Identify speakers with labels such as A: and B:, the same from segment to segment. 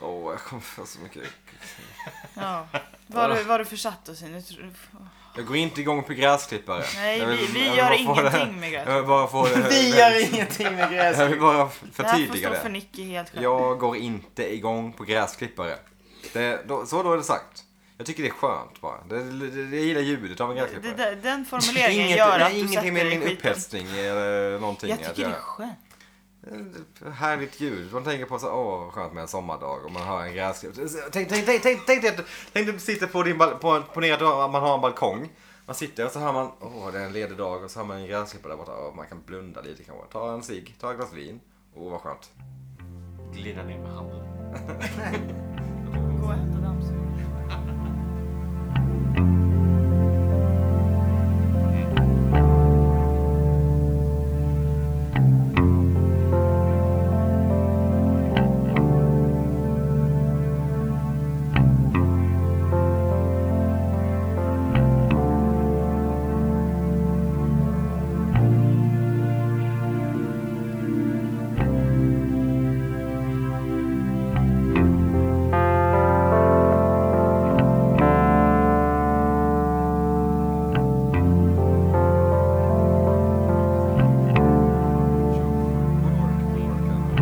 A: jag kommer få så mycket...
B: Ja. Vad har du, vad har du försatt oss i nu? tror du-
A: Jag går inte igång på gräsklippare.
B: Nej,
A: Jag vill-
B: vi, vi
A: jag vill
B: gör
A: bara få det-
B: ingenting
A: Jag vill bara få
B: med gräs.
A: det...
C: Vi gör ingenting med
A: Jag
C: gräs.
A: vill bara
B: Det här får
A: förtydliga
B: stå för
A: det.
B: Nicky helt själv.
A: Jag går inte igång på gräsklippare. Det, då, så då är det sagt. Jag tycker det är skönt bara. Det, det, det, jag gillar ljudet av en
B: Det-
A: gräsklippare.
B: det- det- den formuleringen
A: Inget-
B: gör
A: det är
B: att du sätter
A: ingenting med
B: dig i
A: min
B: skiten.
A: upphetsning eller någonting.
B: Jag
A: att
B: tycker det är skönt.
A: Ett Härligt ljud. Man tänker på så här, åh skönt med en sommardag och man hör en gräsklippare. Tänk, tänk, tänk, tänk, tänk, dig att- tänk dig att du sitter på din bal- på en, ponera att du har- man har en balkong. Man sitter och så hör man, åh det är en ledig dag och så hör man en gräsklippare där borta. Åh, man kan blunda lite kanske. Ta en cigg, ta ett glas vin. Åh vad skönt.
D: Glida ner med handen.
B: Gå och hämta dammsugaren.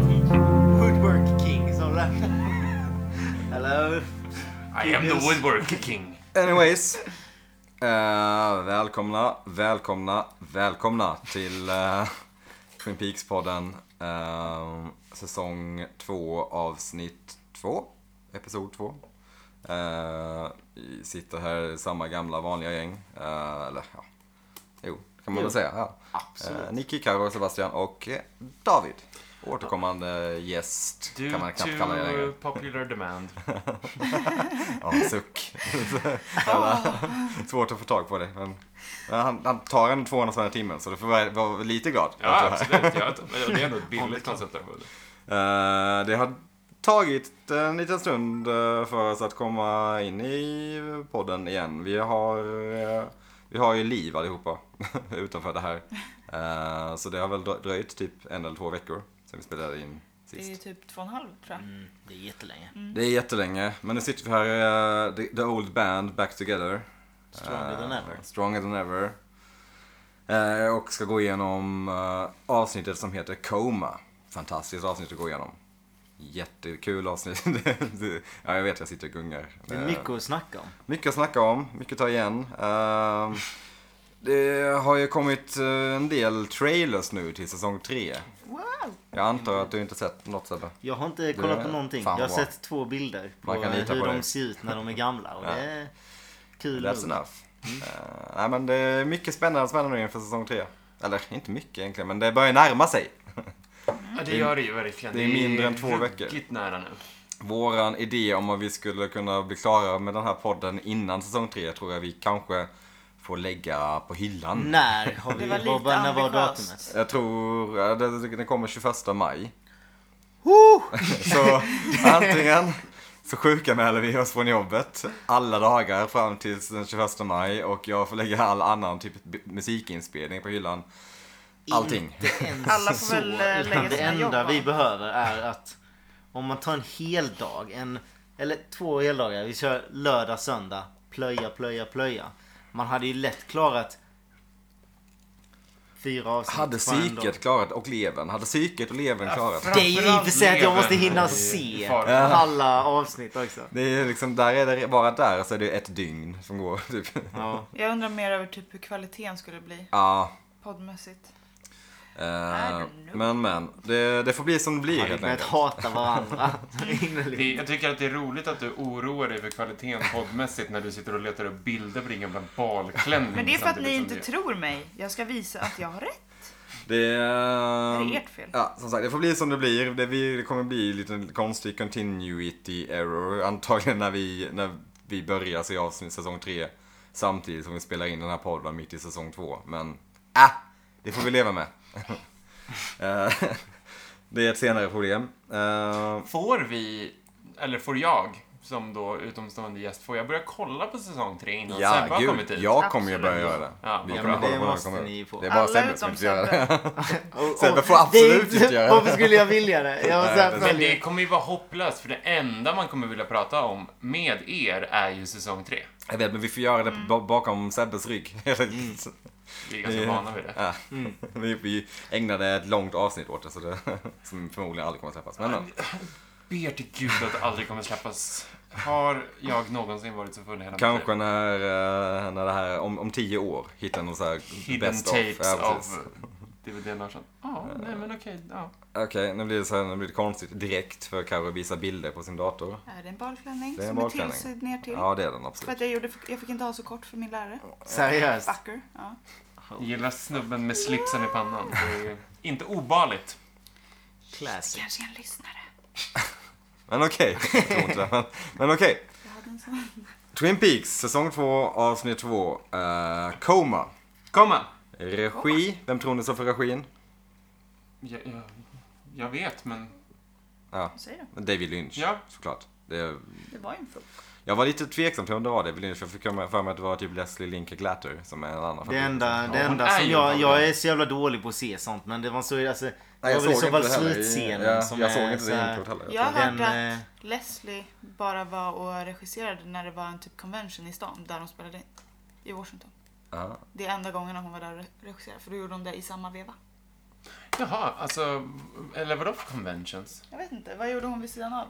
C: Woodwork King som ramlar. Hello.
D: I am the woodwork king.
A: Anyways. Eh, välkomna, välkomna, välkomna till eh, Twin Peaks-podden. eh, säsong 2, avsnitt 2. Episod 2. sitter här i samma gamla vanliga gäng. Eh, eller ja, jo, kan man väl säga. Ja. Uh, Nicky, Karo, Sebastian och eh, David. Återkommande gäst
D: Due
A: kan man knappt kalla det längre.
D: to popular demand.
A: Ja, suck. Alla, svårt att få tag på det. Men, men han, han tar en 200 spänn i timmen så du får vara, vara lite glad.
D: Ja, absolut. Ja, det är ändå ett billigt koncept. där.
A: Eh, det har tagit en liten stund eh, för oss att komma in i podden igen. Vi har, eh, vi har ju liv allihopa utanför det här. Eh, så det har väl dröjt typ en eller två veckor sen vi spelade in sist.
B: Det är typ två och en halv tror jag.
C: Mm, det är jättelänge.
A: Det är jättelänge, men nu sitter vi här, eh, the, the Old Band, Back Together.
C: Stronger
A: Eh,
C: than ever.
A: Stronger than ever. Eh, och ska gå igenom eh, avsnittet som heter Coma. Fantastiskt avsnitt att gå igenom. Jättekul avsnitt. Det- det- ja, jag vet, jag sitter och gungar.
C: Det är
A: Eh,
C: mycket att snacka om.
A: mycket att snacka om, mycket att ta igen. Eh, det har ju kommit eh, en del trailers nu till säsong tre.
B: Wow!
A: Jag antar att du inte sett något Sebbe?
C: Jag har inte kollat på
A: är
C: någonting. Jag
A: fan
C: har
A: bra.
C: sett två bilder på
A: Man kan lita
C: hur
A: på
C: de
A: dig.
C: ser ut när de är gamla. Och
A: Ja.
C: det är kul.
A: That's
C: nog.
A: enough.
C: Mm.
A: Eh, nej, men det är mycket spännande, spännande inför säsong tre. Eller inte mycket egentligen, men det börjar närma sig.
D: Ja, det gör det ju verkligen.
A: det är mindre än två veckor.
D: ruggigt nära nu.
A: Våran idé om att vi skulle kunna bli klara med den här podden innan säsong tre tror jag vi kanske får lägga på hyllan.
C: När har vi...
B: Det var lite
C: Vad var, när var
B: ambitiöst.
C: datumet?
A: Jag tror eh, det- den kommer 21 maj. så antingen så sjukanmäler vi oss från jobbet alla dagar fram till den 21 maj och jag får lägga all annan typ b- musikinspelning på hyllan. Allting.
C: Inte ens
B: Alla får väl,
C: så,
B: eh,
C: utan
B: lägga
C: Det
B: sina jobb,
C: enda
B: va?
C: vi behöver är att om man tar en hel dag, en, eller två heldagar. Vi kör lördag, söndag, plöja, plöja, plöja. Man hade ju lätt klarat fyra avsnitt
A: Hade
C: på en dag.
A: psyket klarat och levern? Hade psyket och levern klarat?
C: Det är ju i och för sig att jag måste hinna
D: Framförallt
C: se
D: lever.
C: alla avsnitt också.
A: Det är liksom, där är det, bara där så är det ett dygn som går typ.
C: Ja.
B: Jag undrar mer över typ hur kvaliteten skulle bli
A: Ja.
B: poddmässigt.
A: Mm, eh,
B: don't know.
A: men men, det, det får bli som det blir
C: Man hade
A: helt
C: kunnat
A: enkelt.
C: hata varandra.
D: Det,
C: Innerligt.
D: jag tycker att det är roligt att du oroar dig för kvaliteten poddmässigt när du sitter och letar upp bilder på din gamla balklänning.
B: Men det är för att ni
D: samtidigt som
B: inte tror mig. Jag ska visa att jag har rätt.
A: Det, är
B: Det är ert fel.
A: Ja, som sagt, det får bli som det blir. Det, vi, det kommer bli lite konstig continuity error antagligen när vi, när vi börjar se avsnitt säsong 3 samtidigt som vi spelar in den här podden mitt i säsong 2. Men, ah, det får vi leva med. Eh, det är ett senare problem. Eh,
D: Får vi, eller får jag, som då utomstående gäst får jag börja kolla på säsong tre innan Sebbe
A: Ja,
D: har
A: gud.
D: kommit hit?
A: Jag kommer ju börja göra
B: Absolut.
A: det.
D: Ja,
A: Vi
D: vad
A: kommer
D: bra.
A: kolla på
C: Det
A: när han
C: måste
A: kommer
C: ni
A: upp.
C: få.
A: Det är bara
B: Alla
A: Sebbe som
B: utom
A: inte gör
B: Sebbe.
A: det.
C: Och- och-
A: Sebbe får absolut
C: det är-
A: inte göra det.
C: Varför skulle jag vilja det? Jag var så här,
A: Nej,
D: Men det
C: följer-
D: kommer ju vara hopplöst för det enda man kommer vilja prata om med er är ju säsong tre.
A: Jag vet, men vi får göra det ba- bakom Sebbes rygg.
D: Vi är ganska
A: Det-
D: vana vid det. Mm.
A: Ja. Vi- Vi ägnade ett långt avsnitt åt det, så det som förmodligen aldrig kommer att släppas. Men, eh, ja.
D: Ber till gud att det aldrig kommer släppas. Har jag någonsin varit så full i hela mitt liv?
A: kanske när, eh, när det här, om, om tio år, hittar någon så här
D: Hidden
A: best of.
D: tapes
A: Ja,
D: av
A: precis.
D: DVD Larsson. Ja, nej men okej. Ja.
A: Okej, nu blir det så här, nu blir det konstigt direkt för Carro att visa bilder på sin dator.
B: Är det en balklänning
A: Det är en
B: som är
A: balklänning.
B: tillsydd ner till?
A: Ja, det är den
B: För
A: absolut.
B: att jag, gjorde, jag fick inte ha så kort för min lärare.
C: Seriöst.
B: Fucker. Ja.
D: Gillar snubben med slipsen i pannan. Det är ju inte obarligt.
C: Classic.
B: Kanske en lyssnare.
A: Men okej. Jag tror inte det, men- Men okej.
B: Jag hade en sån.
A: Twin Peaks, säsong 2, avsnitt 2. Uh, Coma.
D: Komma!
A: Regi. Vem tror ni står för regin?
D: Jag, jag, jag vet, men...
A: Ja,
B: Vad säger
A: David Lynch.
D: Ja.
A: Såklart. Det,
B: du? Det var ju en fuck.
A: jag var lite tveksam till om det var David Lynch. Jag fick för mig att det var typ Leslie Linka Glatter som är en annan
C: Det
A: favorit.
C: enda, det
D: hon
C: enda
D: är
C: som
D: ju
C: jag,
D: vanlig.
C: jag är så jävla dålig på att se sånt men det var så, alltså,
A: Nej,
C: det var väl i så fall
A: heller.
C: slutscenen
A: Ja,
C: som
A: Jag
C: är
A: såg inte
C: så
A: det
C: här-
A: introt heller.
B: Jag har
C: Den,
B: hört
C: eh,
B: att Leslie bara var och regisserade när det var en typ convention i stan där de spelade in. I Washington.
A: Ja.
B: Det är enda gången hon var där och regisserade för då gjorde hon det i samma veva.
D: Jaha, alltså... Eller vadå för conventions?
B: Jag vet inte, vad gjorde hon vid sidan av?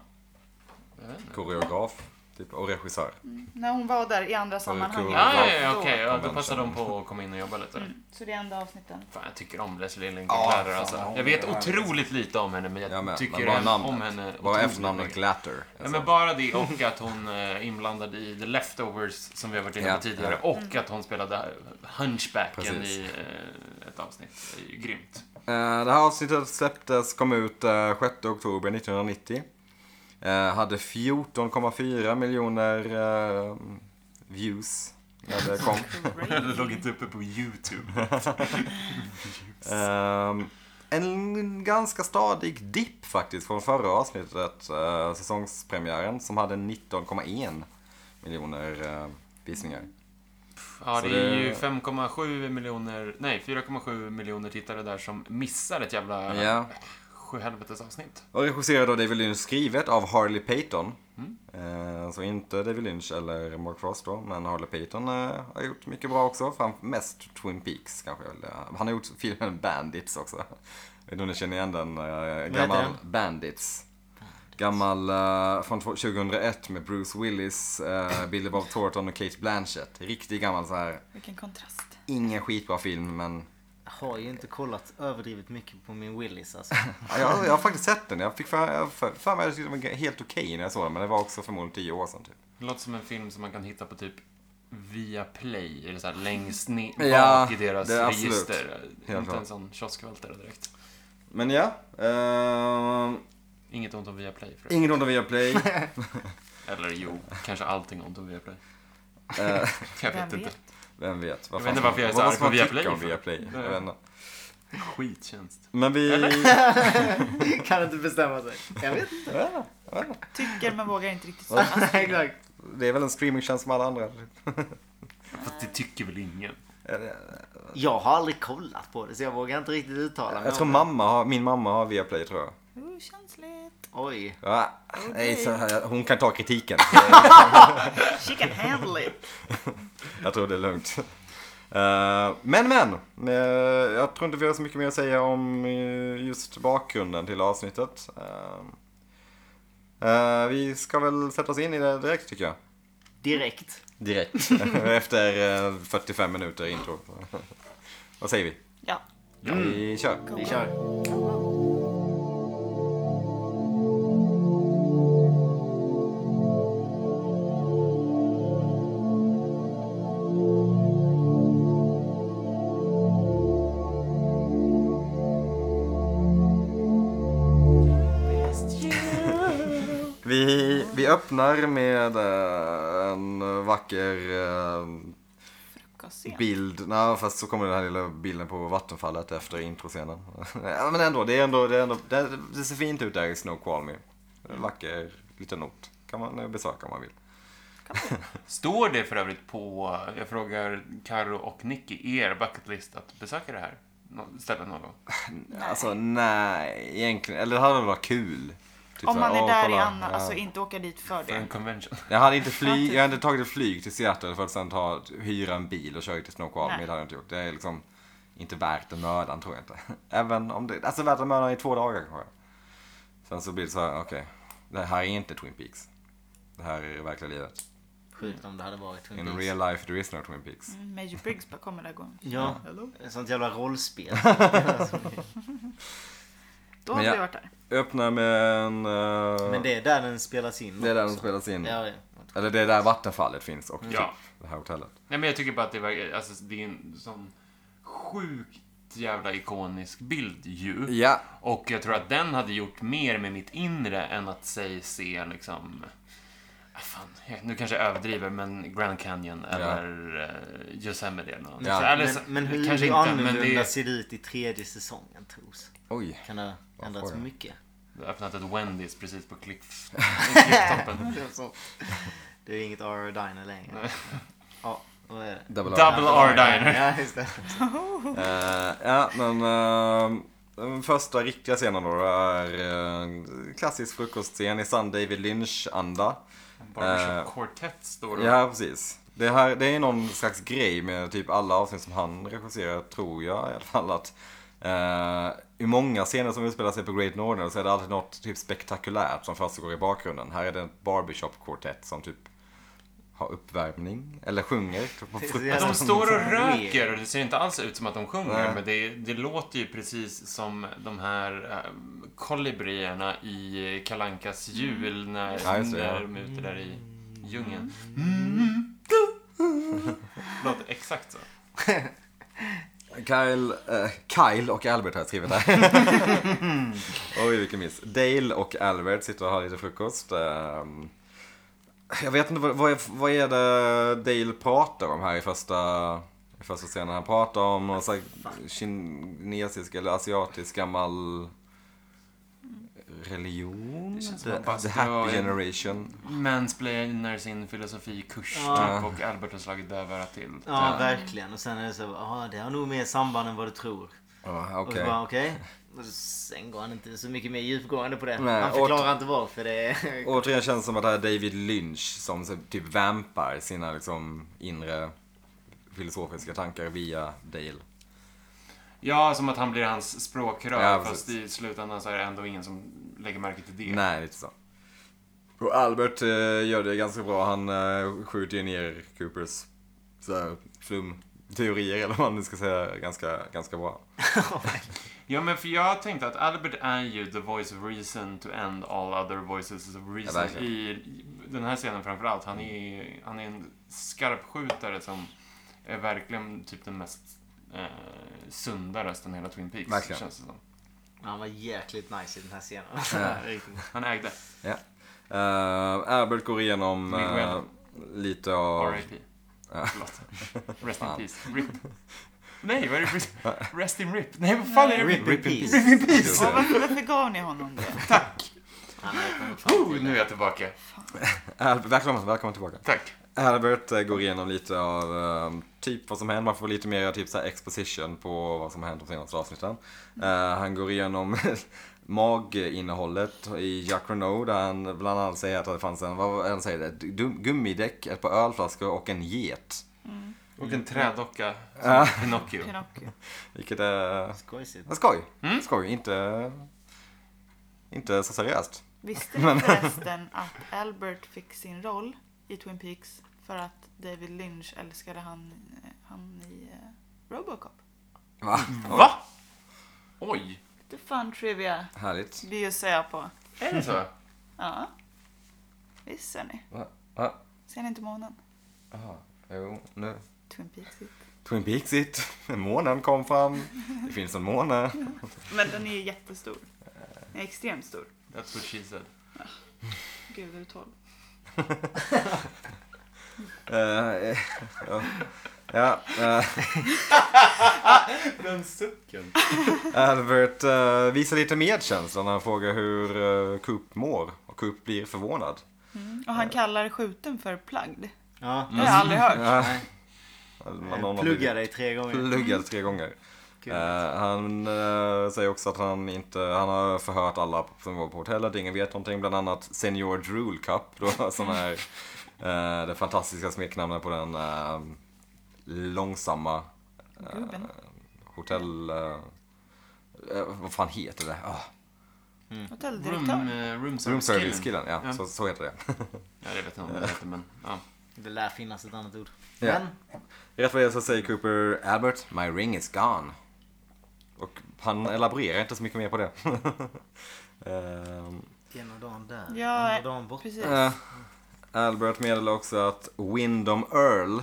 D: Jag vet inte.
A: Koreograf typ, och regissör.
B: När hon var där i andra sammanhang.
A: cool.
D: Ja, ja, ja,
B: Då.
D: okej. ja, då passar de på att komma in och jobba lite.
B: Mm, Så det är enda avsnitten.
D: Fan, jag tycker om Leslie
A: Ja,
D: Lincoln-Glatter
A: fan,
D: alltså.
A: hon
D: Jag vet
A: är härlig.
D: otroligt lite om henne, men jag,
A: Jag med.
D: tycker
A: men bara
D: hem-
A: namnet.
D: om henne.
A: bara
D: otroligt
A: efternamnet alltså.
D: mycket.
A: Glatter.
D: Ja, men bara det och att hon är inblandad i The Leftovers som vi har varit inne på
A: Ja,
D: tidigare. Och att hon spelade Hunchbacken
A: Precis.
D: i eh, ett avsnitt. Det är ju grymt.
A: Eh, Det här avsnittet släpptes, kom ut eh, 6 oktober 1990. Eh, Hade 14,4 miljoner eh, views när det kom.
D: Det låg inte uppe på YouTube.
A: Ehm, en ganska stadig dipp faktiskt från förra avsnittet, eh, säsongspremiären, som hade 19,1 miljoner eh, visningar.
D: Ja,
A: Så
D: det är
A: det-
D: ju 5,7 miljoner, nej 4,7 miljoner tittare där som missar ett jävla
A: Ja.
D: sjuhelvetes avsnitt.
A: Och regisserad av David Lynch, skrivet av Harley Payton. Eh, Så inte David Lynch eller Mark Frost då, men Harley Payton eh, har gjort mycket bra också. Fram, mest Twin Peaks kanske. Eller, han har gjort filmen Bandits också. Jag vet inte om ni känner igen den? eh, Gammal
C: den?
A: Bandits. Gammal eh, från två- 2001 med Bruce Willis, eh, Billy Bob Thornton och Kate Blanchett. Riktigt gammal så här.
B: Vilken kontrast.
A: ingen skitbra film men
C: Jag har ju inte kollat överdrivet mycket på min Willis alltså.
A: Ja, jag, jag har faktiskt sett den. Jag fick för, jag för, för mig att den var helt okej när jag såg den. Men det var också förmodligen tio år sedan typ.
D: Det låter som en film som man kan hitta på typ via play, eller så här längst ner bak
A: Ja,
D: i deras
A: det är absolut.
D: register.
A: klart.
D: inte en sån kioskvältare direkt.
A: Men ja. ehm,
D: Inget ont om Viaplay för det.
A: inget ont om Viaplay.
D: Eller jo, kanske allting ont om Viaplay.
A: Eh,
D: Jag
B: Vem
D: vet inte.
B: vet?
A: Vem vet? Vad
D: Jag vet
A: fan
D: inte
A: ska-
D: varför jag är så
A: vad
D: arg
A: ska
D: på
A: man
D: Viaplay
A: tycka om
D: för?
A: Viaplay? Jag vet inte.
D: Skittjänst.
A: Men vi...
C: kan inte bestämma sig. Jag vet inte.
B: Tycker men vågar inte riktigt säga.
C: Exakt.
A: Det är väl en streamingtjänst som alla andra.
D: Fast det tycker väl ingen?
C: Jag har aldrig kollat på det så jag vågar inte riktigt uttala mig.
A: Jag tror
C: om
A: mamma har, min mamma har Viaplay tror jag.
B: Oh, känsligt.
C: det. Oj.
A: Ja, nej, så här, hon kan ta kritiken.
B: She can handle it.
A: Jag tror det är lugnt. Eh, men men, eh, jag tror inte vi har så mycket mer att säga om eh, just bakgrunden till avsnittet. Eh, eh, vi ska väl sätta oss in i det direkt tycker jag.
C: Direkt.
A: Direkt. Efter eh, 45 minuter intro. Vad säger vi? Mm.
B: Ja.
D: Ja.
A: Vi kör.
C: Vi kör.
A: Vi, vi öppnar med eh, en vacker eh,
B: Frukosten.
A: bild. Nej, fast så kommer den här lilla bilden på vattenfallet efter introscenen. ja,
B: Mm.
A: men ändå, det, är ändå, det, är ändå det, det ser fint ut där i Snow Call Me. En Vacker liten ort. kan kan man eh, besöka om man vill.
D: Står det för övrigt på, jag frågar Karo och Nicky, i er bucket list att besöka det här nå- stället någon gång?
A: Alltså nej, egentligen. Eller det hade väl varit kul. Typ
B: Om
A: så här,
B: man är
A: åh,
B: där i
A: kolla,
B: annan,
A: ja.
B: alltså inte åka dit för
D: För en
B: det.
D: convention.
A: Jag hade inte flyg,
B: Ja, typ.
A: jag hade inte tagit ett flyg till Seattle för att sen ta, hyra en bil och köra till Snoqualmie.
B: Nej.
A: Det hade jag inte gjort. Det är liksom inte värt den mödan tror jag inte. Även om det, alltså värt den mödan i två dagar kanske. Sen så blir det så här, okej. Det här är inte Twin Peaks. Det här är det verkliga livet.
C: Sjukt om det hade varit Twin
A: In
C: Peaks.
A: real life there is no Twin Peaks.
B: Mm, Major Briggs bara kommer där gången.
C: Ja,
B: Hello.
C: sånt jävla rollspel.
B: Då
A: Men
B: har
A: jag-
B: vi varit där.
A: Öppnar med en... eh,
C: Men det är där den spelas in.
A: det är där de
C: också.
A: spelas in.
C: Ja, ja.
A: Eller det är där vattenfallet finns och
D: Ja.
A: typ det här hotellet.
D: Nej, men jag tycker bara att det, verkar- alltså, det är en sån sjukt jävla ikonisk bild ju.
A: Ja,
D: Och jag tror att den hade gjort mer med mitt inre än att säg se liksom... Ah, Fan, jag- nu kanske jag överdriver, men Grand Canyon eller eh, Yosemite eller något.
A: Ja.
D: Så, eller, så-
C: Men, men hur
D: kanske inte,
C: annorlunda
D: men det
C: ser det ut i tredje säsongen tros?
A: oj.
C: Kan det ha ändrats
A: Varför?
C: mycket?
D: Jag har öppnat ett Wendys precis på Cliff, Clifftoppen.
C: Det är inget R Diner längre.
D: Nej.
C: Ja, vad är det?
A: Double,
D: Double R Diner.
C: Ja, just det.
A: Eh, ja, men eh, den första riktiga scenen då är eh, en klassisk frukostscen i sann David Lynch-anda.
D: Barbershop Quartet står det.
A: Eh, Ja, precis. Det, här, det är någon slags grej med typ alla avsnitt som han regisserar, tror jag i alla fall. Att, eh, I många scener som utspelar sig på Great Northern så är det alltid något typ spektakulärt som försiggår i bakgrunden. Här är det en barbershop-kvartett som typ har uppvärmning, eller sjunger. På
C: Det är så
A: frukost.
C: jävla-
D: De står och
C: Weird.
D: röker och det ser inte alls ut som att de sjunger.
A: Nej.
D: Men det, det låter ju precis som de här eh, kolibrierna i Kalankas jul när,
A: Ja, just det, ja.
D: när de är ute där i djungeln. Mm. låter exakt så.
A: Kyle, eh, Kyle och Albert har jag skrivit där. Oj, vilken miss. Dale och Albert sitter och har lite frukost. Ehm, jag vet inte, vad, vad, är, vad är det Dale pratar om här i första, i första scenen? Han pratar om någon slags kinesisk eller asiatisk gammal religion?
D: Det känns som
A: The,
D: att bastu
A: the happy
D: och en-
A: generation.
D: Mansplainer sin filosofikurs
C: Ja.
D: typ, och Albert har slagit dövörat till.
C: Ja, verkligen. Och sen är det så, ja det har nog mer samband än vad du tror.
A: Ja,
C: Och så
A: okej.
C: bara okej. Och Sen går han inte så mycket mer djupgående på det.
A: Nej,
C: han förklarar inte varför det är...
A: Återigen känns det som att det här är David Lynch som så- typ vampar sina liksom inre filosofiska tankar via Dale.
D: Ja, som att han blir hans språkrör.
A: Ja, precis.
D: fast i slutändan så är det ändå ingen som lägger märke till det.
A: Nej, lite så. Och Albert eh, gör det ganska bra. Han eh, skjuter ju ner Coopers så här, flumteorier eller vad man nu ska säga ganska, ganska bra.
D: Ja, men för jag tänkte att Albert är ju the voice of reason to end all other voices of
A: Ja,
D: reason
A: verkligen.
D: i den här scenen framför allt. Han är, han är en skarpskjutare som är verkligen typ den mest eh, sunda rösten i hela Twin Peaks.
A: Verkligen.
D: Känns det som.
C: Han var jäkligt nice i den här scenen.
A: Ja.
C: Riktigt.
D: Han ägde
A: Ja. Eh, Albert går igenom eh,
D: Miguel.
A: lite av...
D: R.I.P.
A: Ja.
D: Förlåt. Rest in
A: Fan.
D: peace. RIP. Nej, vad är det? Rest in RIP. Nej, vad fan är det?
C: Rip, in peace.
A: Precis.
B: Ja, varför, varför gav ni honom det?
C: Han har kommit fram
D: Oh,
C: till
D: nu är
C: det.
D: jag tillbaka.
A: Albert, välkommen, välkommen tillbaka.
D: Tack.
A: Albert eh, går igenom lite av eh, typ vad som händer. Man får lite mer typ så här exposition på vad som har hänt de senaste avsnitten. Eh, han går igenom maginnehållet i Jack Renault där han bland annat säger att det fanns en, vad var det han säger, ett dum- gummidäck, ett par ölflaskor och en get.
D: Och en trädocka
A: Mm. Ja.
D: som Pinocchio.
B: Pinocchio.
A: Vilket är
C: Skojsigt.
A: är skoj. Skoj, inte, inte så seriöst.
B: Visste ni förresten att Albert fick sin roll i Twin Peaks för att David Lynch älskade han, han i eh, Robocop?
A: Va?
D: Va? Oj,
B: Lite fun trivia
A: Härligt.
B: bjussar jag på.
D: är det så?
B: Ja. Visst ser ni.
A: Va? Va?
B: Ser ni inte månen?
A: Aha. Jo, nu.
B: Twin Peaks hit.
A: Twin Peaks it. Månen kom fram. Det finns en måne.
B: Men den är ju jättestor. Den är extremt stor.
D: That's what she said.
B: Gud, är du tolv?
A: Eh, ja. Ja, eh,
D: Den sucken.
A: Albert eh, visar lite medkänsla när han frågar hur eh, Coop mår. Och Coop blir förvånad.
B: Mm. Och han kallar skjuten för plugged.
C: Ja.
B: Det har jag aldrig hört.
A: Ja. Man-
C: Nej.
A: Mm. någon har
C: Plugga dig tre gånger.
A: blivit Pluggad tre gånger.
C: Kul.
A: Eh, han eh, säger också att han inte, han har förhört alla som var på hotellet, ingen vet någonting. Bland annat Senior Drool Cup, då, som är eh, det fantastiska smeknamnet på den eh, långsamma
B: Gubben.
A: Mm. hotell... eh, eh, vad fan heter det? Ah,
D: Room,
B: Hotelldirektör.
D: eh, room
A: room
D: service killen.
A: service-killen, ja.
D: Ja.
A: Så, så heter det.
D: Ja, jag vet inte om det heter, men ja.
C: Det lär finnas ett annat ord.
A: Ja.
C: Men
A: Rätt vad det är så säger Cooper Albert, my ring is gone. Och han elaborerar inte så mycket mer på det. Ehm,
C: ena dagen där,
B: Ja,
C: andra dagen borta.
B: Precis.
A: eh, Albert meddelar också att Windom Earl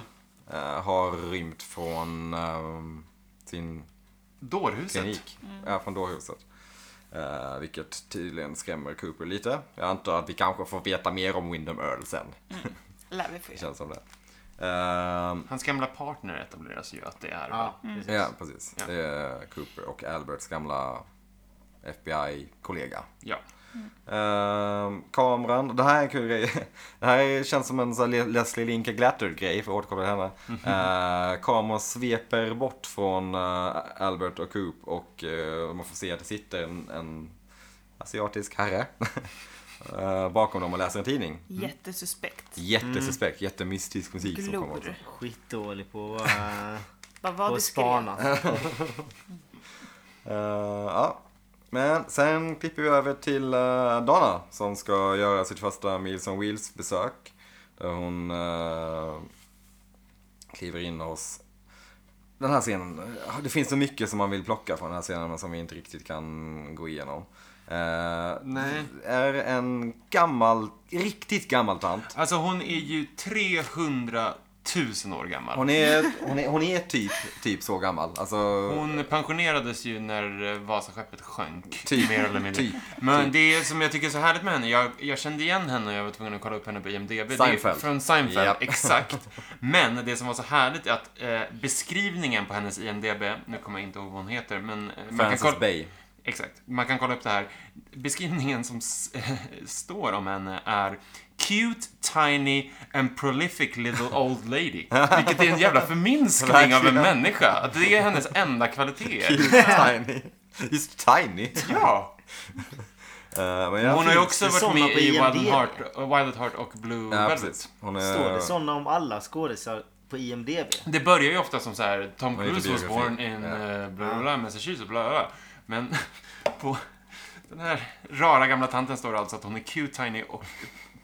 A: eh, har rymt från ehm, sin
D: Dårhuset.
A: klinik. Ja, från dårhuset. Eh, vilket tydligen skrämmer Cooper lite. Jag antar att vi kanske får veta mer om Windom Earl sen.
B: Lär vi få
A: Det
B: göra.
A: känns som det. Ehm,
D: Hans gamla partner etableras ju att det är.
C: Ja,
B: Mm.
C: precis.
A: ja, precis.
D: Ja.
A: Det är Cooper och Alberts gamla FBI-kollega.
D: ja.
A: Ehm, kameran, det här är en kul grej. Det här känns som en sån här Leslie Linka Glatter grej för att återkoppla till henne. Eh, kameran sveper bort från eh, Albert och Coop och eh, man får se att det sitter en, en asiatisk herre eh, bakom dem och läser en tidning.
B: Jättesuspekt.
A: Jättesuspekt, jättemystisk musik som kommer också.
B: Glor.
C: Skitdålig på att
B: Vad
C: på
B: var
C: att
B: det skrev?
C: spana.
A: Eh, ja. Men sen klipper vi över till eh, Donna som ska göra sitt första Meals on Wheels besök. Där hon eh, kliver in hos... Den här scenen, eh, det finns så mycket som man vill plocka från den här scenen men som vi inte riktigt kan gå igenom. Eh,
D: Nej.
A: Är en gammal, riktigt gammal tant.
D: Alltså hon är ju 300 000 år gammal.
A: Hon är, hon är, hon är typ, typ så gammal. Alltså,
D: Hon pensionerades ju när eh, Vasaskeppet sjönk.
A: Typ,
D: mer eller mindre.
A: typ,
D: Men
A: typ.
D: det som jag tycker är så härligt med henne, jag, jag kände igen henne och jag var tvungen att kolla upp henne på IMDB. Det är
A: Seinfeld.
D: från Seinfeld,
A: Japp.
D: exakt. Men det som var så härligt är att eh, beskrivningen på hennes IMDB, nu kommer jag inte ihåg vad hon heter, men... eh, man kan
A: Frances
D: kolla,
A: Bay.
D: Exakt. Man kan kolla upp det här. Beskrivningen som s- står om henne är Cute, tiny and prolific little old lady. Vilket är en jävla förminskning av en
A: Verkligen.
D: människa. Att det är hennes enda kvaliteter.
A: tiny. Just tiny.
D: Ja.
A: Eh, men jag
D: Hon har ju
A: finns-
D: också
C: det
D: varit
C: sådana
D: med
C: på
D: i Wild at
C: IMDb?
D: Heart, Wild at Heart och Blue
A: Ja,
D: Velvet.
A: precis. Hon är...
C: Står det sådana om alla skådisar på IMDB?
D: Det börjar ju ofta som så här Tom
A: Vad heter
D: Cruise was
A: biografin?
D: born in
A: Ja.
D: yeah. bla bla bla, Massachusetts, bla bla bla. Men på den här rara gamla tanten står det alltså att hon är cute, tiny och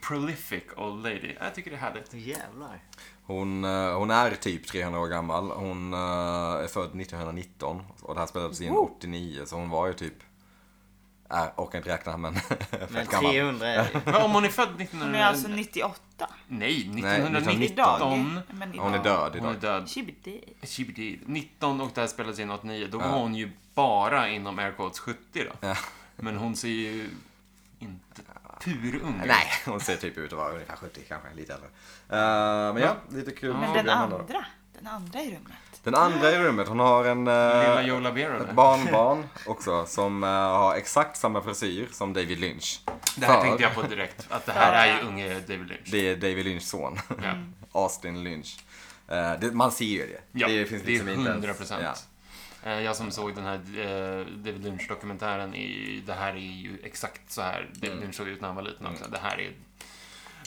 D: prolific old lady. Jag tycker det är härligt.
C: Åh, Jävlar.
A: Hon, eh, hon är typ 300 år gammal. Hon eh, är född 1919 och det här spelades in
D: Oh.
A: 89 så hon var ju typ... Äh, orkar inte räkna men...
C: Men
A: fett gammal.
C: 300 är det.
D: Men om hon är född
B: Hon
D: 1900...
B: är alltså 98
D: Nej,
A: alltså
B: idag.
D: 1919.
B: Men
A: Hon är
B: idag.
A: död
D: Hon är
A: idag.
D: död.
B: Chibidi.
D: Chibidi. 19 och det här spelades in 89. Då var
A: Ja.
D: hon ju bara inom air quotes 70 då.
A: Ja.
D: Men hon ser ju inte purung ut.
A: Nej, hon ser typ ut att vara ungefär 70 kanske, lite äldre. Eh, men ja,
D: Mm.
A: lite kul.
B: Men
A: program
B: den
A: ändå.
B: andra. Den andra i rummet.
A: Den andra i rummet, hon har en... eh,
D: Lilla Joe Labero
A: Ett
D: där.
A: barnbarn också som eh, har exakt samma frisyr som David Lynch.
D: Det här
A: För
D: tänkte jag på direkt. Att det här är ju unge David Lynch.
A: Det är David Lynchs son.
D: Ja.
A: Austin Lynch. Eh, det, man ser ju det.
D: Ja, det,
A: finns
D: är
A: liksom inte ens-
D: 100 procent.
A: ja.
D: Jag som såg den här eh, David Lynch-dokumentären, är ju- det här är ju exakt så här David
A: Mm.
D: Lynch såg ut när han var liten också. Det här är...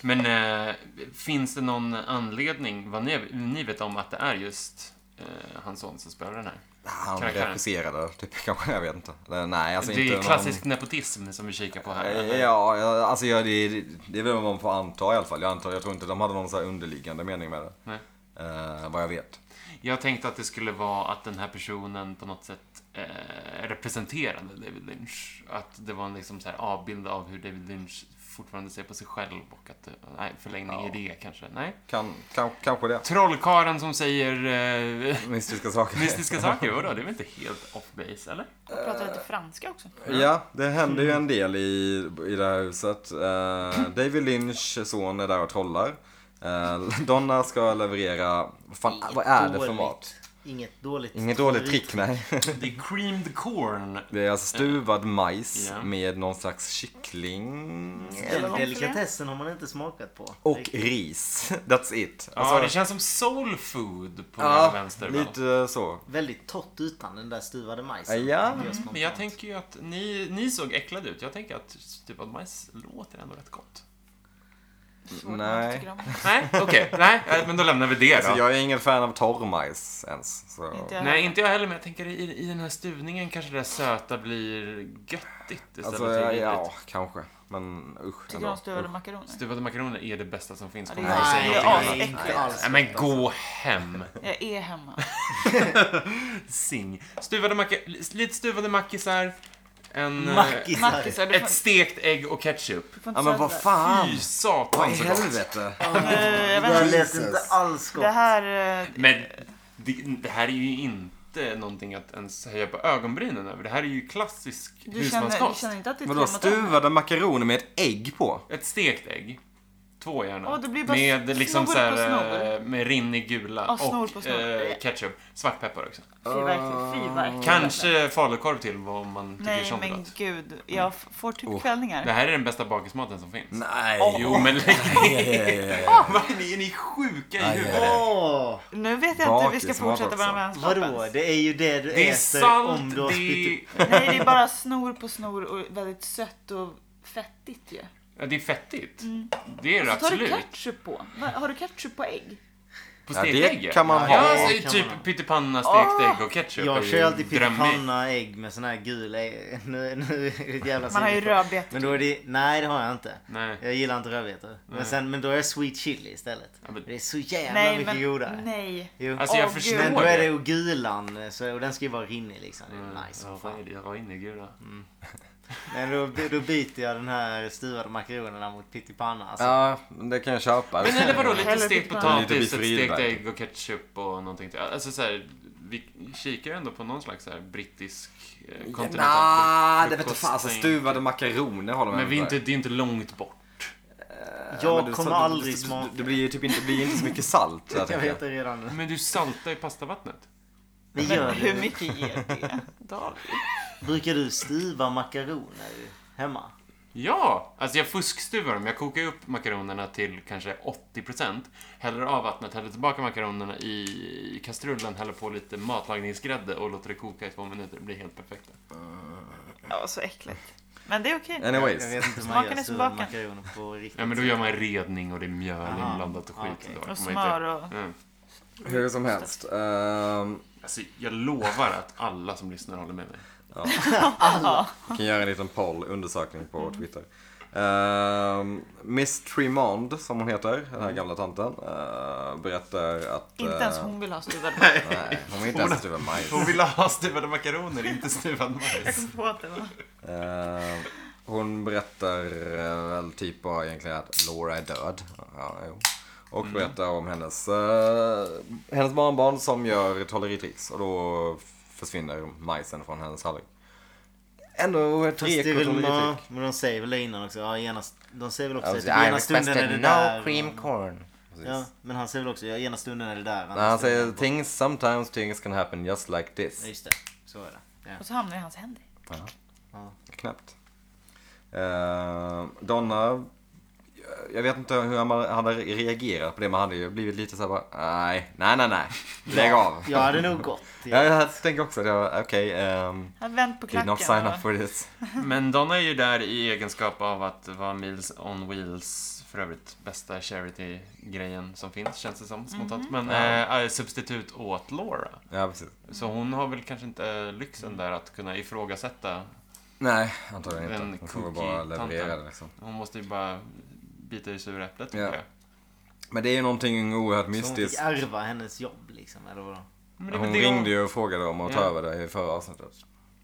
D: Men eh, finns det någon anledning, vad ni, ni vet om, att det är just eh, hans son som spelar den här?
A: Han
D: Karaktären.
A: regisserade, typ, kanske, jag vet inte. Eller, nej, alltså
D: det
A: inte
D: är
A: någon-
D: klassisk nepotism som vi kikar på här.
A: Eh, Ja, jag- alltså jag, det, det är väl vad man får anta i alla fall. Jag, antar, jag tror inte de hade någon så här underliggande mening med det.
D: Nej.
A: Eh, vad jag vet.
D: Jag tänkte att det skulle vara att den här personen på något sätt eh, representerade David Lynch. Att det var en liksom så här avbild av hur David Lynch fortfarande ser på sig själv och att eh, nej, förlängning
A: Ja.
D: i det kanske. Nej.
A: Kan, kan, kanske det.
D: Trollkaren som säger eh,
A: Mystiska saker.
D: mystiska saker. Vadå, det är väl inte helt off base, eller?
B: Hon pratar lite franska också.
A: Ja, det händer
D: Mm.
A: ju en del i, i det här huset. Eh, David Lynch son är där och trollar. Eh, Donna ska leverera, vad fan, vad är det för mat?
C: Dåligt. Inget dåligt
A: Inget dåligt
C: trolleri.
A: trick, nej.
D: Det är creamed corn.
A: Det är alltså stuvad majs
D: Ja.
A: med någon slags kyckling.
C: Den delikatessen har man inte smakat på.
A: Och
C: Riktigt.
A: ris. That's it. Alltså,
D: Ja, Alltså, det känns som soul food på
A: ja,
D: vänster. va?
A: lite så.
C: Väldigt torrt utan den där stuvade majsen.
A: Ja,
C: Det gör spontant.
D: Men jag tänker ju att ni, ni såg äcklade ut. Jag tänker att stuvad majs låter ändå rätt gott.
B: Svårt
A: Nej.
B: att tycka om.
D: Nej, okej. Nej, eh, men då lämnar vi det
A: Alltså,
D: då.
A: jag är ingen fan av torrmajs ens. Så.
B: Inte jag
D: Nej, inte jag heller, men jag tänker i, i den här stuvningen kanske det där söta blir göttigt istället
A: Alltså,
D: för
A: ja,
D: vidrigt.
A: ja, kanske. Men usch.
B: Tycker du
A: Ändå.
B: om stuvade makaroner?
D: Stuvade makaroner är det bästa som finns.
B: Ja,
D: Kom
B: det är-
D: inte och
B: Nej,
D: säg någonting
B: det är asäckligt.
D: annat.
C: Inte alls.
D: Nej, men gå hem.
B: Jag är hemma.
D: Sing. Stuvade macka, lite stuvade mackisar. En, eh,
C: Mackisar.
B: Mackisar, du får,
D: ett stekt ägg och ketchup.
B: du får inte
A: Ja, men vad
B: säga
A: fan.
D: Fy
A: Vad i
D: satan så gott.
A: helvete.
B: sådär. Eh, Jag vet inte.
C: Det här lät
A: Jesus.
C: inte alls gott.
B: Det här... eh,
D: Men det, det här är ju inte någonting att ens höja på ögonbrynen över. Det här är ju klassisk
B: Du känner, du
D: husmanskost.
B: känner inte att det är
A: Vadå,
B: tre mot en?
A: stuvade makaroner med ett ägg på?
D: Ett stekt ägg. Två gärna.
B: Åh, det blir bara
D: med
B: snor
D: liksom
B: på
D: så här,
B: snor.
D: eh, med rinnig gula
B: Ja, snor på
D: och
B: snor.
D: eh, ketchup. Svartpeppar också.
B: Fy verkligen, fy verkligen.
D: Kanske falukorv till vad man tycker
B: Nej
D: sånt är
B: men
D: gott.
B: gud, jag f- får typ
A: Oh.
B: kvällningar.
D: Det här är den bästa bakismaten som finns.
A: Nej.
D: Jo men lägg ner.
A: Eh,
D: Vad är ni- Är ni sjuka i
A: Aj,
D: huvudet?
A: aj, aj.
C: Åh!
B: Nu vet jag inte hur vi ska
A: Bakis mat
B: fortsätta
A: också.
B: vara vänskapen.
C: Vadå? Det är ju det du
D: Det är
C: äter om
D: salt,
C: du har spytt
D: det
C: upp.
D: är,
B: Nej, det är bara snor på snor och väldigt sött och fettigt ju.
D: ja, det är fettigt. Det är det
B: Mm. Så tar du
D: absolut.
B: ketchup på. Va- Har du ketchup på ägg?
D: På
A: Ja, det
D: stektägg
A: kan man ha.
D: Ja,
C: Det kan
D: typ
C: man ha.
D: pyttipanna, stekt ägg och ketchup. är
C: Jag
D: ju
C: kör alltid
D: drömmigt.
C: pyttipanna ägg med sån här gul ägg. Nu, nu är Alltså, det ett jävla
B: Man har ju
C: sinne.
B: rödbetor.
C: Men då är det, nej det har jag inte.
D: Nej.
C: Jag gillar inte rödbetor. Men, sen, men då är jag sweet chili istället.
D: Ja, men-
C: Det är så jävla
B: Nej,
C: mycket godare.
B: men nej.
C: Jo.
D: Alltså jag
B: Åh, gud.
D: förstår
C: men då
D: det.
C: är det ju gulan så, och den ska ju vara rinnig liksom. Det är nice som
D: ja,
C: fan.
D: vad är det? Jag är inne i gula.
C: Men då, då byter jag den här stuvade makaronerna mot pyttipanna. Alltså.
A: Ja, det kan jag köpa.
D: Men eller vadå, lite
B: Hellre
D: stekt
B: pyttipanna.
A: Lite
D: potatis, ett
A: bifrid,
D: stekt
A: verkligen.
D: ägg och ketchup och någonting till. Alltså så här, vi kikar ju ändå på någon slags så här brittisk eh, kontinental
A: Nej,
D: frukost-
A: det vete fan. Alltså,
D: tänk.
A: stuvade makaroner har de
D: Men vi är
A: ändå.
D: inte, det är inte långt bort.
A: Men
C: jag
A: du-
C: kommer
A: så-
C: aldrig
A: du- du-
C: smaka.
A: Det blir ju typ inte, det blir inte så mycket salt. där,
C: jag
A: tänker jag.
C: vet det redan nu.
D: Men du saltar ju pastavattnet.
C: Men gör
B: Men hur
C: du,
B: mycket ger det? David?
C: brukar du stuva makaroner hemma?
D: Ja! Alltså jag fuskstuvar dem. Jag kokar ju upp makaronerna till kanske 80%. Häller av vattnet, häller tillbaka makaronerna i kastrullen, häller på lite matlagningsgrädde och låter det koka i två minuter. Det blir helt perfekta.
B: Ja, så äckligt. Men det är okej.
A: Anyways.
C: Jag vet inte hur man
B: Smaken
C: gör
B: är
C: stuvade
B: tillbaka.
C: makaroner på riktigt.
D: Ja, men då gör man redning och det är mjöl
C: Aha.
D: inblandat och skit.
C: Okej.
D: Då
B: Och
D: kommer jag
B: smör och...
D: Inte... Mm.
A: Hur som helst. ehm,
D: Alltså, jag lovar att alla som lyssnar håller med mig.
A: Vi kan göra en liten poll, undersökning på Twitter. Ehm, Miss Tremond, som hon heter, den här gamla tanten, eh, berättar att...
B: Inte ens
A: eh,
B: hon vill ha stuvad
A: Nej, hon vill inte ens typ stuva majs.
D: Hon ville ha stuvade makaroner, inte stuvad majs.
B: majs.
A: Eh, hon berättar eh, väl typ bara egentligen att Laura är död. Ja, jo. Och
C: Mm.
A: berättar om hennes, eh, hennes barnbarn som gör trolleritricks. Och då försvinner majsen från hennes tallrik. Ändå
C: Fast
A: tre
C: det är väl
A: trolleritrick.
C: ma- men de säger väl det innan också. Ja, ena, de säger väl också
A: Alltså,
C: att ena stunden är det där. och-
A: corn.
C: Ja, men han säger väl också ja, ena stunden är det där. andra
A: När han
C: stunden är
A: säger
C: det-
A: things, sometimes things can happen just like
C: Ja,
A: this.
C: Just det, så är det. Ja.
B: Och så hamnar det i hans händer.
A: Knappt. Eh, Donna, jag vet inte hur man hade reagerat på det. Man hade ju blivit lite så här bara, nej, nej, nej, nej. Lägg av.
C: Jag hade nog gått.
A: Ja,
C: Ja.
A: jag tänker också att jag, okej, ehm,
B: Han vänt på
A: did
B: klacken.
A: not sign
B: och-
A: up for this.
D: Men Donna är ju där i egenskap av att vara Meals on Wheels, för övrigt bästa charity-grejen som finns, känns det som
A: Mhm.
D: spontant. Men eh, substitut åt Laura.
A: Ja, precis.
D: Så hon har väl kanske inte eh, lyxen där att kunna ifrågasätta.
A: Nej, antagligen inte.
D: Den
A: Hon får väl bara
D: cookie-tanten.
A: leverera det liksom.
D: Hon måste ju bara bita i sura äpplet, tycker
A: Ja.
D: jag.
A: Men det är ju någonting oerhört
C: Så hon fick
A: mystiskt.
C: ärva hennes jobb liksom, eller vadå?
D: Men det är väl
A: Hon
D: det
A: ringde ju och frågade om att ta
D: Ja.
A: över det i förra avsnittet.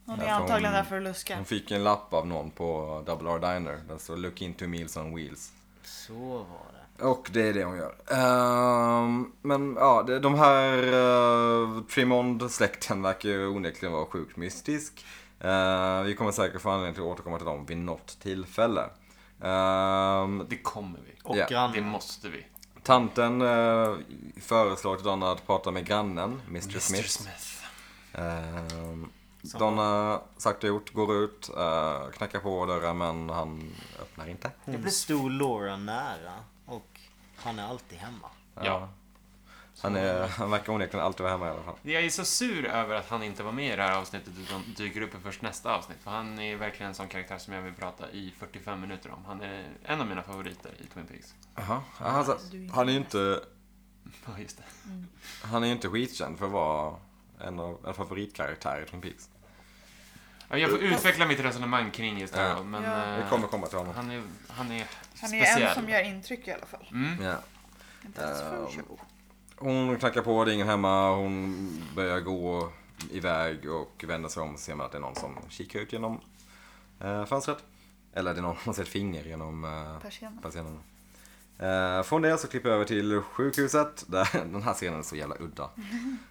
B: Hon är
A: Därför
B: antagligen
A: hon-
B: där för att luska.
A: Hon fick en lapp av någon på Double R Diner. Där står Look into meals on wheels.
C: Så var det.
A: Och det är det hon gör. Ehm, men ja, det- de här uh, Tremond-släkten verkar ju onekligen vara sjukt mystisk. Eh, vi kommer säkert få anledning till att återkomma till dem vid något tillfälle. Ehm,
D: Det kommer vi.
C: Och
A: Ja,
C: grannar.
D: Det måste vi.
A: Tanten eh, föreslår till Donna att prata med grannen, Mr. Smith. Ehm,
C: Som-
A: Donna, sagt och gjort, går ut, eh, knackar på dörren men han öppnar inte.
C: Det stod Laura nära och han är alltid hemma.
D: Ja.
A: Ehm, Han, är, han verkar onekligen alltid vara hemma i alla fall.
D: Jag är så sur över att han inte var med i det här avsnittet utan dyker upp i först nästa avsnitt. För han är verkligen en sån karaktär som jag vill prata i 45 minuter om. Han är en av mina favoriter i Twin Peaks.
A: Jaha. Alltså, han är ju inte,
D: Ja, just det.
A: han är ju inte skitkänd för att vara en, av, en favoritkaraktär i Twin Peaks.
D: Ja, Jag får utveckla mitt resonemang kring just det här.
A: Ja.
D: Men,
B: Ja.
D: eh,
A: Vi kommer komma till honom.
D: Han är, han är
B: Han är
D: speciell.
B: en som gör intryck i alla fall.
D: Mm.
A: Ja.
B: Inte ens för
A: Ehm.
B: show.
A: Hon knackar på, det är ingen hemma. Hon börjar gå iväg och vänder sig om och ser man att det är någon som kikar ut genom eh, fönstret. Eller det är någon som ser ett finger genom eh,
B: Persiennen.
A: persiennen. Eh, från det så klipper jag över till sjukhuset. Där, den här scenen är så jävla udda.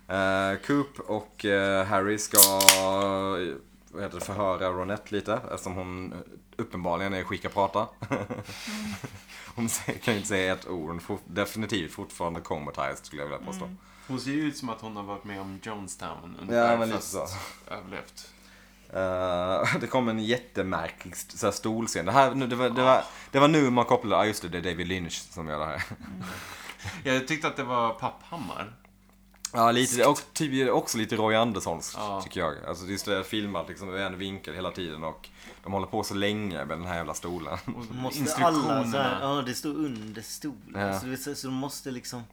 A: Eh, Coop och eh, Harry ska eh, vad heter det, förhöra Ronette lite eftersom hon eh, uppenbarligen är skick att prata. hon säger- kan ju inte säga ett ord. Hon är for, definitivt fortfarande comatized skulle jag vilja påstå.
D: Hon ser ju ut som att hon har varit med om Jonestown ungefär.
A: Ja, men lite
D: fast
A: så.
D: Överlevt.
A: Eh, det kom en jättemärklig st- så här stolscen. Det, här, nu- det, var, det, var, det var nu man kopplade, ah, just det, det är David Lynch som gör det här.
D: Jag tyckte att det var Papphammar.
A: Ja, lite det. Och typ också lite Roy Anderssons,
D: Ja.
A: tycker jag. Alltså just det där filmat liksom i en vinkel hela tiden och de håller på så länge med den här jävla stolen.
D: Och
C: Måste alla så här,
D: instruktionerna.
C: ja det står under stolen.
A: Ja.
C: Så, så, så de måste liksom...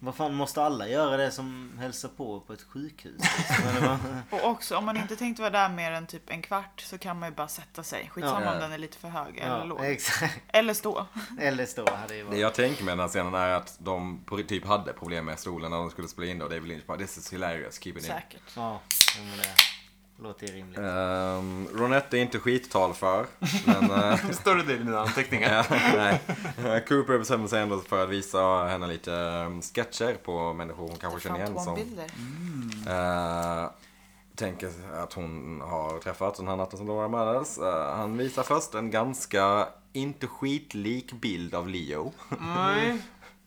C: Vad fan, måste alla göra det som hälsar på på ett sjukhus? liksom? Eller vad?
B: Och också om man inte tänkte vara där mer än typ en kvart så kan man ju bara sätta sig. Skitsamma
A: Ja.
B: om den är lite för hög eller
C: ja,
B: låg.
C: exakt.
B: Eller stå.
C: Eller stå hade ju
A: Det
C: varit.
A: jag tänker med den här scenen är att de på- typ hade problem med stolen när de skulle spela in det och David Lynch bara “This is hilarious, keep it in”.
B: Säkert.
C: Ja, jo, men det låter ju rimligt.
A: Ehm, Ronette är inte skittal för, men... eh,
D: Större del i mina anteckningar.
A: Ja, nej. Cooper bestämmer sig ändå för att visa henne lite eh, sketcher på människor hon kanske känner igen som
B: Phantombilder.
A: Eh, tänker att hon har träffat den här natten som Laura mördades. Eh, han visar först en ganska inte skitlik bild av Leo.
D: Nej.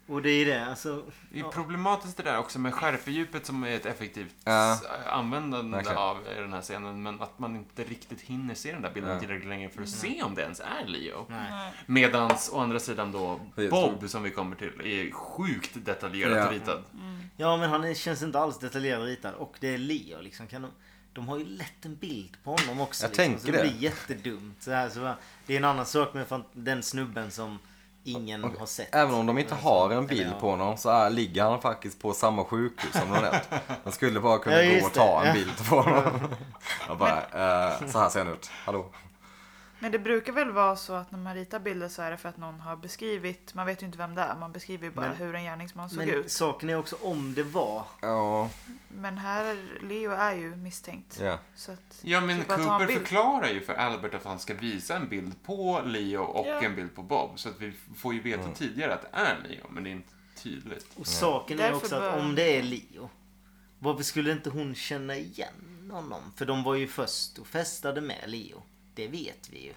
C: Och det är det, alltså...
D: Det är problematiskt det där också med skärpedjupet som är ett effektivt
A: Ja.
D: s- användande
A: Verkligen.
D: av i den här scenen. Men att man inte riktigt hinner se den där bilden
A: Ja.
D: tillräckligt länge för att se om det ens är Leo.
C: Mm. Nej.
B: Nej.
D: Medans å andra sidan då
A: Precis.
D: Bob som vi kommer till är sjukt detaljerat
A: Ja.
D: ritad.
B: Mm.
C: Ja, men han är, känns inte alls detaljerad ritad. Och det är Leo liksom. Kan de, de har ju lätt en bild på honom också.
A: Jag
C: liksom,
A: tänker
C: så det.
A: det.
C: blir jättedumt. Så här, så bara, det är en annan sak med fan- den snubben som ingen har sett.
A: Även om de inte har en bild
C: Eller ja.
A: på honom så är, ligger han faktiskt på samma sjukhus som Ronette. De skulle bara kunna
C: Ja, just
A: gå och ta
C: det.
A: en
C: Ja.
A: bild på honom. Jag bara, eh, så här ser han ut. Hallå?
B: Men det brukar väl vara så att när man ritar bilder så är det för att någon har beskrivit, man vet ju inte vem det är, man beskriver ju bara
C: Men-
B: hur en gärningsman såg
C: Men
B: ut.
C: saken är också om det var
A: Ja,
B: Men här, Leo är ju misstänkt.
A: ja.
B: Så att,
D: Ja, men
B: Typ att ha en
D: Cooper
B: bild.
D: förklarar ju för Albert att han ska visa en bild på Leo och
B: Ja.
D: en bild på Bob. Så att vi får ju
A: Mm.
D: veta tidigare att det är Leo, men det är inte tydligt.
C: Och saken är
B: Därför
C: också
B: bör-
C: att om det är Leo, varför skulle inte hon känna igen honom? För de var ju först och festade med Leo. Det vet vi ju.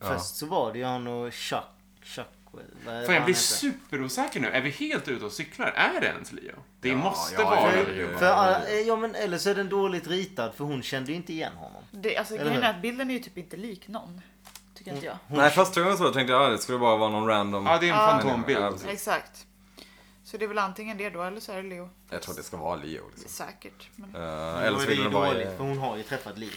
A: Ja.
C: Först så var det ju han och Chuck... Chuckwell. vad är det
D: För jag
C: han
D: blir
C: heter?
D: superosäker nu. Är vi helt ute och cyklar? Är det ens Leo? Det måste
A: ja,
D: vara
A: det är
D: Leo.
A: det.
C: För, alla- ja, men, eller så är den dåligt ritad för hon kände ju inte igen honom.
B: det, alltså,
C: Eller
B: grejen är
C: hur?
B: att bilden är ju typ inte lik någon. Tycker inte jag.
A: Nej, första gången jag såg det tänkte jag att det skulle bara vara någon random.
D: Ja, det är en
B: Ja.
D: fantombild.
A: Ja, precis.
B: Exakt. Så det är väl antingen det då eller så är det Leo.
A: Jag tror det ska vara Leo. Liksom.
B: Säkert. Men...
A: Eh,
C: Men
A: eller
C: då
A: så
C: är det
A: vill
C: ju
A: de bara...
C: dåligt för hon har ju träffat Leo.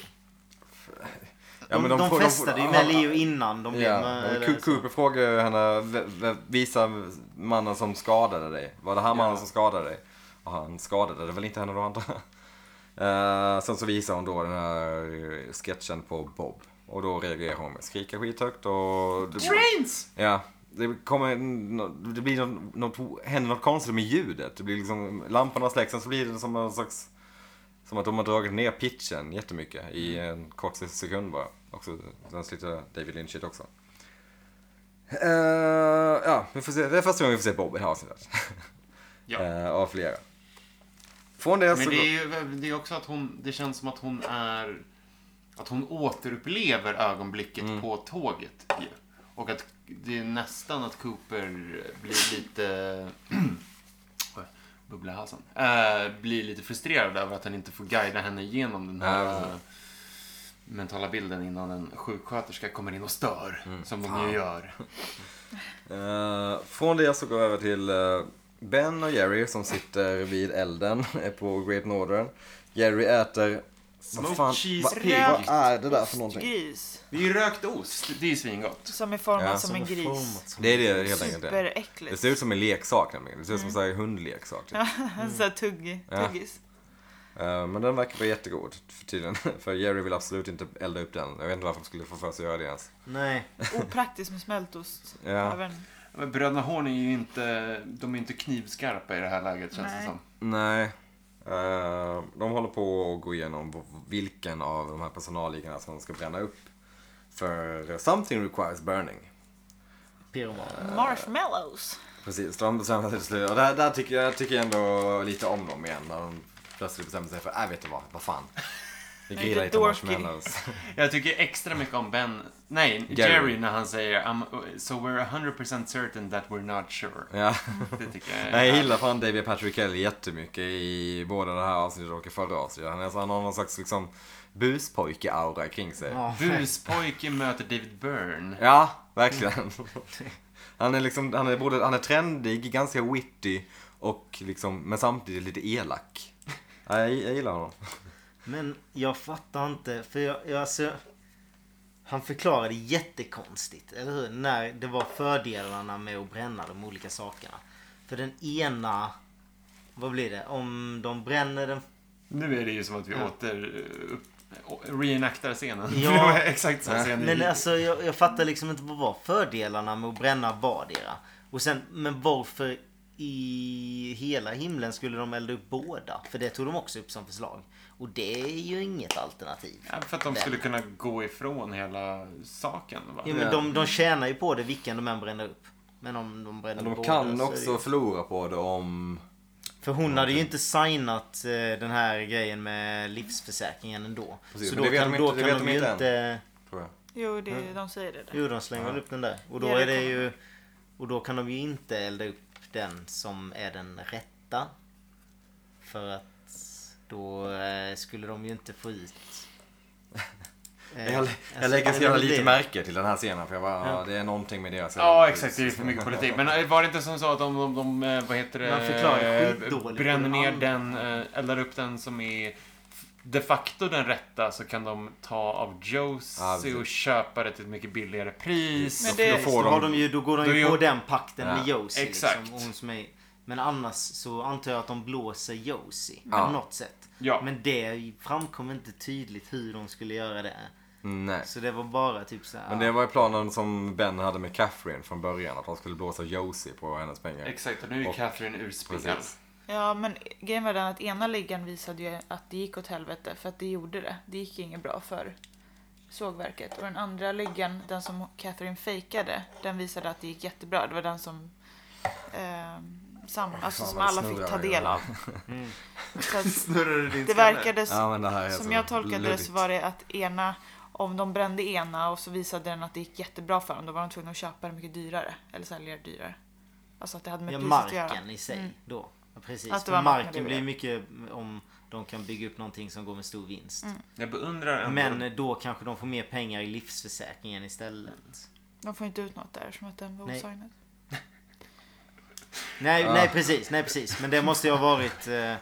A: Ja,
C: de,
A: men
C: de,
A: får- får-
C: festade ju med Leo innan de blev eh,
A: Ja,
C: med,
A: men
C: eller
A: Coo-
C: så.
A: Cooper frågar ju henne, "V- v- visa mannen som skadade dig. Var det han mannen som skadade dig? Och han skadade det väl inte henne då andra. sen så visar hon då den här sketchen på Bob. Och då reagerar hon med skrika skithögt och... Det,
D: Trains!
A: ja, det kommer... en- Det blir något, något, händer något konstigt med ljudet. Det blir liksom, lamporna släcks och så blir det som en slags... Som att de har dragit ner pitchen jättemycket i
D: Mm.
A: en kort sekund bara. Och så, sen slutar David Lynch it också. Eh, ja, vi får se. Det är första gången vi får se Bob i det här avsnittet.
D: Ja.
A: Eh, av flera. Från det så...
D: Men det är ju det är också att hon, det känns som att hon är, att hon återupplever ögonblicket på tåget ju. Och att det är nästan att Cooper blir lite... Oj, Bubbla i halsen. Eh, blir lite frustrerad över att han inte får guida henne igenom den här
A: Ja,
D: eh, mentala bilden innan en sjuksköterska kommer in och stör. Som de ju gör.
A: Eh, från det så går jag över till eh, Ben och Jerry som sitter vid elden eh, på Great Northern. Jerry äter...
D: Smoked cheese
A: vad,
B: pig.
A: vad är det där för någonting?
B: Gris.
D: Det är ju rökt ost. Det är ju svingott.
B: Som är formad
A: Ja,
B: som,
A: som
B: en
C: är
B: gris.
C: format som-
A: Det är det helt enkelt. det. Det
B: Superäckligt.
A: ser ut som en leksak nämligen. Det ser ut som en hundleksak. Typ.
B: En sån här tugg,
A: Mm. Ja.
B: tuggis.
A: Eh, men den verkar vara jättegod för tiden. För Jerry vill absolut inte elda upp den. Jag vet inte varför de skulle få för sig att göra det ens.
C: Nej.
B: Opraktiskt med smältost.
A: Ja.
B: Även.
D: Men bröderna Horn är ju inte, de är inte knivskarpa i det här läget känns det
B: Nej.
D: som.
A: Nej. Eh, de håller på att gå igenom v- vilken av de här personalliggarna som de ska bränna upp. För something requires burning.
C: Pyroman.
B: Marshmallows.
A: Precis, de bestämmer sig till slut. Och där, där tycker jag, tycker jag ändå lite om dem igen. När de plötsligt bestämmer sig för, jag vet du vad, vad fan. Vi
B: Lite
A: grillar lite
B: dorky.
A: marshmallows.
D: Jag tycker extra mycket om Ben, nej,
A: Jerry.
D: Jerry, när han säger I'm, So we're 100% certain that we're not sure.
A: Ja.
D: Det tycker jag är
A: Nej, Jag gillar fan David Patrick Kelly jättemycket i både det här avsnittet och i förra avsnittet. Han, är, så- han har någon slags liksom buspojke-aura kring sig.
C: Ja.
D: Buspojke möter David Byrne.
A: Ja, verkligen. Han är liksom, han är både, han är trendig, ganska witty och liksom, men samtidigt lite elak. Ja, jag, jag gillar honom.
C: Men jag fattar inte, för jag, jag alltså... Han förklarade jättekonstigt, eller hur? När det var fördelarna med att bränna de olika sakerna. För den ena... Vad blir det? Om de bränner den...
D: Nu är det ju som att vi åter eh, upp- reenactar scenen.
C: Ja.
D: Det var exakt så
A: Ja.
D: scenen
C: Men
D: gick.
C: alltså jag, jag fattar liksom inte vad var fördelarna med att bränna vardera. Och sen, men varför i hela himlen skulle de elda upp båda? För det tog de också upp som förslag. Och det är ju inget alternativ.
D: Ja, för att de skulle kunna gå ifrån hela saken. Va?
C: Jo men de, de tjänar ju på det vilken de än bränner upp. Men om de bränner
A: Men de
C: båda
A: kan
C: så är
A: också
C: det-
A: förlora på det om...
C: För hon hade ju inte signat eh, den här grejen med livsförsäkringen ändå.
A: Precis,
C: så
A: men
C: då
A: det vet
C: kan,
A: de
C: då
A: inte- det vet
C: kan de
A: de
C: ju
A: inte
C: inte...
A: Tror jag.
B: Jo, det,
A: Mm.
B: de säger det. Där.
C: Jo de slänger väl upp den där. Och då
B: Ja, det
C: är det
B: kommer.
C: ju... Och då kan de ju inte elda upp den som är den rätta. För att då eh, skulle de ju inte få ut... eh,
A: Jag,
C: alltså,
A: jag lägger så
C: det är
A: jävla
C: väl
A: lite
C: det.
A: märke till den här scenen för jag bara, ja. det är någonting med deras...
D: Ja, exakt. Det är för mycket politik. Men eh, var det inte som så att de, de, de eh, vad heter
C: Man förklarar
D: det, eh,
C: skitdåligt på
D: bränner
C: den
D: ner
C: andra.
D: den, eh, eldar upp den som är de facto den rätta så kan de ta av
A: Ja,
D: Josie
A: precis.
D: och köpa det till ett mycket billigare pris.
B: Men
A: Då
B: det,
A: får
C: Då, har de
A: de...
C: ju, då går de
D: Då
C: ju
D: är
C: på
D: jag-
C: den pakten med
A: Ja,
C: Josie.
D: exakt.
C: Liksom, och hon som är, men annars så antar jag att de blåser Josie
A: Ja.
C: på något sätt.
D: Ja.
C: Men det framkom inte tydligt hur de skulle göra det.
A: Nej.
C: Så det var bara typ så här,
A: Men det var ju planen som Ben hade med Catherine från början. Att han skulle blåsa Josie på hennes pengar.
D: Exakt, och nu är
A: Och-
D: Catherine ur spel.
A: Precis.
B: ja, men grejen var den att ena ligan visade ju att det gick åt helvete för att det gjorde det. Det gick inget bra för sågverket. Och den andra ligan, den som Catherine fejkade, den visade att det gick jättebra. Det var den som, ehm, sam, alltså,
A: Fan,
B: som
A: vad
B: alla
A: snurrar
B: fick ta
A: jag
B: del
A: nu.
B: av. Så att
D: Snurrar din
B: det verkade
A: Ja, men det här är
B: Som
C: Alltså,
A: så
B: jag tolkade det
A: luddigt.
B: så var det att ena, om de brände ena och så visade den att det gick jättebra för dem, då var de tvungna att köpa det mycket dyrare. Eller sälja det dyrare. Alltså att det hade med
C: ja,
B: priset att göra. Mm.
C: marken i sig då. Ja, precis.
B: Att det
C: För
B: var marken
C: marken
B: det
C: blir
B: var.
C: mycket om de kan bygga upp någonting som går med stor vinst.
B: Mm.
D: Jag beundrar ändå.
C: Men då kanske de får mer pengar i livsförsäkringen istället.
B: De får inte ut något där som att den var
C: Nej.
B: osignad.
C: Nej,
A: Ja.
C: nej precis, nej precis. Men det måste ju ha varit eh, det,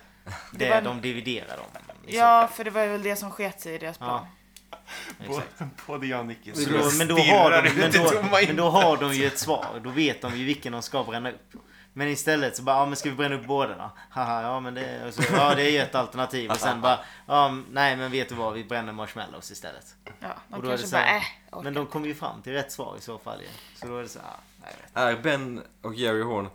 B: Det var-
C: de dividerar om. i så
B: Ja,
C: fall.
B: för det var väl det som sket sig i deras plan.
D: Både,
C: exakt.
D: både jag och Nicky
C: Men
A: Så
C: då,
A: jag
C: men, då har
D: stirrar
C: de,
D: ut
C: men,
D: i tomma
C: då, men då
D: intet.
C: har de ju ett svar. Då vet de ju vilken de ska bränna upp. Men istället så bara, ja men ska vi bränna upp båda då? Haha, ja men det, och så, ja, det är ju ett alternativ. Och sen bara, ja, m- nej men vet du vad, vi bränner marshmallows istället.
B: Ja,
C: Och
B: de
C: då är det
B: kanske
C: så
B: bara,
C: här-
B: äh, orkar
C: Men de kom ju fram till rätt svar i så fall ju. Så då är det så, ja, nej, jag vet.
A: Är Ben och Jerry Horn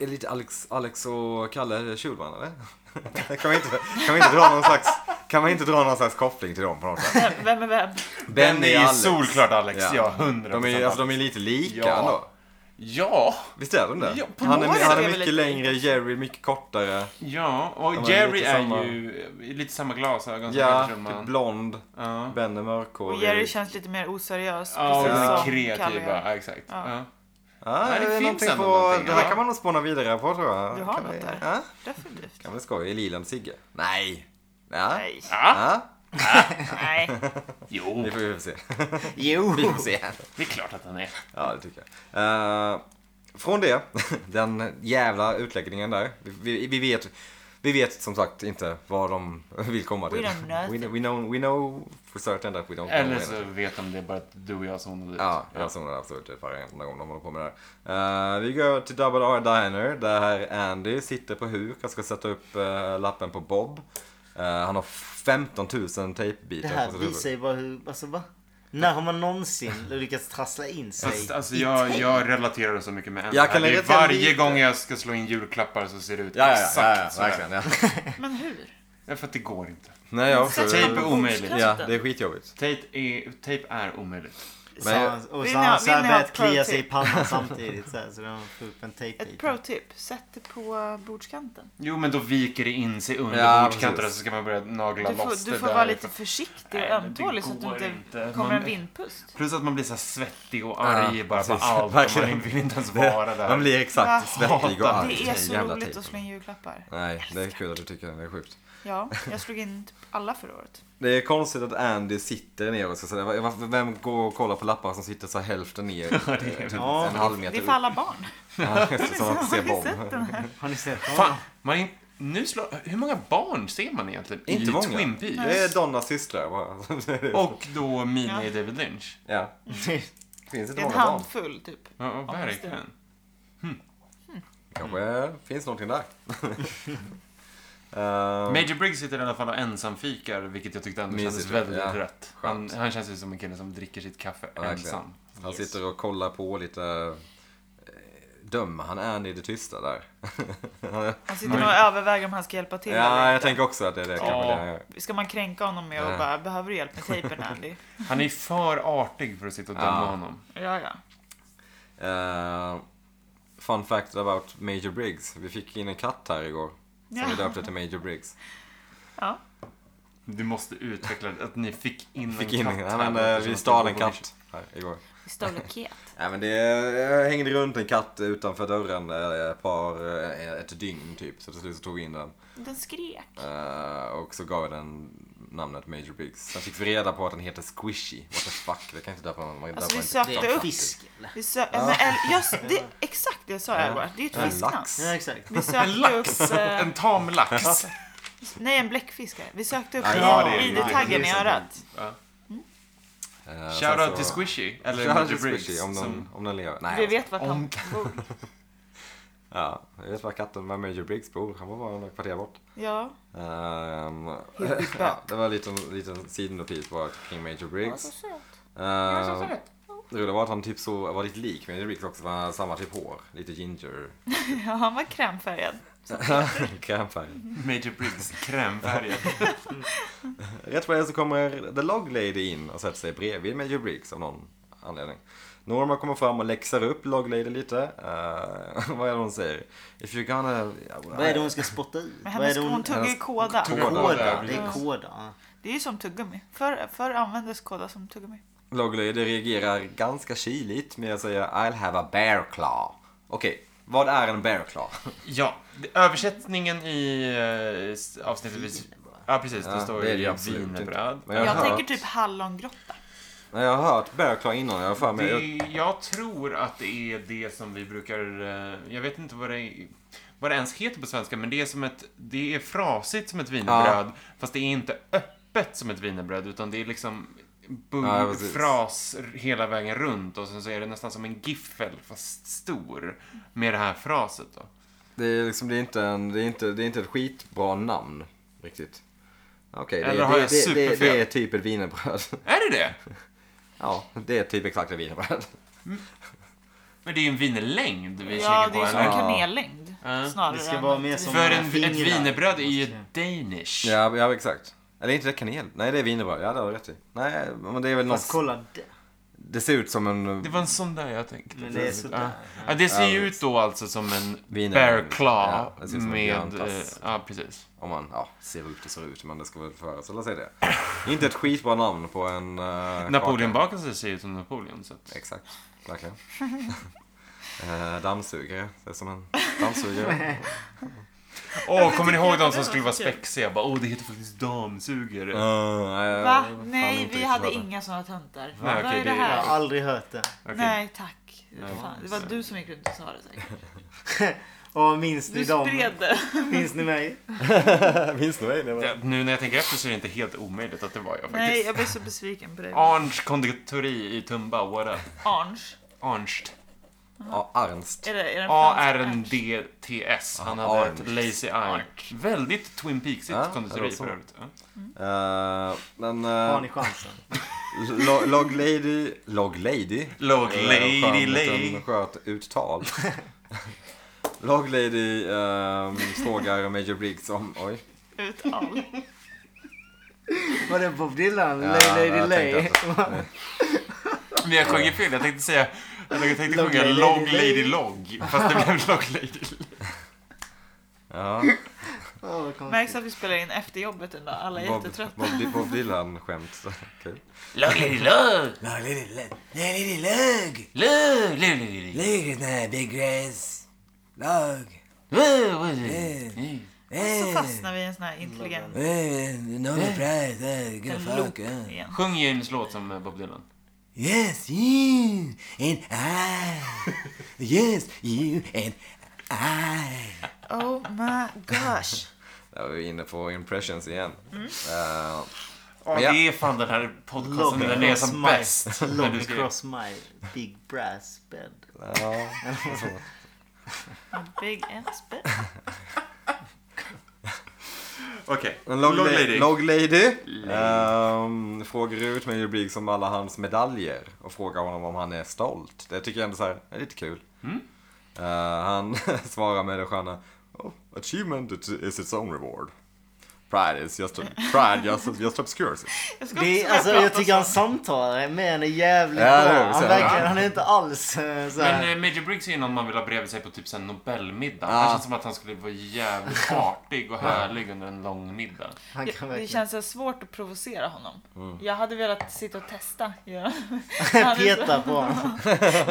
A: är lite Alex, Alex och Kalle Schulman eller? kan, man inte, kan, man inte dra någon slags, kan man inte dra någon slags koppling till dem på något sätt?
B: inte. Vem är vem?
A: Ben
D: ju solklart Alex.
A: Ja.
D: Ja, hundra
A: alltså- De är, alltså, de är lite lika
D: Ja.
A: ändå.
E: Ja,
A: Visst är de det?
E: Ja, på
A: han är,
E: något sätt
A: han
B: är
A: är
B: det
A: mycket
B: väl lite-
A: längre, Jerry mycket kortare.
E: ja. Och
A: men
E: Jerry
A: lite
E: är
A: samma-
E: ju eh, lite samma glasögon som
A: Ja,
E: Hedström.
A: typ blond.
E: Ja.
A: Ben är
B: Och
A: mörkhårig.
B: Jerry känns lite mer oseriös.
E: Ja, och
B: precis
E: den
A: Ja.
B: som Kalle
E: kreativa.
B: gör.
E: Ja, exakt.
B: Ja.
E: Ja.
A: Ja,
E: Nej, det
A: det, är
E: finns
A: någonting
E: ändå
A: på,
E: någonting,
A: det här
E: ja.
A: kan man nog spåna vidare på tror jag.
B: Du har
A: kan
B: något
A: vi,
B: där.
A: Ja,
B: Definitivt.
A: kan bli skoj. Elilan Sigge? Nej. Ja.
B: Nej.
E: Ja. Typ
A: Ja,
B: Nej.
E: Jo,
A: det får vi väl se.
C: Jo!
A: vi får se.
E: det är klart att han är.
A: Ja, det tycker jag. Eh, från det, den jävla utläggningen där. Vi, vi, vi, vet, vi vet som sagt inte vad de vill komma till.
B: We don't know.
A: We, we, know, we know for certain that we don't
E: Eller
A: know.
E: så vet de det bara att du och jag som ut.
A: Ja, alltså. jag zonar absolut ut varenda gång de håller på med det här. Eh, vi går till Double R Diner där Andy sitter på huk. Han ska sätta upp eh, lappen på Bob. Eh, han har 15 000
C: Det
A: tejpbitar
C: här
A: på sitt huvud.
C: visar ju bara hur... Alltså va? När har man någonsin lyckats trassla in sig?
E: Fast, alltså, jag, jag relaterar så mycket med Andy.
A: Jag
E: här.
A: kan
E: Det är
A: relatera
E: varje
A: lite.
E: gång jag ska slå in julklappar så ser det ut
A: Ja, ja, ja,
E: exakt
A: ja, ja,
E: så här.
A: verkligen. Ja.
B: Men hur?
E: Ja, för att det går inte.
A: Nej, jag också.
B: Sätter
E: Tejp
B: man
E: är
B: på
E: omöjligt.
A: Ja,
B: bordskanten?
A: det är skitjobbigt.
E: Tejp är, tejp är omöjligt.
C: Så
A: Men-
C: han, och
B: Vill
C: så
B: ni
C: har
B: ha-
C: han så här
B: vill ni ha
C: börjat
B: ett pro
C: klia sig i
B: tip?
C: pannan samtidigt. Så, här, så de får upp en
B: Ett
C: tejpbit.
B: pro-tip. Sätt det på bordskanten.
E: Jo, men då viker det in sig under
A: Ja,
E: bordskanterna
A: precis.
E: så ska man börja nagla
B: Du
E: loss
B: får,
E: det
B: du får
E: där.
B: vara lite försiktig och
E: Nej, men det
B: ömtålig så att du
E: går
B: inte,
E: inte.
B: kommer
E: Man-
B: en vindpust.
E: Plus att man blir så här svettig och arg bara på
A: precis.
E: allt. och Man
A: Verkligen.
E: vill inte ens vara där.
A: Man blir exakt
E: Jag
A: svettig och
E: hatar
A: arg.
B: Det är så
A: Jävla typ.
B: roligt
A: tejp.
B: att slå in julklappar.
A: Nej, det är kul att du tycker det. Det är sjukt.
B: Ja, jag slog in typ alla förra året.
A: Det är konstigt att Andy sitter ner och ska säga, varför- vem går och kollar på lappar som sitter så här hälften ner? typ
C: Ja.
A: en halv meter
B: Det är för alla barn.
A: Ja, Eftersom man inte
B: Har ni
A: ser
B: sett
A: bomb.
B: den här?
C: Har ni sett
E: Fan, man är, nu slår, hur många barn ser man egentligen
A: Inte
E: i
A: många.
E: Twin Peaks?
A: Det är Donnas systrar bara.
E: Och då Mina i
B: Ja.
E: David Lynch.
A: Ja,
C: honom?
A: finns
B: Det
A: inte
B: är en
A: många barn.
B: handfull typ.
E: Ja, ja,
B: men
E: verkligen.
A: Kanske finns någonting där. Ehm,
E: Major Briggs sitter i alla fall och ensamfikar, vilket jag tyckte ändå
A: Mysigt,
E: kändes väldigt
A: ja.
E: rätt. Han,
A: Skönt.
E: han känns ju som en kille som dricker sitt kaffe
A: Ja, verkligen.
E: ensam.
A: Han sitter och kollar på lite. eh, Dömer han Andy i det tysta där?
B: Han sitter nog och överväger om han ska hjälpa till
A: ja,
B: eller
A: jag
B: inte.
A: tänker också att det är det. Kanske
E: Ja.
A: det är.
B: Ska man kränka honom med och
A: Nej.
B: bara, behöver du hjälp med tejpen Andy?
E: Han är för artig för att sitta och döma
A: Ja.
E: honom.
B: Ja, ja.
A: Eh, fun fact about Major Briggs. Vi fick in en katt här igår. Som vi
B: Ja.
A: döpte till Major Briggs.
B: ja.
E: Du måste utveckla att ni fick in
A: Fick
E: en
A: in
E: katt.
A: en,
E: här.
A: nej, men,
E: Det
A: eh,
E: låter som
A: vi
E: att
A: stal
E: det
A: en
E: borde-
A: katt här igår.
B: Vi stal en ket.
A: Nej, men det jag hängde runt en katt utanför dörren eh, ett par, eh, ett dygn typ. Så till slut så tog vi in den.
B: Den skrek.
A: Eh, och så gav jag den namnet Major Briggs. Sen fick vi reda på att den heter Squishy. What the fuck, det kan jag inte döpa någon. man
B: Alltså, vi
A: döper
B: sökte
C: Det
A: inte
C: är en
A: katt.
B: upp.
C: fisk. eller?
B: Vi sö- ja. men, eller, just, det, exakt det sa jag bara. Det är ju ett
A: En
B: fisknamn.
A: lax.
C: Ja, exakt.
B: Vi sökte upp... eh,
E: En tam lax.
B: nej, en bläckfiskare. Vi sökte upp
A: Ja, ja, det är-
B: ID-taggen
C: det
B: i
C: är sant.
B: örat.
A: Eh, sen
E: Shoutout
A: så-
E: till Squishy. Eller
A: Shoutout
E: Major
A: till
E: Briggs.
A: Squishy om den,
E: som-
A: om den lever. Nej, alltså.
B: Vi vet vart han
E: Om-
B: bor.
A: Ja, jag vet var katten var Major Briggs bor. Han var bara några kvarter bort.
B: Ja.
A: Ehm,
B: Helt
A: ja, det var en liten, liten sidonotis bara kring Major Briggs. Uh, det roliga var att han typ så, var lite lik Major Briggs också. för Han hade samma typ hår. Lite ginger.
B: ja, han var krämfärgad.
A: Krämfärg.
E: Major Briggs krämfärgad.
A: Rätt vad det är så kommer The Log Lady in och sätter sig bredvid Major Briggs av någon anledning. Norma kommer fram och läxar upp Log Lady lite. Eh, vad är det hon säger? If you're gonna...
C: Vad är det hon ska spotta ut?
B: Men
C: Vad är
B: hennes,
C: det
B: hon tuggar ju
A: hennes-
B: kåda.
E: tog-
C: Kåda. Det
E: Ja.
C: är kåda. ja.
B: Det är ju som tuggummi. Förr för användes kåda som tuggummi.
A: Log Lady reagerar ganska kyligt med att säga I'll have a bear claw. Okej, vad är en bear claw?
E: Ja, det- översättningen i eh, s- avsnittet... vi- Ja, precis. Det
A: Ja,
E: står
A: det är det
E: ju
A: absolut inte.
E: wienerbröd.
A: Men
B: Jag,
A: har hört,
B: tänker typ hallongrotta.
A: Nej, jag har hört bear claw innan. Jag har för mig...
E: Det, jag tror att det är det som vi brukar... eh, Jag vet inte vad det, är- vad det ens heter på svenska, men det är som ett... Det är frasigt som ett wienerbröd, fast det är inte öppet som ett wienerbröd, utan det är liksom bung,
A: Ja, precis.
E: fras hela vägen runt och sen så är det nästan som en giffel, fast stor, med det här fraset då.
A: Det är liksom, det är inte, en, det är inte, det är inte ett skitbra namn riktigt. Okej, det,
E: Eller har
A: det,
E: jag
A: det, det,
E: superfel?
A: det är typ ett wienerbröd.
E: Är det det?
A: Ja, det är typ exakt ett wienerbröd.
E: Men det är ju en wienerlängd
B: Ja,
E: vi kikar
B: det
E: på,
B: är som
E: eller?
B: en kanellängd.
E: Ja.
B: Snarare
C: Det ska
B: än
C: vara
B: ett
C: mer
B: vin.
C: som
E: För en, ett
C: fingrar.
E: wienerbröd är ju danish.
A: Ja, ja exakt. Eller inte det kanel? Nej, det är wienerbröd. Ja, det har du rätt i. Nej, men det är väl
C: Fast
A: något...
C: kolla det.
A: det ser ut som en...
E: Det var en sån där jag tänkte.
B: Mm.
C: Men det är
E: ja.
C: sådär.
E: Ja, det ser ju
A: Ja,
E: ut då alltså som en
A: Vinäger.
E: bear claw
A: eh, Ja, det ser ut som en
E: med...
A: björntass.
E: eh, Ja, precis.
A: Om man ja, ser hur det ser ut, men det ska väl föreställa sig det. Inte ett skitbra namn på en... Uh,
E: Napoleonbakelser ser ut som Napoleon. Så att...
A: Exakt, verkligen. Eh, dammsugare, det är som en dammsugare.
E: Åh, kommer ni
B: tycker
E: ihåg
B: jag
E: de
B: att
E: som
B: det
E: skulle
B: var
E: vara
B: kul.
E: spexiga? Bara, Åh, det heter faktiskt dammsugare.
A: Eh,
B: Va?
A: fan, inte
B: Nej, vi
A: riktigt
B: hade
A: vad det-
B: inga sådana töntar.
E: Nej,
B: Vad
E: okej,
B: är det
E: det är-
C: Jag har
B: här?
C: aldrig hört det.
E: Okej.
B: Nej, tack.
E: Nej.
B: Fan, det var du som gick runt och sa det säkert.
C: Och minns ni
B: Du
C: dem?
B: spred det.
C: Minns ni mig?
A: Minns du mig? Det var-
E: Ja, nu när jag tänker efter så är det inte helt omöjligt att det var jag
B: Nej,
E: faktiskt.
B: jag blev så besviken på dig.
E: Arns konditori i Tumba, what up?
B: Arns.
E: Arnst.
A: Ja, Ernst.
B: Är det, är det en fransk
E: A-R-N-D-T-S. Han
A: Ja,
E: hade
A: Arnst.
E: ett Lazy Eye. Väldigt Twin
A: Ja,
E: Peaksigt
A: det
E: konditori
A: låter så.
E: för övrigt. Ja.
A: Eh, men...
C: Har
A: Uh,
C: ni chansen?
A: lo, log Lady... Log Lady?
E: Log
A: Eh,
E: Lady
A: skön
E: Lay.
A: liten Sköt uttal. Log Lady ehm, frågar Major Briggs om... Oj.
B: Uttal.
C: Var det Bob Dylan?
A: Ja,
C: lay, lady,
A: jag tänkte
C: lay.
A: att- nej.
E: Men jag sjöng ju fel. Jag tänkte säga... Jag tänkte
C: Log
E: sjunga
C: Lady
E: Log
C: Lay.
E: Lady Log. Fast det blev Log Lady Lay.
A: Ja,
C: Åh, vad konstigt.
B: Märks att vi spelar in efter jobbet en dag. Alla är
A: Bob,
B: jättetrötta.
A: Bob, Di- Bob Dylan-skämt. Kul.
E: Log Lady Log!
F: Nej, lille, lille, nej, lille, lög!
E: Lug, lug, lug, lug, lug.
F: Lög den här Big Grace. Lög.
E: Lug, lug, lug. Mm.
B: Så fastnar vi i en sån här intelligent
F: Någon prat, eh, go
B: loop
F: fuck. eh.
B: igen.
E: Sjung James låt som eh, Bob Dylan.
F: Yes, you and I. Yes, you and I.
B: Oh my gosh.
A: Där var vi inne på impressions igen.
B: Mm.
A: Eh,
E: Ja,
A: Ja.
E: Det är fan den här podcasten
C: Log
E: när den är som
C: across
E: bäst.
C: my,
E: När du
C: log
E: ska-
C: across my big brass bed.
A: ja,
B: A big ass bitch.
E: Okej.
A: Men Log,
E: Log
A: Lady,
E: Lady.
A: Log Lady ehm, frågar ut Major Briggs om alla hans medaljer och frågar honom om han är stolt. Det tycker jag ändå så här, är lite kul.
E: Mm.
A: Eh, han svarar med det sköna, oh, achievement is its own reward. Pride is just, pride just, just obscures it.
B: Jag ska
C: Det
B: också börja
C: är, alltså,
B: prata
C: jag tycker han
B: så.
C: samtalar med henne jävligt
A: Ja, det är
C: bra.
A: det,
C: Han,
A: så-
C: verkligen,
A: ja.
C: han är inte alls eh, så här.
D: Äh.
E: Men eh, Major Briggs är ju någon man vill ha bredvid sig på typ en Nobelmiddag.
A: Ja.
E: Det känns som att han skulle vara jävligt artig och härlig under en lång middag.
C: han
B: Det-
C: kan
B: Det
C: verkligen...
B: känns så svårt att provocera honom.
A: Mm.
B: Jag hade velat sitta och testa. Ja.
C: Peta på honom.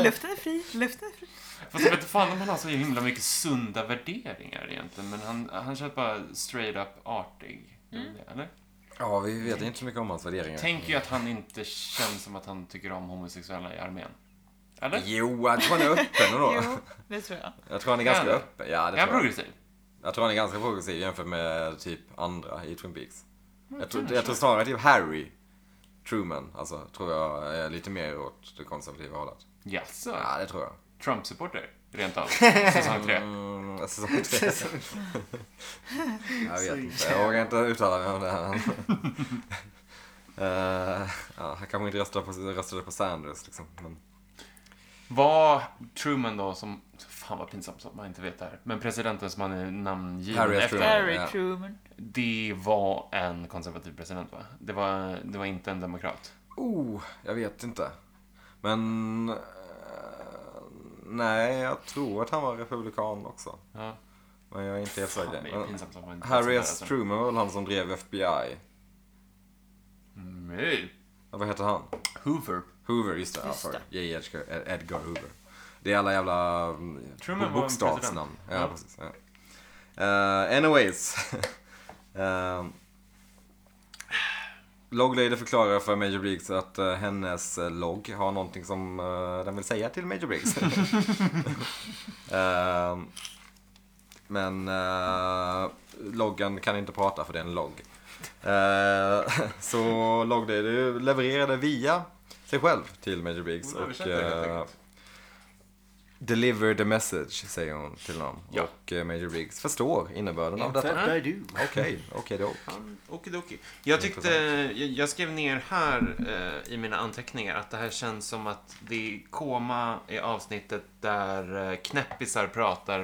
B: Luften är fri, luften är fri.
E: Fast jag vet inte fan om han har så himla mycket sunda värderingar egentligen. Men han, han känns bara straight up artig. Det är väl det, Eller?
A: Ja, vi vet inte så mycket om hans värderingar.
E: Tänk ju att han inte känns som att han tycker om homosexuella i armén. Eller?
A: Jo, jag tror han är öppen ändå.
B: Jo, det tror jag.
A: Jag tror han är ganska
E: Ja.
A: öppen. Ja, det
E: Är han
A: tror jag.
E: progressiv?
A: Jag tror han är ganska progressiv jämfört med typ andra i Twin Peaks.
E: Mm,
A: Jag tror, jag tror snarare typ Harry Truman, alltså tror jag är lite mer åt det konservativa hållet.
E: Jaså?
A: Ja, det tror jag.
E: Trump-supporter? Rent av. Säsong tre.
A: Mm, alltså, som tre. jag vet inte, jag vågar inte uttala mig om det här. Eh, ja, han kanske inte röstade på, röstade på Sanders liksom. Men,
E: Var Truman då som... Fan vad pinsamt att man inte vet det här. Men presidenten som han är namngiven
A: Harry S.
E: efter.
A: Truman.
B: Harry
A: ja.
B: Truman.
E: Det var en konservativ president va? Det var, det var inte en demokrat.
A: oh, jag vet inte. Men, eh, nej, jag tror att han var republikan också.
E: Ja.
A: Men jag är inte helt
E: Fan, det
A: säker.
E: är
A: Men-
E: pinsamt att man inte
A: Harry
E: vet
A: S.
E: sånt där,
A: Truman var väl han som drev FBI?
E: alltså. Nej.
A: Ja, vad heter han?
E: Hoover.
A: Hoover, just det. Ja,
B: Just
A: sorry.
B: det.
A: J. Edgar, Ed- Edgar Hoover. Det är alla jävla mm,
E: Truman var en
A: bokstavsnamn. Ja,
E: president. Ja.
A: precis. Ja. Eh, anyways. uh, Log Lady förklarar för Major Briggs att eh, hennes eh, logg har någonting som eh, den vill säga till Major Briggs. Eh, men eh, loggen kan inte prata för det är en logg. Eh, så Log Lady levererade via sig själv till Major Briggs.
E: Hon
A: Och,
E: översätter helt
A: eh,
E: enkelt.
A: Deliver the message, säger hon till honom.
E: Ja.
A: Och eh, Major Briggs förstår innebörden av detta.
C: Vad är du?
A: Okej, okej då.
E: Han- Okidoki. Jag tyckte, jag, jag skrev ner här eh, i mina anteckningar att det här känns som att det är koma i avsnittet där eh, knäppisar pratar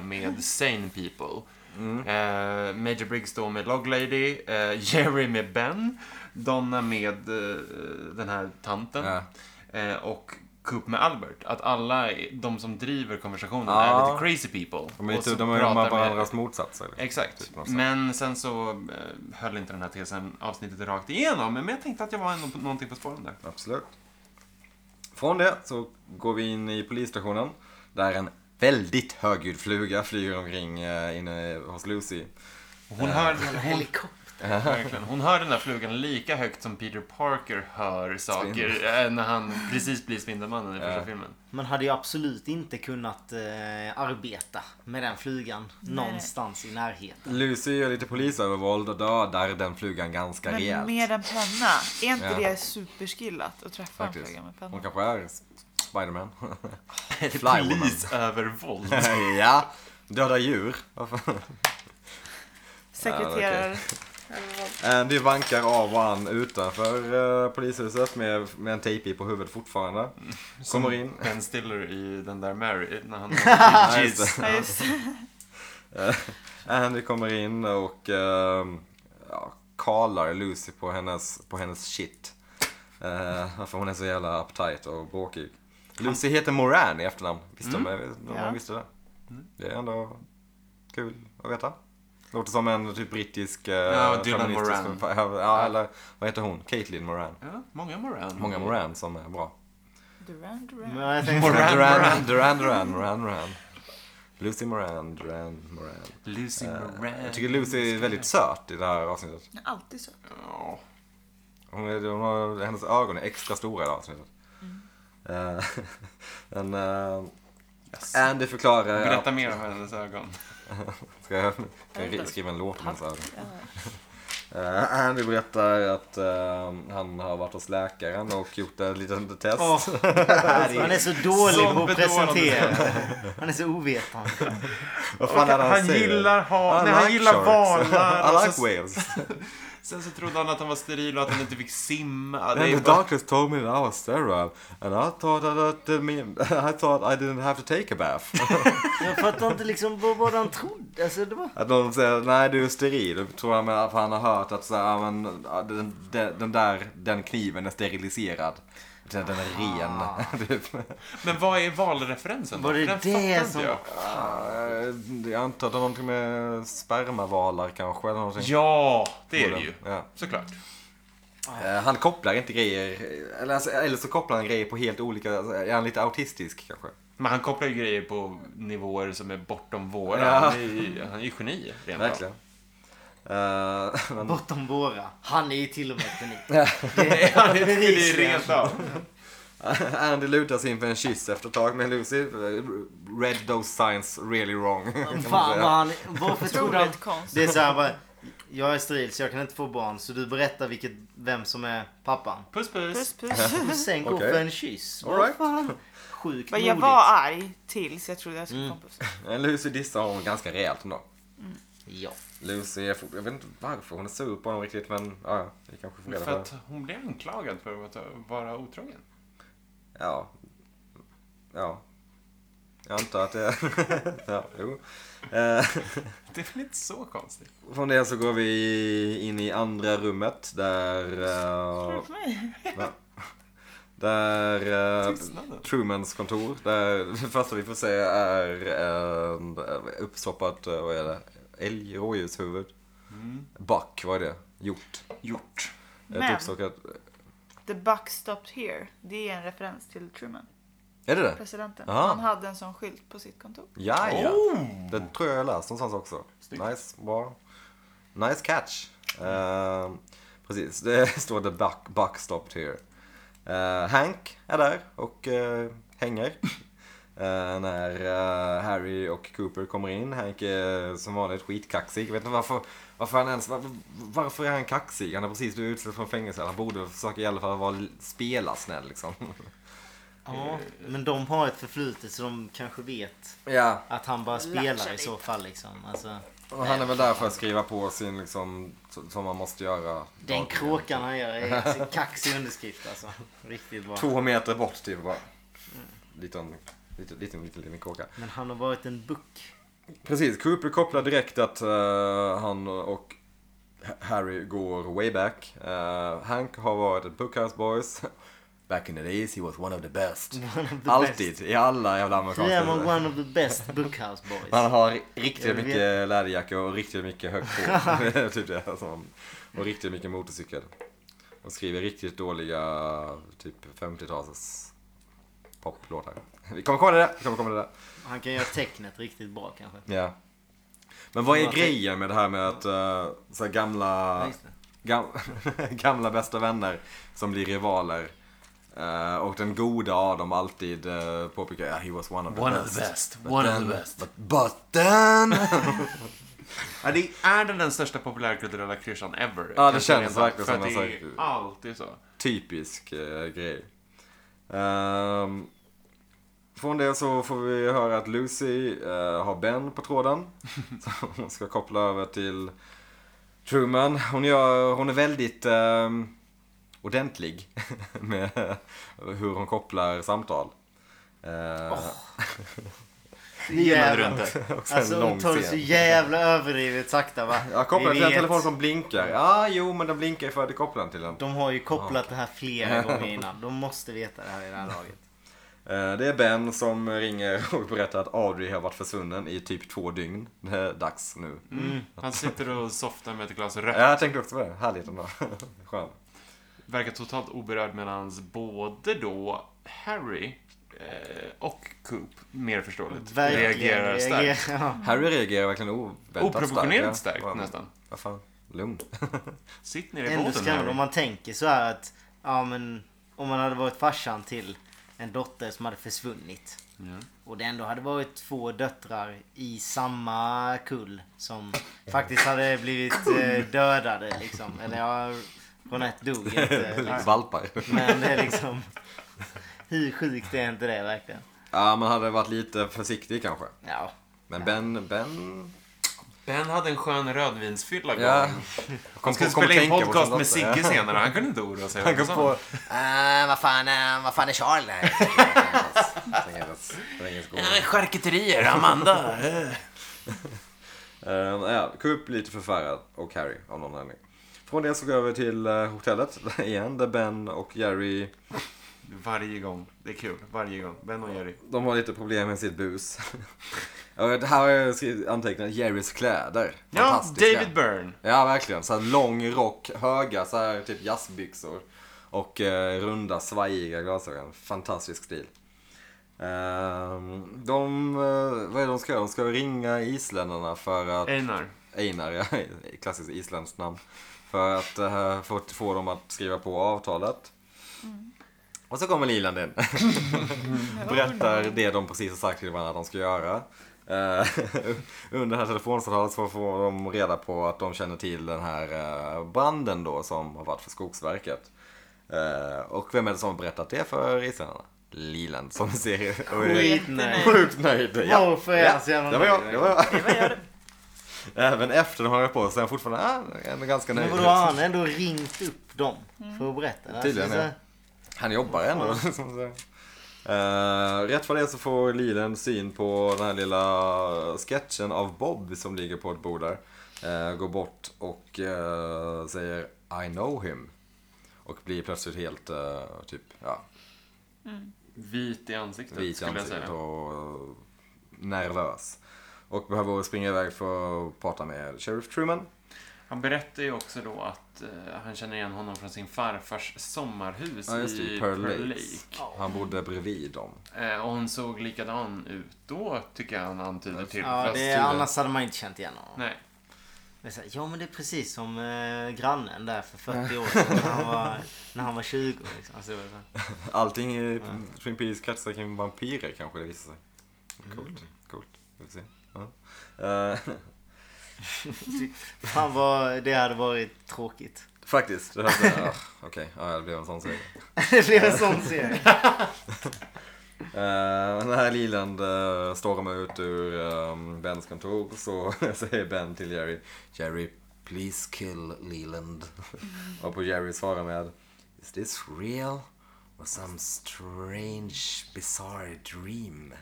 E: med sane people.
A: Mm.
E: Eh, Major Briggs då med Log Lady, eh, Jerry med Ben, Donna med eh, den här tanten
A: Ja.
E: eh, och
D: Coop med Albert. Att alla de som driver konversationen
A: Ja.
D: är lite crazy people.
A: De är,
D: och
A: inte,
D: som
A: de är de
D: pratar
A: här
D: med-
A: varandras motsatser. liksom.
D: Exakt.
A: Typ något sånt.
D: men sen så eh, höll inte den här tesen avsnittet rakt igenom. Men jag tänkte att jag var ändå på, någonting på spåren där.
A: Absolut. Från det så går vi in i polisstationen. Där en väldigt högljudd fluga flyger omkring eh, inne hos Lucy.
D: Och Hon hör, hon,
C: Helikopter.
D: verkligen, hon hör den där flugan lika högt som Peter Parker hör saker eh, när han precis blir Spindelmannen i första
A: Ja.
D: filmen.
C: Man hade ju absolut inte kunnat eh, arbeta med den flugan någonstans i närheten.
A: Lucy gör lite polisövervåld och dödar den flugan ganska
B: Men
A: rejält.
B: med en penna. Är inte
A: Ja.
B: det superskillat att träffa en
A: Faktiskt.
B: fluga med
A: Hon
B: penna?
A: kanske är Spiderman. Flywoman.
D: Polisövervåld.
A: ja, döda djur. Varför?
B: Sekreterare.
A: Andy Eh, vankar av han utanför eh, polishuset med, med en tejp på huvudet fortfarande. Kommer in.
D: Ben Stiller i den där Mary. eh, När han
A: Ja, just det.
B: Ja, just det.
A: Eh, Andy kommer in och eh, ja, kallar Lucy på hennes, på hennes shit. Eh, för hon är så jävla uptight och bråkig. Lucy heter Moran i efternamn. Visste mm. de, de
B: Ja.
A: visste det?
D: Mm.
A: Det är ändå kul att veta. Låter som en typ brittisk... eh,
D: Ja, Dylan
A: feministisk
D: Moran.
A: förfa- Ja, ja, eller vad heter hon? Caitlyn Moran.
D: Ja, Mm. många Moran.
A: Många Moran som är bra.
B: Duran,
C: Men
B: Duran.
A: Mm.
C: jag tänkte,
D: Moran,
A: Moran,
D: Moran.
A: Duran, Duran, Duran, Moran, Moran. Lucy Moran, Duran, Moran.
D: Lucy Moran.
A: Eh, Jag tycker Lucy är väldigt söt i det här avsnittet.
B: Den är alltid söt.
D: Ja.
A: Hon är, hon har, hennes ögon är extra stora i det här avsnittet. Eh, men, eh,
D: Yes.
A: Andy förklarar...
D: Berätta mer om hennes ögon.
A: Ska jag, ska jag ri- skriva en låt om hennes ögon?
B: Ja.
A: Eh, Andy berättar att eh, han har varit hos läkaren och gjort ett litet test.
C: Åh, han är så dålig
D: Som
C: på att
D: bedårande.
C: presentera. Han är så ovetande.
A: Vad fan är det
D: han
A: säger?
D: gillar ha-
A: I
D: nej, han gillar
A: sharks.
D: valar.
A: I
D: Alltså, Och
A: like
D: så-
A: whales.
D: Sen så trodde han att han var steril och att han inte fick simma.
A: And
D: Det är
A: the
D: bara...
A: doctors told me that I was sterile. And I thought that I didn't, mean- I thought I didn't have to take a bath.
C: Jag fattar inte liksom vad, vad han trodde. Alltså, det var...
A: Att någon säger nej du är steril. Då tror jag med- för han har hört att så här, ja, men, ja, den, den, den där den kniven är steriliserad. Den, den är ren. typ.
D: Men vad är valreferensen då?
C: Var det
D: Den
C: det
D: fattar inte
C: som-
D: jag.
A: Eh, Jag antar att det har någonting med spermavalar kanske eller någonting.
D: Ja, det är det ju.
A: Ja.
D: Såklart.
A: Eh, Han kopplar inte grejer, eller, alltså, eller så kopplar han grejer på helt olika, alltså, är han lite autistisk kanske?
D: Men han kopplar ju grejer på nivåer som är bortom våra.
A: Ja.
D: Han, är ju, han är ju geni, rent av.
A: Verkligen. Eh, men-
C: Bortom våra. Han är ju till och med ett geni.
D: Han är ett geni,
C: Bevisligen.
D: rent av.
A: Andy lutar sig in för en kyss efter ett tag med Lucy. eh, Read those signs really wrong. kan man
C: Fan
A: säga.
C: vad han... Varför trodde han...
B: Otroligt konstigt.
C: Det är så här bara, Jag är steril så jag kan inte få barn. Så du berättar vilket, vem som är pappan.
D: Puss,
B: Puss
D: puss.
B: puss.
C: Och sen gå
A: Okej.
C: för en kyss.
A: All right.
C: Vad fan? Sjukt
B: Vad
C: modigt.
B: Jag var arg tills jag trodde jag skulle komma på puss.
A: Men Lucy dissar honom ganska rejält ändå.
C: Ja.
A: Lucy är fort... Jag vet inte varför hon är sur på honom riktigt men ja, ja, vi kanske får reda på
D: För
A: det.
D: att hon blev anklagad för att vara otrogen.
A: Ja. Ja. Jag antar att det... ja, jo. Eh,
D: Det är väl inte så konstigt?
A: från det så går vi in i andra rummet där... eh,
B: För mig.
A: där... eh,
D: Tystnaden.
A: Trumans kontor. Där det första vi får se är en uppstoppat, eh, vad är det? Älg, rådjurshuvud. Buck, vad är det? Hjort.
D: Gjort.
A: Ett
B: Men
A: uppstoppat...
B: the buck stopped here. Det är en referens till Truman.
A: Är det det?
B: Presidenten.
A: Aha.
B: Han hade en sån skylt på sitt kontor.
A: Ja, ja.
D: Oh!
A: Det tror jag jag läst någonstans också. Nice, bra. Nice catch. Ehm, precis, det står the buck, buck stopped here. Eh, Hank är där och eh, hänger. Eh, när eh, Harry och Cooper kommer in. Hank är som vanligt skitkaxig. Jag vet inte varför, varför han ens... Varför, varför är han kaxig? Han har precis blivit utsläppt från fängelse. Han borde försöka i alla fall vara, spela snäll liksom.
C: ja. Men de har ett förflutet så de kanske vet
A: Ja,
C: att han bara spelar
B: sig
C: i så fall liksom. Alltså,
A: och han är väl där för att skriva på sin liksom, som man måste göra.
C: den kråkan han gör är en kaxig underskrift alltså. Riktigt bra.
A: Två meter bort typ bara. Liten, liten, liten, liten, liten kråka.
C: Men han har varit en buck.
A: Precis, Cooper kopplar direkt att eh, han och Harry går way back. Eh, Hank har varit ett Bookhouse Boys. Back in the days he was one of the best.
C: One of the
A: Alltid, i alla jävla
C: best.
A: amerikanska
C: Yeah, I'm
A: filmer.
C: one of the best Bookhouse boys.
A: Han har riktigt
C: Jag vet.
A: mycket läderjacka och riktigt mycket högt hår. typ det, alltså. Och riktigt mycket motorcykel. Och skriver riktigt dåliga, typ 50-tals poplåtar. Vi kommer komma till det, vi kommer komma till det.
C: Han kan göra tecknet riktigt bra kanske.
A: Ja. Men vad är
C: Ja, det-
A: grejen med det här med att eh, så här gamla,
C: Ja, just det.
A: gam, gamla bästa vänner som blir rivaler eh, och den goda av dem alltid uh, påpekar yeah, he was one of the
D: One of
A: best.
D: the best. One of the best.
A: But, but then...
D: Ja, det är den, den största populärkulturella klyschan ever.
A: Ja, det
D: Kanske
A: känns
D: rent av,
A: verkligen
D: för
A: som
D: att
A: en
D: det är
A: sak.
D: alltid så.
A: typisk eh, grej. Ehm, från det så får vi höra att Lucy eh, har Ben på tråden. Så hon ska koppla över till Truman. Hon, gör, hon är väldigt ehm, ordentlig med hur hon kopplar samtal. Eh,
D: Det gillade du inte.
A: och sen
C: Alltså hon
A: lång
C: tar det
A: scen.
C: så jävla överdrivet sakta va?
A: Jag kopplar
C: Vi
A: till en
C: vet.
A: telefon som blinkar. Ja, ah, jo, men den blinkar ju för att du kopplar den till den.
C: De har ju kopplat det här flera gånger innan. De måste veta det här i det här laget.
A: Eh, Det är Ben som ringer och berättar att Audrey har varit försvunnen i typ två dygn. Det är dags nu.
D: Mm. Han sitter och softar med ett glas rött.
A: Ja, jag tänkte också på det. Härligt ändå. Skön.
D: Verkar totalt oberörd medans både då Harry eh, och Coop, mer förståeligt,
C: Verkligen
D: reagerar starkt.
C: reagerar.
A: Harry reagerar verkligen oväntat
D: Oproportionerligt starkt
A: Ja,
D: nästan.
A: Vad fan, lugn.
D: Sitt ner i
C: Ändå
D: båten
C: skrämmande om
D: Harry.
C: man tänker så här att ja, men, om man hade varit farsan till en dotter som hade försvunnit.
D: Ja.
C: Och det ändå hade varit två döttrar i samma kull som faktiskt hade blivit eh, dödade liksom. Eller ja, Ronette dog inte. liksom.
A: Valpar.
C: Men det är liksom... Hur sjukt är inte det verkligen?
A: Ja, man hade varit lite försiktig kanske.
C: Ja.
A: Men Ben, Ben...
D: Ben hade en skön rödvinsfylla
A: Ja.
D: gång.
A: Kom, kom-
D: Han skulle
A: kom
D: spela in
A: tänka på
D: podcast
A: sånt där.
D: med Sigge senare. Han kunde inte oroa sig.
A: Han kom på...
G: Ah, vad fan, eh, vad fan är Charlie?
D: Eh, Charkuterier, Amanda.
A: Uh, ja, Coop blir lite förfärad och Harry av någon anledning. Från det så går jag över till eh, hotellet igen där Ben och Jerry
D: Varje gång. Det är kul. Varje gång. Ben och Jerry.
A: De har lite problem med sitt bus. Ja, det här har jag skrivit- antecknat Jerrys kläder.
D: Ja,
A: Fantastiska.
D: David Byrne.
A: Ja, verkligen. Så här lång rock, höga så här typ jazzbyxor. Och eh, runda, svajiga glasögon. Fantastisk stil. Ehm, de, eh, vad är det de ska göra? De ska ringa isländarna för att...
D: Einar.
A: Einar, ja. Klassiskt isländskt namn. För att eh, få, få dem att skriva på avtalet. Och så kommer Liland in. Berättar det de precis har sagt till varandra att de ska göra. Eh, Under det här telefonsamtalet så får de reda på att de känner till den här eh, branden då som har varit för Skogsverket. Eh, Och vem är det som har berättat det för isländarna? Liland som vi ser och är
C: Skitnöjd.
A: sjukt nöjd. Ja,
C: Varför är han så jävla
A: det var jag,
C: nöjd?
A: det var jag.
B: Det var jag det.
A: Även efter de har hållit på så är han fortfarande ah, han är ganska
C: Men
A: nöjd.
C: vadå, har han ändå ringt upp dem för att berätta? det här?
A: Tydligen,
C: Så-
A: ja. Han jobbar ändå. som så. Eh, rätt vad det är så får Lilen syn på den här lilla sketchen av Bob som ligger på ett bord där. Eh, går bort och eh, säger I know him. Och blir plötsligt helt eh, typ, ja,
D: Vit i ansiktet,
A: vit i
D: skulle jag
A: ansiktet
D: säga.
A: och eh, nervös. Och behöver springa iväg för att prata med Sheriff Truman.
D: Han berättar ju också då att eh, han känner igen honom från sin farfars sommarhus
A: Ja, just det,
D: i
A: i
D: Pearl
A: Pearl
D: Lake.
A: Lakes. Han bodde bredvid dem.
D: Eh, och hon såg likadan ut då, tycker jag han antyder till.
C: Ja,
D: Fast
C: det,
D: tydligen-
C: annars hade man inte känt igen honom.
D: Nej.
C: Men så här, ja men det är precis som eh, grannen där för 40 år sedan när han var, när han var 20. Liksom. Alltså, det var så här,
A: Allting i Twin Peaks kretsar kring vampyrer kanske det visar sig. Coolt. Coolt. Vi får se. Ja. Eh,
C: fan vad det hade varit tråkigt.
A: faktiskt. Det här, uh, Okej, ja, det blev en sån serie.
C: det blev en sån serie.
A: Uh, när Liland uh, stormar ut ur ehm, Bens kontor så säger Ben till Jerry Jerry, please kill Leland. Och på Jerry svarar med Is this real? Or some strange bizarre dream?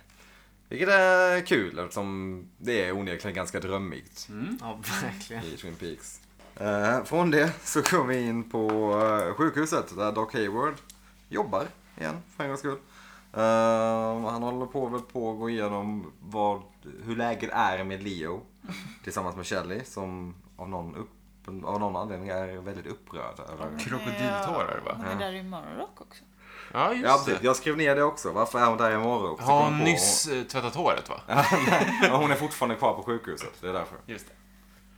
A: Vilket är kul eftersom det är onekligen ganska drömmigt.
C: Ja verkligen.
A: i Twin Peaks. Eh, från det så kom vi in på eh, sjukhuset där Doc Hayward jobbar igen för en gångs skull. Eh, han håller på väl på att gå igenom vad, hur läget är med Leo tillsammans med Shelley som av någon, upp, av någon anledning är väldigt upprörd. Över.
E: Krokodiltårar, va?
B: Hon är där i Morgonrock också.
E: Ja,
A: Ja,
E: just
A: precis.
E: det.
A: Jag skrev ner det också. Varför är hon där imorgon? också?
E: Har
A: Kom
E: hon
A: på.
E: nyss eh, tvättat håret, va?
A: Ja, hon är fortfarande kvar på sjukhuset. Det är därför.
E: Just det.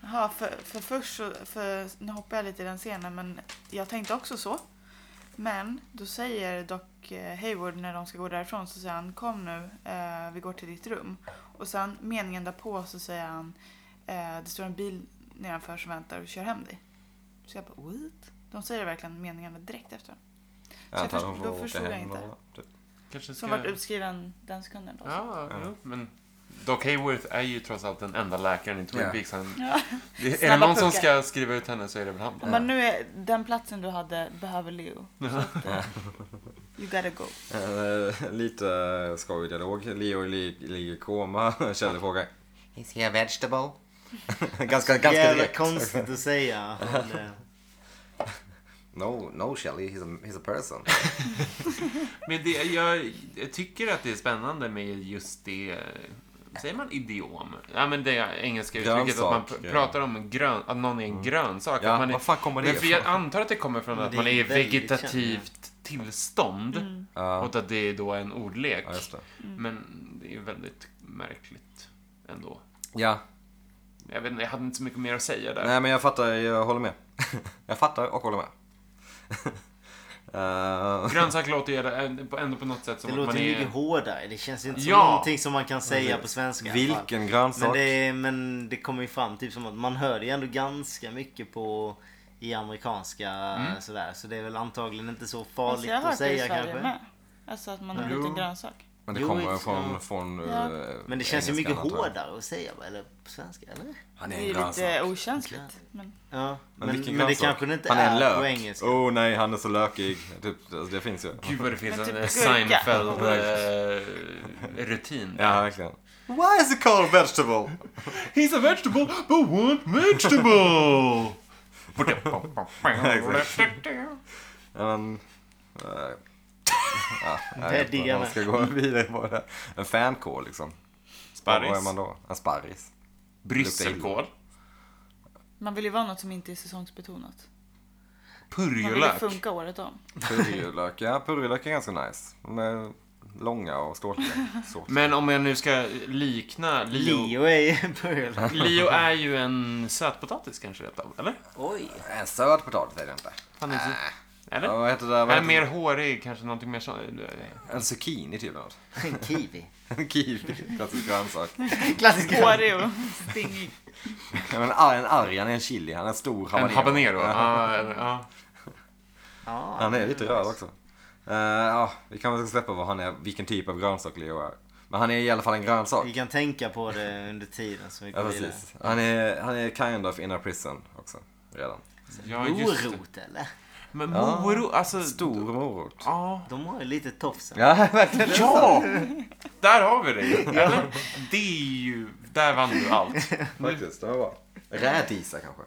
B: Jaha, för, för först så, för, nu hoppar jag lite i den scenen men jag tänkte också så. Men då säger dock eh, Hayward när de ska gå därifrån så säger han kom nu, eh, vi går till ditt rum. Och sen meningen därpå så säger han eh, det står en bil nedanför som väntar och kör hem dig. Så jag bara what? De säger verkligen meningarna direkt efter.
A: Jag antar att
B: först-
A: hon
B: då
A: får åka
B: förstod jag
A: hem
B: inte.
A: och- typ.
E: Kanske
B: Som
E: ska...
B: vart utskriven den sekunden då.
E: Ja, jo, men... Doc Hayworth är ju trots allt den enda läkaren i Twin
A: Ja.
E: Peaks. Han...
B: Ja.
E: Det, är det
B: Snabba
E: någon som
B: puckar.
E: ska skriva ut henne så är det väl han.
B: Han bara, nu är den platsen du hade behöver Leo. Så att, eh, you gotta go.
A: Eh, Lite skojig dialog. Leo är li- ligger i koma. Kjell frågar.
H: Is he a vegetable?
A: ganska ganska
C: Jävla
A: direkt.
C: konstigt att säga. Men, eh,
A: No, no Shelly, he's a, he's a person.
E: Men det, jag, jag tycker att det är spännande med just det... Säger man idiom? Ja, men det engelska uttrycket att man
A: Grönsak,
E: pr-
A: ja. Mm.
E: pratar om en grön, att någon är en grönsak.
A: Ja,
E: att man är,
A: vad fan kommer det
E: men för Jag
A: ifrån?
E: antar att det kommer från
C: Men
E: att
C: det
E: man
C: är
E: är i
C: väldigt
E: vegetativt tillstånd
A: Ja.
E: och att det är då en ordlek.
A: Ja, just det.
E: Men det är väldigt märkligt ändå.
A: Ja,
E: Jag, vet, inte, jag hade inte så mycket mer att säga där.
A: nej men jag fattar, jag håller med. jag fattar och håller med. Eh,
E: Grönsak låter ju ändå ändå på något sätt som
C: det
E: att man
C: låter mycket
E: är...
C: hårdare. Det känns inte som
E: Ja.
C: någonting som man kan säga på svenska. i alla fall.
A: vilken grönsak.
C: Men det, men det kommer ju fram typ som att man hör det ju ändå ganska mycket på i amerikanska
A: Mm.
C: sådär. Så det är väl antagligen inte så
B: Alltså
C: farligt
B: jag har
C: att
B: hört det i
C: säga
B: Sverige
C: kanske. Mm.
B: med. Alltså att man är en
E: Jo.
B: liten grönsak.
A: Men det
C: Jo,
A: kommer
C: it's-
A: från...
C: ja.
A: från
B: Ja.
A: eh,
C: Men det känns ju
A: engelskan,
C: mycket
A: antar jag.
C: hårdare att säga va? Eller på svenska eller?
A: Han
B: Det
A: är
B: är
A: en
B: ju
A: grönsak.
B: lite okänsligt. Men
C: Ja. Men, men,
A: vilken
C: det
A: grönsak?
C: kanske det inte
A: Han är en
C: är,
A: lök.
C: på engelska.
A: Oh nej, han är så lökig. Typ, alltså, det finns ju.
E: Gud vad det finns
B: Men
E: en
B: typ
E: eh,
B: gurka.
E: Seinfeld-rutin.
A: Ja, verkligen. Why is it called vegetable?
E: He's a vegetable, but what vegetable?
A: Men, eh, ja, jag
C: Det
A: vet inte
C: diggar
A: om man ska gå vidare på det. En fankår liksom. Vad är man då? En sparris.
E: Brysselkål.
B: man vill ju vara något som inte är säsongsbetonat. Man vill ju
E: Purjolök.
B: funka året om.
A: Purjolök. Ja, purjolök är ganska nice. De är långa och ståtliga. Ståtliga.
E: Men om jag nu ska likna Leo.
C: Leo är ju början.
E: Leo är ju en sötpotatis kanske rätt av, eller?
C: Oj.
A: En Eh, söt potatis är det inte.
E: Fan, inte.
A: Äh, Ja,
E: Eller?
A: vad heter det? Vad
E: Han är
A: heter
E: mer hårig, kanske någonting mer så...
A: det? En zucchini typ eller något.
C: En kiwi.
A: En kiwi. Klassisk grönsak.
C: Klassisk grönsak.
B: Hårig och stingig.
A: Ja, men En arg, en arg, han är en chili. Han är en stor
E: En
A: habanero.
E: habanero. Ja, eller- ja.
C: Ja.
A: Han är lite röd också. Eh, ja, vi kan väl släppa vad han är, vilken typ av grönsak Leo är. Men han är i alla fall en grönsak.
C: Vi kan tänka på det under tiden som vi
A: Ja,
C: går vidare.
A: precis. Han är, han är kind of in a prison också. Redan.
E: Ja, just det.
C: Morot eller?
E: Men morot, alltså...
A: Stor morot.
E: Ja,
C: De har ju lite tofs.
A: Ja, verkligen.
E: Ja! Där har vi dig! Eller? Det är ju... Där vann du allt.
A: Faktiskt, det var bra. Rädisa kanske.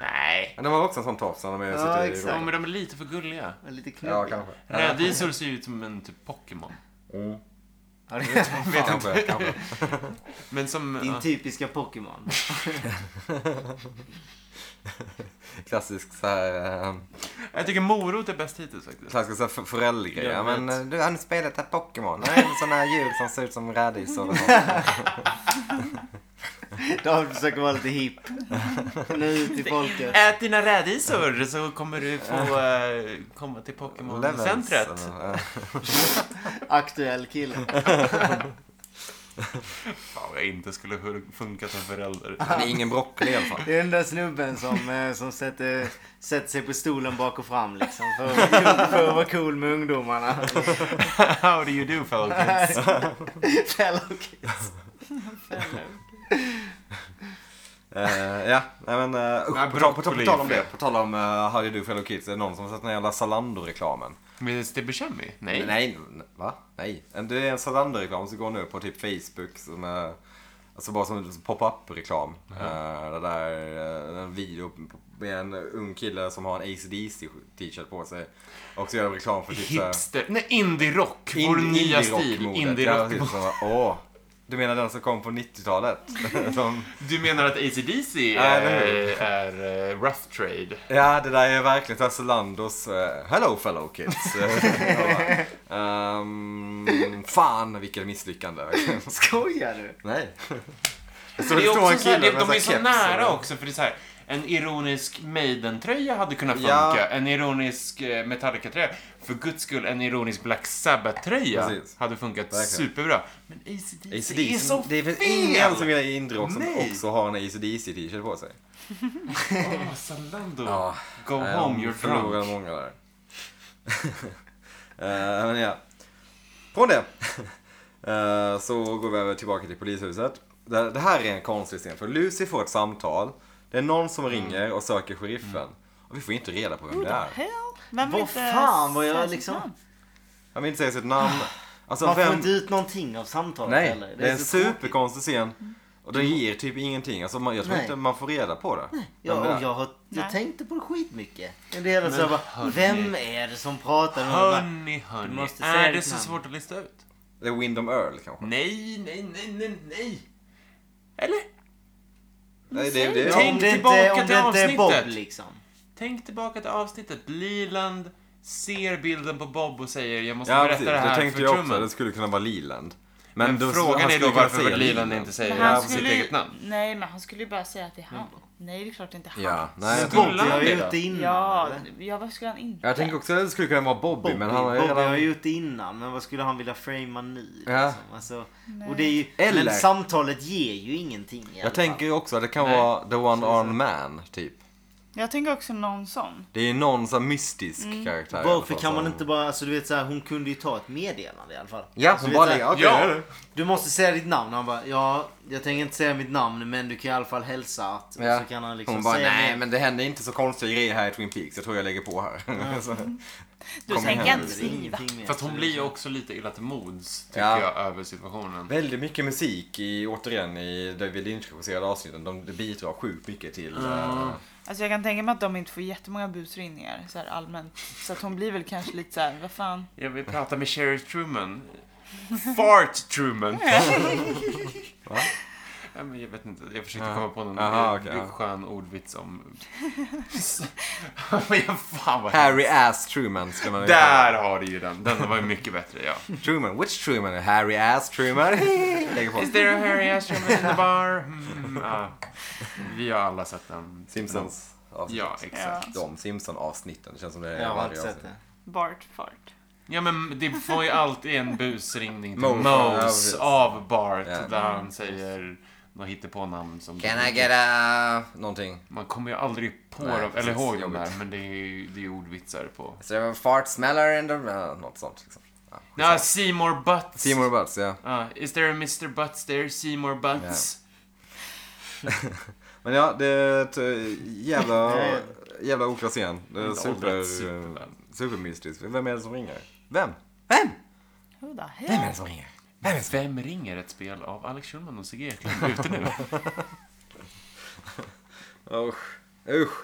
E: Nej.
A: Men de har också en sån tofs när de är
C: Ja,
A: sitter i
C: exakt.
E: Ja,
A: rummet.
E: men de är lite för gulliga.
C: Lite knubbiga.
A: Ja, kanske.
E: Rädisor ser ju ut som en typ Pokémon.
A: Mm.
C: Ja, det är
E: Vet
A: Kanske,
E: inte.
A: kanske.
E: Men som...
C: Din
E: ja.
C: typiska Pokémon.
A: Klassisk så här... eh,
E: Jag tycker morot är bäst hittills faktiskt.
A: Klassisk så här f- föräldragrej. Ja,
C: Jag
A: men
C: vet.
A: eh, du har nu spelat ett Pokémon. Det är en sån här djur som ser ut som rädisor. och sånt.
C: David försöker vara lite hipp. Nu ut till folket.
E: Ät dina rädisor så kommer du få eh, komma till
A: Levels,
E: Pokémon-centret.
A: eller, eh,
C: Aktuell kille.
E: Fan vad jag inte skulle hu- funka som förälder.
A: Han är ingen broccoli i alla fall.
C: Det är den där snubben som, eh, som sätter, sätter sig på stolen bak och fram liksom. För, att vara cool- för att vara cool med ungdomarna.
E: How do you do fellow kids?
C: Fellow kids.
A: Eh, ja, nej men eh, usch,
E: Nej,
A: på, tal, på, tal- på
E: broccoli
A: tal om
E: är
A: det.
E: fel.
A: På tal om uh, How Do You Do Fellow Kids. Är det någon som har sett den här jävla Zalando-reklamen?
E: Med Stebbe Chemi? Nej.
A: Nej, n- va? Nej. En- Det är en Zalando-reklam som går nu på typ Facebook som är Alltså bara som som pop-up-reklam. Eh, det där, eh, en video med en ung kille som har en ACDC t-shirt på sig. Och så gör de reklam för typ så här-
D: Hipster. Nej, indie-rock. Vår nya stil.
A: Indie-rock.
D: Indie-rock.
A: typ Åh, du menar den som kom på 90-talet? Som-
D: Du menar att ACDC
A: Ja,
E: Eh,
D: är,
A: eller hur?
D: är eh, rough trade?
A: ja, det där är verkligen såhär Solandos eh, Hello fellow kids. Jag bara, ehm, fan vilket misslyckande.
C: Skojar du?
A: Nej.
D: Men det är också så här,
A: med
D: det,
A: en
D: de
A: sån
D: är så
A: keps
D: nära
A: och-
D: också, för det är så här. En ironisk Maiden-tröja hade kunnat funka.
A: Ja.
D: En ironisk eh, Metallica-tröja. För guds skull, en ironisk Black Sabbath-tröja
A: Precis.
D: hade funkat
A: Verkligen.
D: superbra. Men ACDC,
A: AC/DC.
D: är så
A: Det finns
D: fel!
A: ingen som gillar indrock som
D: Nej.
A: också har en ACDC t-shirt på sig.
D: Åh, Zalando.
A: Ja.
D: Go
A: Nej,
D: home,
A: de
D: you're
A: Eh, förlorar
D: drunk.
A: många där. Eh, men ja. Från det eh, så går vi över tillbaka till polishuset. Det, det här är en konstig scen för Lucy får ett samtal. Det är någon som
C: Mm.
A: ringer och söker sheriffen. Och vi får inte reda på vem det är.
B: Hell? Vem
C: Vad
B: vill inte
C: fan vad jag
B: säga sitt
C: liksom-
B: namn?
A: Han vill inte säga sitt namn. Alltså
C: Ah. Man får
A: vem...
C: inte ut någonting av samtalet
A: Nej,
C: heller.
A: det är en
C: så tråkigt. Mm.
A: superkonstig scen. Och den ger typ ingenting. Alltså man, jag tror
C: Nej.
A: inte man får reda på det. Vem det
C: Ja,
A: är.
C: och jag, har, jag
B: Nej.
C: tänkte på det skitmycket. En del så jag bara,
D: hörni.
C: vem är det som pratar? Och jag bara,
D: Hörni,
C: Du
D: hörni.
C: måste säga
D: Är det
C: ditt
D: så
C: namn.
D: svårt att lista ut?
A: Det är Windom Earl
C: Mm.
A: kanske.
D: Nej, nej, nej, nej, nej. Eller?
A: Nej, det, det,
D: Tänk
C: om det
D: tillbaka
C: inte, om
D: till
C: det inte är Bob
D: avsnittet.
C: liksom.
D: Tänk tillbaka till avsnittet. Leland ser bilden på Bob och säger jag måste
A: Ja,
D: berätta
A: precis.
D: det här
A: Det tänkte
D: för
A: jag
D: Truman.
A: också. Det skulle kunna vara Liland. Men,
D: Men
A: då- han
D: frågan är
A: skulle
D: då
A: kunna
D: varför
A: säga
D: Leland inte säger
B: Men
D: ja,
B: han
D: sitt
B: skulle,
D: eget namn.
B: Nej, men han skulle ju bara säga att det är han. Nej, det är klart inte han.
A: Ja, nej, jag,
D: Skulle
A: tror-
C: Bob
D: han
C: har ju
D: det
C: gjort
D: då?
C: det innan.
B: Ja,
C: eller?
B: ja, vad skulle han inte?
A: jag tänker också att det skulle kunna vara Bobby,
C: Bobby,
A: men han har ju
C: Bobby har
A: redan...
C: ju gjort det innan, men vad skulle han vilja framea nu?
A: Ja.
C: Liksom? Alltså, och det är ju,
A: Eller-
C: Men samtalet ger ju ingenting i alla
A: Jag tänker också att det kan
D: Nej.
A: vara The One Armed Man, typ.
B: Jag tänker också någon sån.
A: Det är någon sån här mystisk karaktär. i
C: fall.
A: alla
C: Varför
A: fall
C: kan man
A: som-
C: inte bara, alltså du vet såhär, hon kunde ju ta ett meddelande i alla fall.
A: Ja,
C: alltså,
A: hon
C: du vet
A: bara
C: så här,
A: ligger... Okej,
D: ja.
A: det är det.
C: Du måste säga ditt namn. Han bara, ja, jag tänker inte säga mitt namn men du kan i alla fall hälsa att.
A: Ja.
C: Och så kan han liksom
A: Hon bara,
C: säga
A: nej
C: mer.
A: men det händer inte så konstiga grejer här i Twin Peaks. Jag tror jag lägger på här. Så-
B: Du
A: Kom
B: tänker
A: igen.
B: inte
C: Det är
B: skriva.
C: ingenting mer.
D: Fast hon
C: Så
D: blir ju
C: liksom-
D: också lite illa till mods, tycker
A: Ja.
D: jag, över situationen.
A: Väldigt mycket musik i, återigen, i David Lynch-regisserade avsnitten. De det bidrar sjukt mycket till... eh,
B: Alltså jag kan tänka mig att de inte får jättemånga busringningar så här allmänt. Så att hon blir väl kanske lite så här, vad fan.
D: Jag vill prata med Sheriff Truman. Fart Truman. Ja, men jag vet inte, jag försökte komma på någon
A: Aha,
D: eh,
A: okej, ja.
D: skön ordvits om... men jag, fan vad...
A: Harry Ass Truman skulle man ju
D: Där har du ju den. Den var ju mycket bättre, ja.
A: Truman, which Truman? Harry ass Truman? Lägger på.
D: Is there a Harry Ashram in the bar? Mm, ja. Vi har alla sett den.
A: Simpsons avsnitt.
D: Ja, exakt. Ja.
A: De Simpson-avsnitten. Det känns som det är
C: Jag har
A: varje
C: inte sett
A: avsnitt.
C: det.
B: Bart fart.
D: men det får ju alltid en busringning till
A: Mose. Ja,
D: Mose
A: precis.
D: av Bart
A: Ja.
D: där han säger något hittepånamn som...
A: Can I get a... Någonting.
D: Man kommer ju aldrig på
A: Nej,
D: dem, eller
A: precis.
D: ihåg dem
A: Jobbigt.
D: där, men det är ju det är ju ordvitsar på...
A: Is there a fart smeller in the... Uh, något sånt liksom. Ja.
D: Ja, Seymour Butts!
A: Seymour Butts, ja.
D: Ja, is there a Mr Butts there? Seymour Butts?
A: Men ja, det är ett eh, jävla,
C: Nej.
A: jävla oklar scen. Det är
D: Inte
A: super,
D: åldrat superväl.
A: supermystiskt. Vem är det som ringer? Vem?
B: Who the
A: Vem är
B: hell?
A: det som ringer?
D: Vem ringer ett spel av Alex Schulman och Sigge Eklund ute nu?
A: Usch. Usch.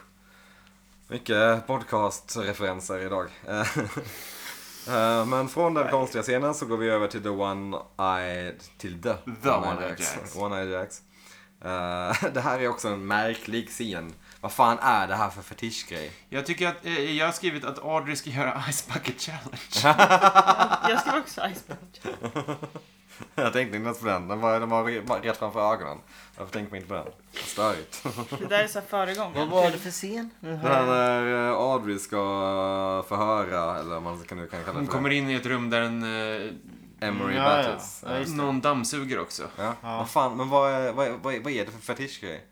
A: Mycket podcastreferenser idag. Eh, Men från den konstiga scenen så går vi över till the one-eyed... Till the,
D: The
A: one-eyed
D: One-Eyed
A: Jacks.
D: Jacks.
A: One-eyed Jacks. Eh, det här är också en märklig scen. Vad fan är det här för fetischgrej?
D: Jag tycker att, eh, jag har skrivit att Audrey ska göra Ice Bucket Challenge.
B: Jag ska också Ice Bucket.
A: Jag tänkte inte ens på den. Den var, den var re- var rätt framför ögonen. Varför tänkte man inte på den? Störigt.
B: Det där är så här
C: Vad
B: föregångaren.
C: var det för scen?
D: Mhm.
C: Nu hör
A: Den
C: jag-
A: när eh, Audrey ska förhöra, eller vad man kan, kan kalla det för.
D: Hon kommer in i ett rum där en... Eh,
A: Emory
C: Ja, ja.
A: Battles.
C: Ja, just det.
D: någon dammsuger också.
A: Ja.
C: Ja.
A: Vad fan, men vad är, vad, är- vad, är- vad är det för fetischgrej?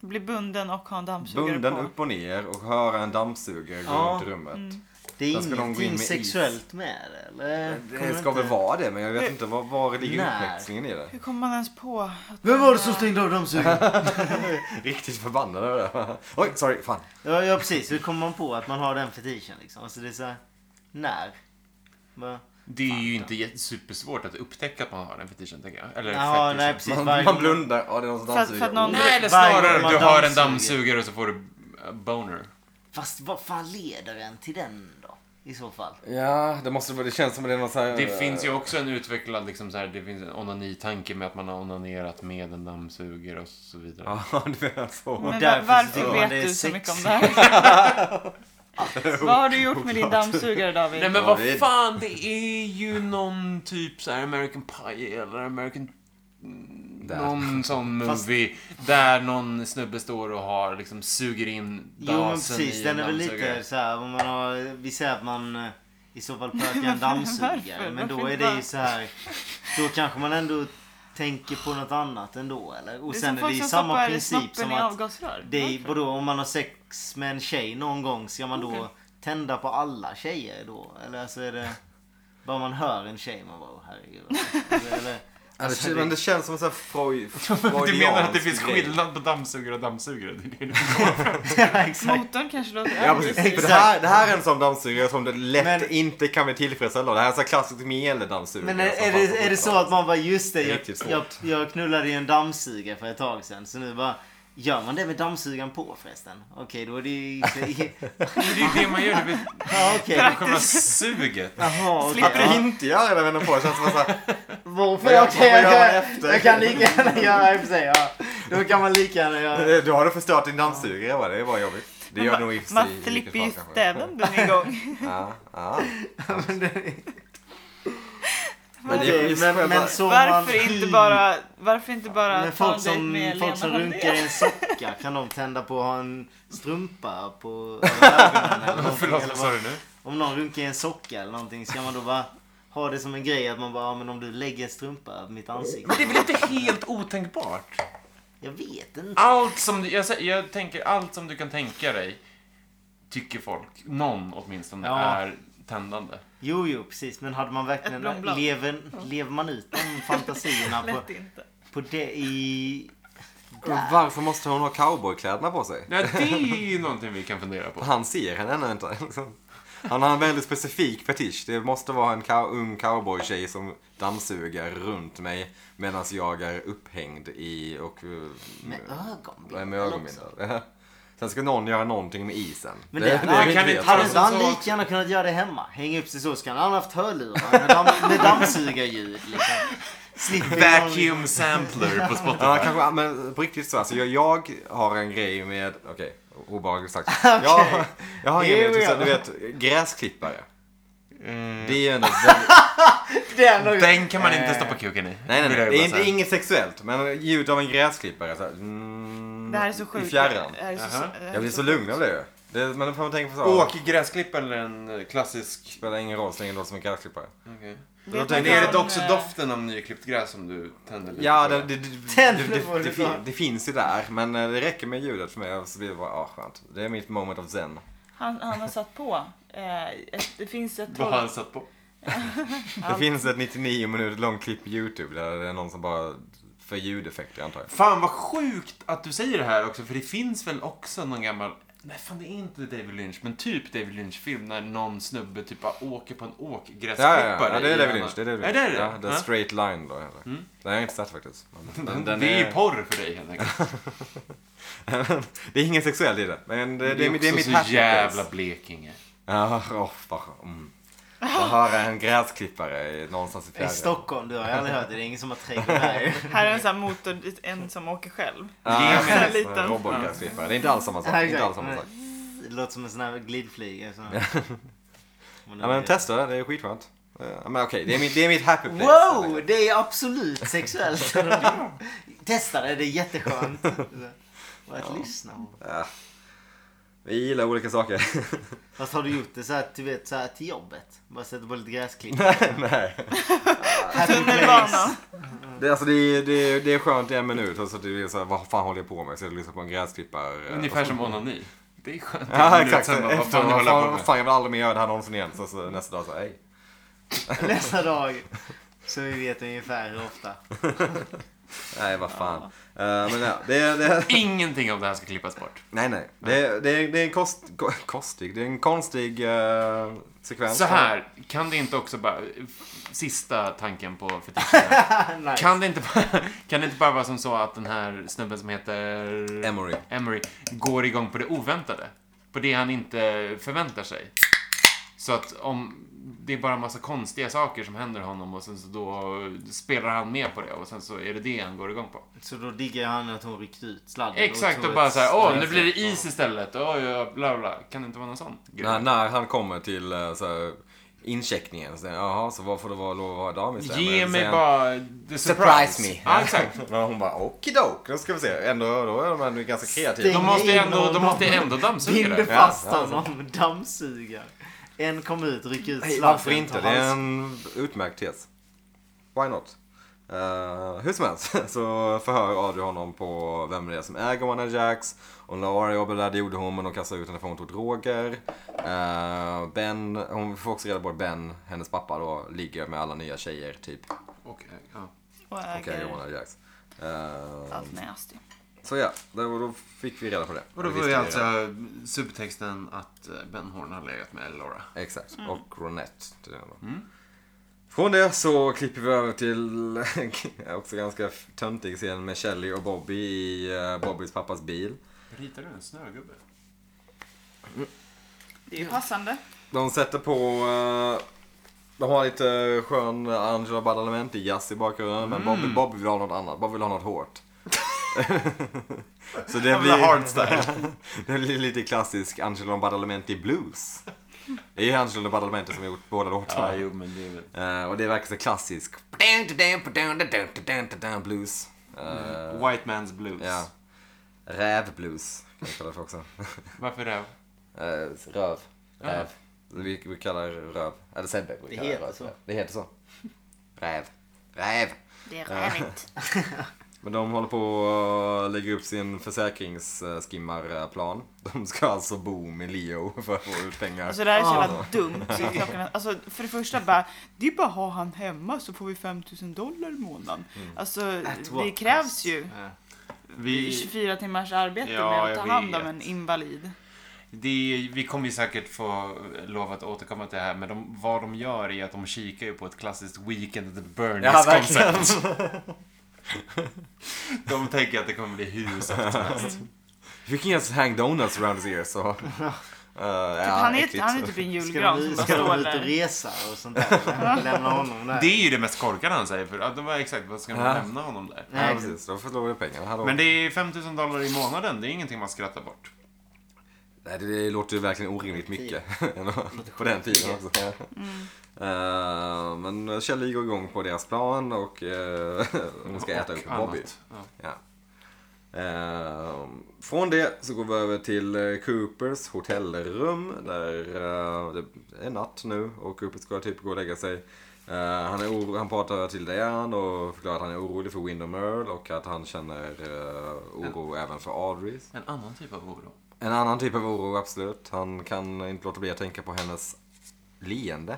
B: Blir bunden och ha en dammsugare
A: Bunden
B: på.
A: upp och ner och höra en dammsugare
C: Ja.
A: runt rummet.
C: Det är
A: Där ska de gå in med
C: ingenting
A: is.
C: sexuellt med det, eller? Kommer
A: Det ska väl
C: inte-
A: vara det, men jag vet inte var, var ligger
C: Nej.
A: uppväxlingen i det.
B: Hur kommer man ens på? att
C: Vem
B: man
C: var det
B: är-
C: som stängde av dammsugaren?
A: Riktigt förbannad över det. Oj, sorry, fan.
C: ja, ja, precis. Hur kommer man på att man har den fetischen liksom? Alltså det är så här, när? Bara,
D: Det är ju inte jätte- supersvårt att upptäcka att man har den fetischen, tänker jag. Eller
C: Ja,
D: fetish.
C: nej, precis.
A: Man,
C: Typ Varje-
A: man blundar. Ja, det är någon som
B: För att- för
A: dammsuger.
B: att någon-
D: Nej, eller
C: Varje gång
D: snarare
C: man
D: du har en
C: dammsuger.
D: dammsugare och så får du eh, boner.
C: Fast vad fan leder en till den då? I så fall.
A: Ja, det måste det känns som att det är någon sån här...
D: Det finns ju också en utvecklad, liksom så här, det finns en onanitanke med att man har onanerat med en dammsugare och så vidare.
A: Ja, du menar så.
B: Men va-
C: därför så
B: varför
C: tror jag
B: vet
C: det är
B: du så
C: sex.
B: mycket om det här? Vad har du gjort med din dammsugare
D: Nej
B: David?
A: Ja,
D: men vad
A: det är-
D: fan, det är ju någon typ så här American Pie eller American... Någon sån
C: Fast-
D: movie där någon snubbe står och har liksom suger in
C: Jo men
D: dasen
C: precis,
D: i
C: den
D: en
C: är väl
D: dammsugare.
C: lite så här, om man har, vi säger att man eh, i så fall pökar en dammsugare.
B: varför?
C: Men då
B: Varför
C: är
B: inte
C: det
B: bara-
C: ju så här, då kanske man ändå tänker på något annat ändå eller? Och sen är det ju samma princip som
B: i
C: att,
B: avgasrör.
C: det är,
B: Varför?
C: vadå, om man har sex med en tjej någon gång, ska man då
B: Okej.
C: tända på alla tjejer då? Eller alltså är det, bara man hör en tjej, man bara oh, herregud. Eller, eller,
A: Ja, det, kän- Alltså, men det känns som en sån här Freud,
D: Du menar att det
A: freudiansk
D: finns
A: grej.
D: skillnad på dammsugare och dammsugare? Det är det du
C: exakt.
B: Motorn kanske låter
A: Ja, precis.
B: aggressiv.
A: För det, här, det här är en sån dammsugare som det lätt
C: Men-
A: inte kan bli tillfredsställd av. Det här är en sån här klassisk mjäldammsugare.
C: Men är,
A: som
C: är,
A: fanns på
C: det, är det så
A: 70-talet.
C: att man bara just det,
A: Det är
C: jag,
A: riktigt svårt.
C: jag, jag knullade i en dammsugare för ett tag sedan. Så nu bara, gör man det med dammsugaren på förresten? Okej, då är det ju inte...
D: Men Det är ju det man gör. Det är
C: ja, okej.
D: väl själva suget.
C: Jaha, okej.
A: Att det inte gör det, men på. Det känns som en sån här...
C: Varför?
A: Vad
C: Okej,
A: gör- vad
C: jag,
A: gör man
C: kan-
A: efter?
C: jag kan lika gärna göra i och för sig. Ja. Då kan man lika gärna göra...
A: Du har du förstört din dammsugare va? Det var jobbigt. Det
B: Men
A: gör
B: man-
A: nog i och för
B: Man
A: sig i
B: slipper ju
A: vilket fall kanske.
B: stäven den en gång.
A: Ja, ja.
C: Men det-
A: Men det är
C: Okej,
A: just
C: men,
A: själva-
C: men så man,
B: Varför inte bara, varför inte bara
C: Men
B: ta
C: folk
B: en dejt
C: som,
B: med Lena
C: folk som runkar i
B: Hallengren?
C: en socka, kan de tända på att ha en strumpa på över ögonen eller någonting?
D: Förlåt,
C: Eller
D: vad
C: vad-
D: sa du nu?
C: Om någon runkar i en socka eller någonting, ska man då bara ha det som en grej att man bara, ja, men om du lägger en strumpa över mitt ansikte.
D: Men det är väl inte helt otänkbart?
C: Jag vet inte.
D: Allt som, du- jag, sä- jag tänker, allt som du kan tänka dig, tycker folk, någon åtminstone,
C: Ja.
D: är tändande.
C: Jo, jo, precis. Men hade man
B: Ett
C: verkligen,
B: blomblad.
C: lever, lever man ut de fantasierna på,
B: Lätt inte.
C: på det i...
A: Men Varför måste hon ha cowboykläderna på sig?
D: Nej, det är ju någonting vi kan fundera på.
A: Han ser henne ännu inte. liksom. Han har en väldigt specifik fetisch. Det måste vara en cow- ung cowboytjej som dammsuger runt mig medan jag är upphängd i och... eh,
C: Med ögonbindel
A: Med ögonbindel.
C: också.
A: Sen ska någon göra någonting med isen.
C: Men det-
D: Man
A: vi
D: kan
A: vet.
D: inte-
C: Hade
D: Alltså,
C: inte han
D: så-
C: lika gärna kunnat göra det hemma? Hänga upp sig så, ska han ha haft hörlurar med, damm, med dammsugarljud liksom. Slipper någon-
D: Vacuum sampler på
A: Ja,
D: Spotify.
A: kanske, men på riktigt så. Alltså, jag, jag har en grej med, okej, obehagligt sagt. jag, jag har en grej med, till exempel, du vet, gräsklippare. Det är ju ändå väldigt,
C: Det är nog-
D: Den kan man inte stoppa kuken i.
A: nej, nej,
D: vill jag
A: nej,
D: bara
A: det är inte,
D: säga.
A: inget sexuellt, men ljud av en gräsklippare. Så här, mm,
B: Det här är så
A: I
B: sjukt.
A: fjärran.
B: Det här är så-
D: Jaha.
B: det här är
A: Jag blir så lugn av det ju. Det, men då får man tänka på så här,
D: Åk gräsklipparen eller en klassisk...
A: spelar ingen roll så länge det låter som en gräsklippare.
D: Okej.
A: Jag
B: Vet du
A: tänker-
D: Men är det
B: vad,
D: också
B: eh,
D: doften av nyklippt gräs som du tänder lite
A: Ja,
D: på?
A: det, det, det, det,
C: Den
A: det,
C: får du
A: det, fin-
C: ta.
A: det finns ju där, men eh, det räcker med ljudet för mig. och Så blir det bara, ah, skönt. Det är mitt moment of zen.
B: Han, han har satt på. Eh, ett, det finns ett
D: Vad har han
B: tolv...
D: satt på?
A: Det finns ett 99 minuter långt klipp på YouTube där det är någon som bara för ljudeffekter antar jag.
D: Fan vad sjukt att du säger det här också, för det finns väl också någon gammal... Nej, fan det är inte David Lynch, men typ David Lynch-film när någon snubbe typ bara åker på en
A: Ja,
D: åkgräsklippare.
A: ja, ja. ja det är
D: i
A: David
D: en-
A: Lynch. Det är David
D: Ja,
A: Lynch.
D: det är det.
A: Ja, The
D: Ja.
A: Straight Line då. Eller? Den har jag inte sett faktiskt. Men Den, den
D: det är ju porr för dig helt enkelt.
A: det är ingen sexuell i det. Men det, det,
D: Det är,
A: det, är mitt
D: också så
A: happy
D: jävla
A: place.
D: Blekinge.
A: Ja, åh, vad skönt. mm. Jag hör en gräsklippare i- någonstans i
C: I
A: fjärran.
C: Stockholm, du har jag aldrig hört det. Det är ingen som har trädgård här.
B: Här är en sån här motor, en som åker själv.
A: Ah,
D: Ge mig
B: en
A: en
B: liten.
A: Robotgräsklippare. Det är inte alls samma sak.
C: Nej,
A: inte
C: exakt.
A: alls samma sak.
C: Det låter som en sån här glidflyga. Så. Om det
A: Ja, men
C: är-
A: testa det. Det är skitskönt. Eh, Ja, men okej, det, är mitt- det är mitt happy place. helt
C: Wow,
A: enkelt.
C: det är absolut sexuellt. Testa det, det är jätteskönt. Och att lyssna på.
A: Ja. Vi gillar olika saker.
C: Fast har du gjort det så här, du vet, så här till jobbet? Bara sätta på lite gräsklipp.
A: Nej.
C: Happy
B: Tunnelbanan.
A: Det, alltså, det, är- det, är- det är skönt i en minut och så att det är så här, vad fan håller jag på med? Så jag lyssnar på en gräsklippare. eh,
D: Ungefär som onani. Det är skönt.
A: Ja
D: Det är
A: exakt.
D: samma, Vad
A: Efter,
D: fan
A: vad
D: håller jag
A: fan,
D: på
A: vad
D: med?
A: fan jag vill aldrig mer göra det här någonsin igen. Så, så nästa dag så, hej.
C: Nästa dag. Så vi vet ungefär hur ofta.
A: Nej, vad fan. Eh, men ja, det, är- det, är-
D: Ingenting av det här ska klippas bort.
A: nej, nej. Det, är- det, är- det är en kost, ko- kostig, det är en konstig eh, sekvens.
D: Så här, kan det inte också bara... Sista tanken på fetischen.
C: nice.
D: Kan det, inte bara, kan det inte bara vara som så att den här snubben som heter...
A: Emory.
D: Emery går igång på det oväntade. På det han inte förväntar sig. Så att om det är bara en massa konstiga saker som händer honom och sen så då spelar han med på det och sen så är det det han går igång på.
C: Så då diggar han att hon ryckte ut sladden.
D: Exakt,
C: tog
D: och bara
C: ett
D: såhär, åh, nu
C: strömfält
D: blir det
C: och-
D: is istället. Oj, ja, bla, bla. Kan det inte vara någon sån grej?
A: När, när han kommer till eh, så här, incheckningen, så, jaha, så vad får det vara lov att vara dam istället?
D: Ge
A: Men
D: mig
A: sen-
D: bara the surprise.
G: Surprise me.
D: Ja, exakt.
A: Men hon bara, okidok, då ska vi se. Ändå, då är de ändå ganska kreativa.
D: De måste ju ändå,
C: Ingen
D: de måste ju
C: aning.
D: ändå
C: Binder
D: dammsuga det.
C: fast
A: Ja,
C: honom, dammsugar. En kom ut, rycker ut
A: Nej,
C: sladden.
A: varför inte?
C: tar
A: Det är
C: hans-
A: en utmärkt tes. Why not? Eh, hur som helst så förhör Audrey honom på vem det är som äger One Night Jacks. Och Laura jobbar där, det gjorde hon men de kastade ut henne för hon tog droger. Eh, ben, hon får också reda på att Ben, hennes pappa då, ligger med alla nya tjejer typ.
D: Okej, eh, ja.
B: Och
A: Och äger
B: äger
A: One Night Jacks. Eh,
B: allt nasty.
A: så ja, då, då fick vi reda på det.
D: Och då
A: Det
D: var
A: visste
D: ju
A: vi redan.
D: alltså subtexten att eh, Ben Horn har legat med Laura.
A: Exakt, och Ronette. till den då. Från det så klipper vi över till också ganska töntig scen med Shelly och Bobby i eh, Bobbys pappas bil.
D: Ritar du en snögubbe?
B: Det är ju passande.
A: De sätter på, eh, de har lite skön Angela Badalamenti-jazz i bakgrunden men Bobby, Bobby vill ha något annat, Bobby vill ha något hårt. så det
D: vill ha
A: blir, det blir lite klassisk Angelo Badalamenti blues. Det är ju Angelo Badalamenti som har gjort båda låtarna.
D: jo, men det är väl...
A: Eh, och det verkar så klassisk blues. Eh,
E: Mm.
D: White man's blues.
A: ja. Rävblues kan vi kalla det för också.
D: Varför det?
A: Eh, röv. Räv. Vi, vi kallar det röv. Eller Sebbe vi
C: Det
A: kallar
C: heter
A: röv.
C: så.
A: Det heter så. Räv. Räv.
B: Det är rävigt.
A: Men de håller på att lägga upp sin försäkringsskimmarplan. De ska alltså bo med Leo för att få ut pengar.
B: Alltså det här är så jävla dumt. Så klockan, alltså, för det första bara, det är bara att ha han hemma så får vi 5000 dollar i månaden.
D: Mm.
B: Alltså
C: At
B: det
C: what
B: krävs
C: cost?
B: ju
C: Ja.
D: Äh, Vi,
B: 24 timmars arbete
D: Ja,
B: med att
D: jag
B: ta hand om
D: vet.
B: en invalid. Typ,
D: det, vi kommer ju säkert få lov att återkomma till det här, men de, vad de gör är att de kikar ju på ett klassiskt Weekend at the
A: Ja, verkligen.
D: Bernies-koncept. de tänker att det kommer bli hus efter som helst.
A: Vi kan just hang donuts around his ears. Så. eh,
B: typ, han, är, han är typ en
C: Ska
B: julgran
C: de,
B: som bara
C: ska de
B: står
C: ut
B: där.
C: och resa och sånt där? Lämna honom där?
D: Det är ju det mest korkade han säger, för att de var exakt, vad ska
A: Ja.
D: man lämna honom där?
A: Ja,
C: Nej,
A: precis. De förlorar ju pengarna. Hallå.
D: Men det är 5000 dollar i månaden, det är ingenting man skrattar bort.
A: Nej, det, det låter ju verkligen orimligt mycket. på den tiden också.
D: Mm.
A: Eh, men Kjell går igång på deras plan och uh, hon ska äta
D: Och
A: upp Bobby.
D: annat. Ja.
A: Ja. Eh, från det så går vi över till eh, Coopers hotellrum där eh, det är natt nu och Cooper ska typ gå och lägga sig. Eh, han, är oro, han pratar till Diane och förklarar att han är orolig för Windom Earl och att han känner eh, oro även för Audrey.
D: En annan typ av oro.
A: En annan typ av oro, absolut. Han kan inte låta bli att tänka på hennes leende.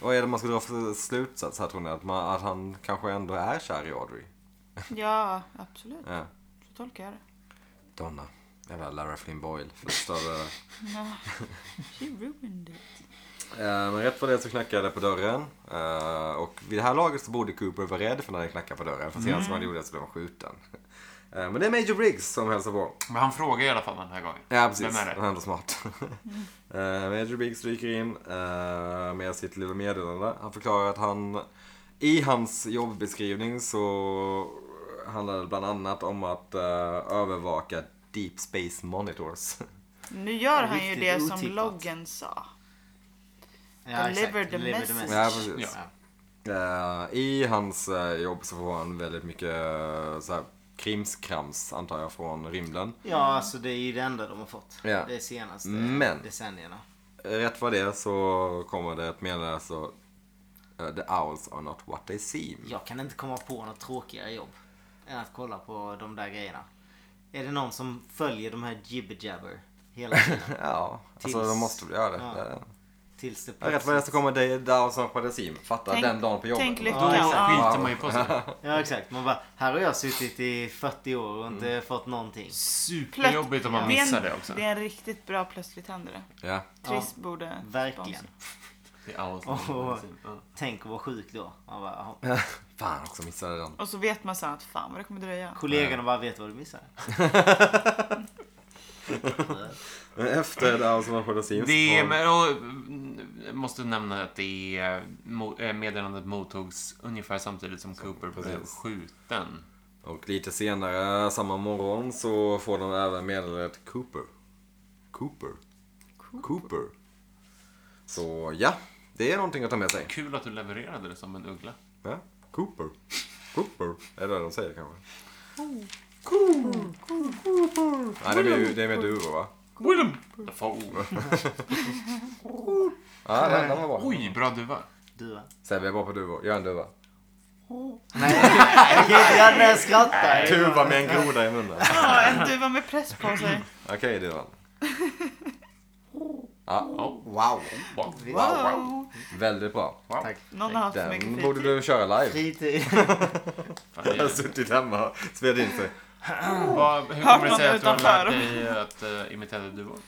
A: Vad är det man ska dra för slutsats här tror ni? Att, man, att han kanske ändå är kär i Audrey?
B: Ja, absolut.
A: Ja.
B: Så tolkar jag det.
A: Eh, Donna. Jävla Lara Flynn Boyle. eh, Förstörde det.
B: She ruined it.
A: Eh, Men rätt vad det är så knackade det på dörren. Eh, Och vid det här laget så borde Cooper vara rädd för när det knackar på dörren. För senast mm. han gjorde det så blev han skjuten. Eh, Men det är Major Briggs som hälsar på.
D: Men han frågar i alla fall den här gången.
A: Ja, precis.
D: Vem är det? Mm.
A: Han är ändå smart. Eh, Major Biggs dyker in eh, med sitt lilla meddelande. Han förklarar att han, i hans jobbeskrivning så handlar det bland annat om att eh, övervaka Deep Space Monitors.
B: Nu gör han ju
C: Riktigt
B: det som
C: otippat.
B: loggen sa.
C: ja, exakt.
B: Deliver the message.
A: ja, precis.
D: Ja.
A: Eh, I hans eh, jobb så får han väldigt mycket eh, så här, krimskrams antar jag från rymden.
C: Ja, alltså det är ju det enda de har fått.
A: Ja.
C: Det senaste
A: Men-
C: decennierna.
A: Rätt vad det är så kommer det ett meddelande så eh, The owls are not what they seem.
C: Jag kan inte komma på något tråkigare jobb än att kolla på de där grejerna. Är det någon som följer de här jibber jabber hela tiden?
A: Ja, alltså
C: Tills-
A: de måste väl göra det.
C: ja. tills det
A: Ja, Rätt vad det är så kommer det down som Padazim. Fattar
B: Tänk-
A: den dagen på jobbet.
B: tänk lycka.
A: Ja,
B: Ja,
A: exakt.
D: Skiter man ju på sig.
C: Ja exakt. Man bara, här har jag suttit i 40 år och inte fått någonting.
D: Superjobbigt om man
B: Det är en-
D: missar det också.
B: Det är en riktigt bra plötsligt händer det.
A: Ja.
B: Triss borde
C: Verkligen.
B: sponsra.
D: Det är allt.
C: Åh.
D: Ja.
C: Tänk att vara sjuk då. Man bara, jaha.
A: Fan också missade den.
B: Och så vet man sen att fan vad det kommer dröja.
C: Kollegorna bara vet vad du missar.
A: Men efter down som Padazim.
D: Det är, men, och, mm, jag måste nämna att det är, mo- eh, meddelandet mottogs ungefär samtidigt som Cooper blev
A: precis.
D: skjuten.
A: Och lite senare samma morgon så får de även meddelandet Cooper. Cooper. Cooper. Så ja, det är någonting att ta med sig.
D: Kul att du levererade det som en uggla.
A: Ja, Cooper. Cooper. Är det vad de säger kanske?
B: Oh.
A: Cooper. Nej, det är med, det är med duvor va?
D: Willem! Dafoe.
A: Ja, den, den var bra.
D: Oj, bra duva.
C: Du va?
A: Sebbe är bra på duvor. Gör en duva.
C: Jag kan inte göra när jag skrattar.
A: Tuva med en groda i munnen.
B: Ja, en duva med press på sig.
A: Okej, duvan. Ja,
G: Wow.
D: Wow.
B: Wow.
A: väldigt bra.
D: wow.
C: Tack.
B: Någon har haft för mycket
A: Den
B: fritid.
A: borde du köra live.
C: Fritid.
D: Fan,
A: Jag har
D: det-
A: suttit hemma och spelat in sig.
D: Vad- Hur
B: Hört
D: kommer det
B: någon
D: sig att du har
B: utanför.
D: lärt dig att eh, imitera duvor?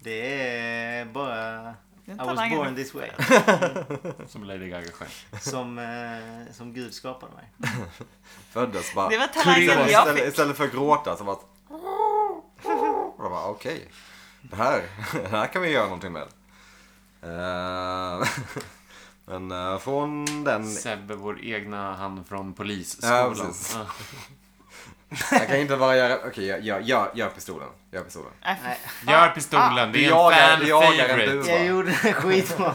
C: Det är bara...
B: Den
C: I was
B: talangen.
C: born this way.
D: Som Lady Gaga själv.
C: Som, eh, som Gud skapade mig.
A: Föddes bara.
B: Det var talangen jag
A: istället,
B: fick.
A: istället för att gråta så bara... Jag bara okej. Det, här, det här kan vi göra någonting med. Eh, Men eh, från den...
D: Sebbe, vår egna han från
A: Ja,
D: polisskolan.
A: precis.
D: Ja.
A: Jag kan inte bara göra... Okej, gör, gör, gör, gör pistolen. Gör pistolen.
B: Nej, för
C: Nej.
D: Gör pistolen, det
A: Du
D: är
A: jagar-
D: en
A: du
D: fan
A: jagar en
D: favorite.
A: duva.
C: Jag gjorde det skitbra.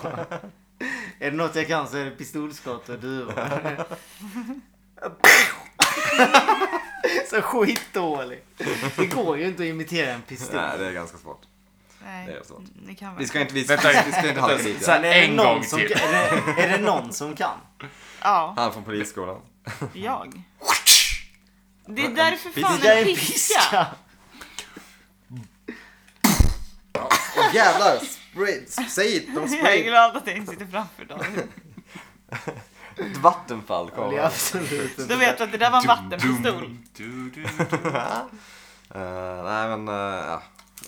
C: är det något jag kan så är det pistolskott och duvor. så skitdålig. Det går ju inte att imitera en pistol.
A: Nej, det är ganska svårt.
B: Nej,
A: Det är svårt.
B: ni kan
A: Vi
B: väl.
A: ska inte, vi,
D: Vänta,
A: vi ska inte halka dit.
D: Så här,
A: ja.
C: Men är det
D: en
C: någon
D: gång
C: som
D: till.
C: Kan, är, det, är det någon som kan?
B: Ja,
A: Han från polisskolan.
B: jag. Det är därför
A: Piska.
B: fan
C: Det är
B: en
C: en
B: piska.
C: piska.
A: Åh jävlar! Spray, säg it! De
B: Jag är
A: spray...
B: glad att jag inte sitter framför David.
A: Ett vattenfall
C: Det
A: kommer.
C: är absolut
B: Då
C: inte.
B: vet du att det där var en
A: Mm.
B: vattenpistol.
D: Du, du,
A: Eh, nej men, eh, ja.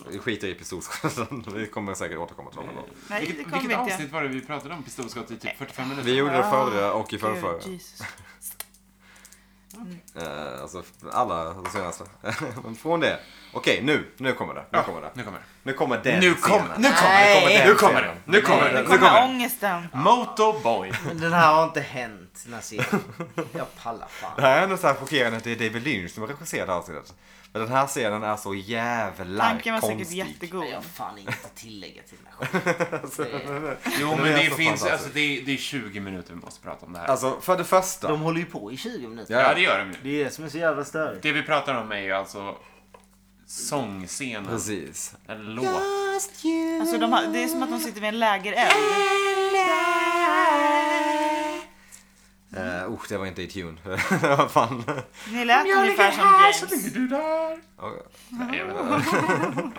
A: Vi skiter i pistolskottet. vi kommer säkert återkomma till honom.
B: Nej, det
D: Vilket,
B: kommer
D: vilket
B: inte
D: avsnitt var det vi pratade om pistolskott i typ 45 minuter?
A: Vi gjorde det förra och i
B: jag.
A: förrförra.
B: Gud, Jesus.
A: Eh, alltså alla de senaste. men från det. Okej, nu. Nu kommer det. Nu kommer det.
D: Nu kommer det.
A: Nu kommer den
D: Nu
A: scenen.
D: kommer, nu kommer
A: Nej.
D: det! Nu kommer det! Nu kommer
B: Nu
D: det! Nu kommer
B: kommer
D: det!
B: ångesten.
D: Motorboy!
C: Den här har inte hänt Nasir. Jag pallar
A: Det
C: fan.
A: här är ändå så här chockerande att det är David Lynch som har regisserat det här avsnittet. Men den här scenen är så jävla
B: Tanken var säkert
A: konstig.
B: jättegod.
C: Jag har fan inget att tillägga till den här skiten.
D: Jo
A: Det
D: men
A: är
D: det
A: så
D: finns,
A: fantastiskt.
D: alltså det är, det är 20 minuter vi måste prata om det här.
A: Alltså för det första.
C: De håller ju på i 20 minuter.
D: Ja det gör de ju.
C: Det är det som är så jävla störigt.
D: Det vi pratar om är ju alltså sångscenen.
A: Precis.
D: Eller låt.
B: Alltså de har, det är som att de sitter vid en lägereld.
A: Eh, oh, det var inte i tune. Vad fan.
B: Ni lät ungefär som James.
D: ligger du där.
A: Okej.
D: Nej, jag vet inte.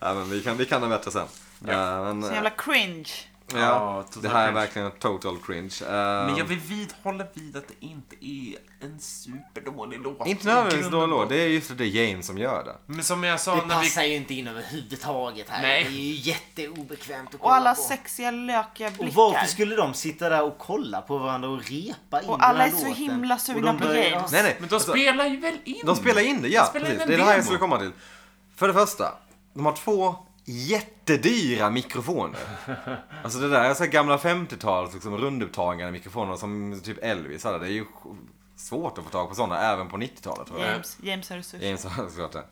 A: Nej, men vi kan, vi kan den bättre sen.
D: Ja.
A: Eh, men,
B: Så jävla cringe.
A: ja,
D: Ja,
A: det här är
D: total
A: verkligen total cringe. Eh,
D: Men jag vill vidhålla vid att det inte är en superdålig låt.
A: Inte nödvändigtvis
D: Grunden-
A: då då. Det är just det James som gör det.
D: Men som jag sa
C: Det
D: när vi...
C: passar ju inte in överhuvudtaget här.
D: Nej.
C: Det är ju jätteobekvämt att kolla
B: Och alla
C: på.
B: sexiga lökiga
C: Och
B: blickar.
C: varför skulle de sitta där och kolla på varandra och repa in
B: Och alla
C: den här
B: är så
C: låten?
B: himla
C: Och
B: sugna
C: de
B: på
C: börjar-
B: James.
A: Nej, nej.
D: Men de
A: alltså,
D: spelar ju väl in?
A: de spelar in det, ja.
D: De spelar in
A: precis.
D: en
A: Det är det här
D: demo.
A: jag skulle komma till. För det första, de har två jättedyra mikrofoner. Alltså det där är så här gamla 50-tals liksom, rundupptagande mikrofoner som typ Elvis hade. Det är ju svårt att få tag på sådana även på 90-talet tror jag.
B: James, James har resurser.
A: James har såklart det.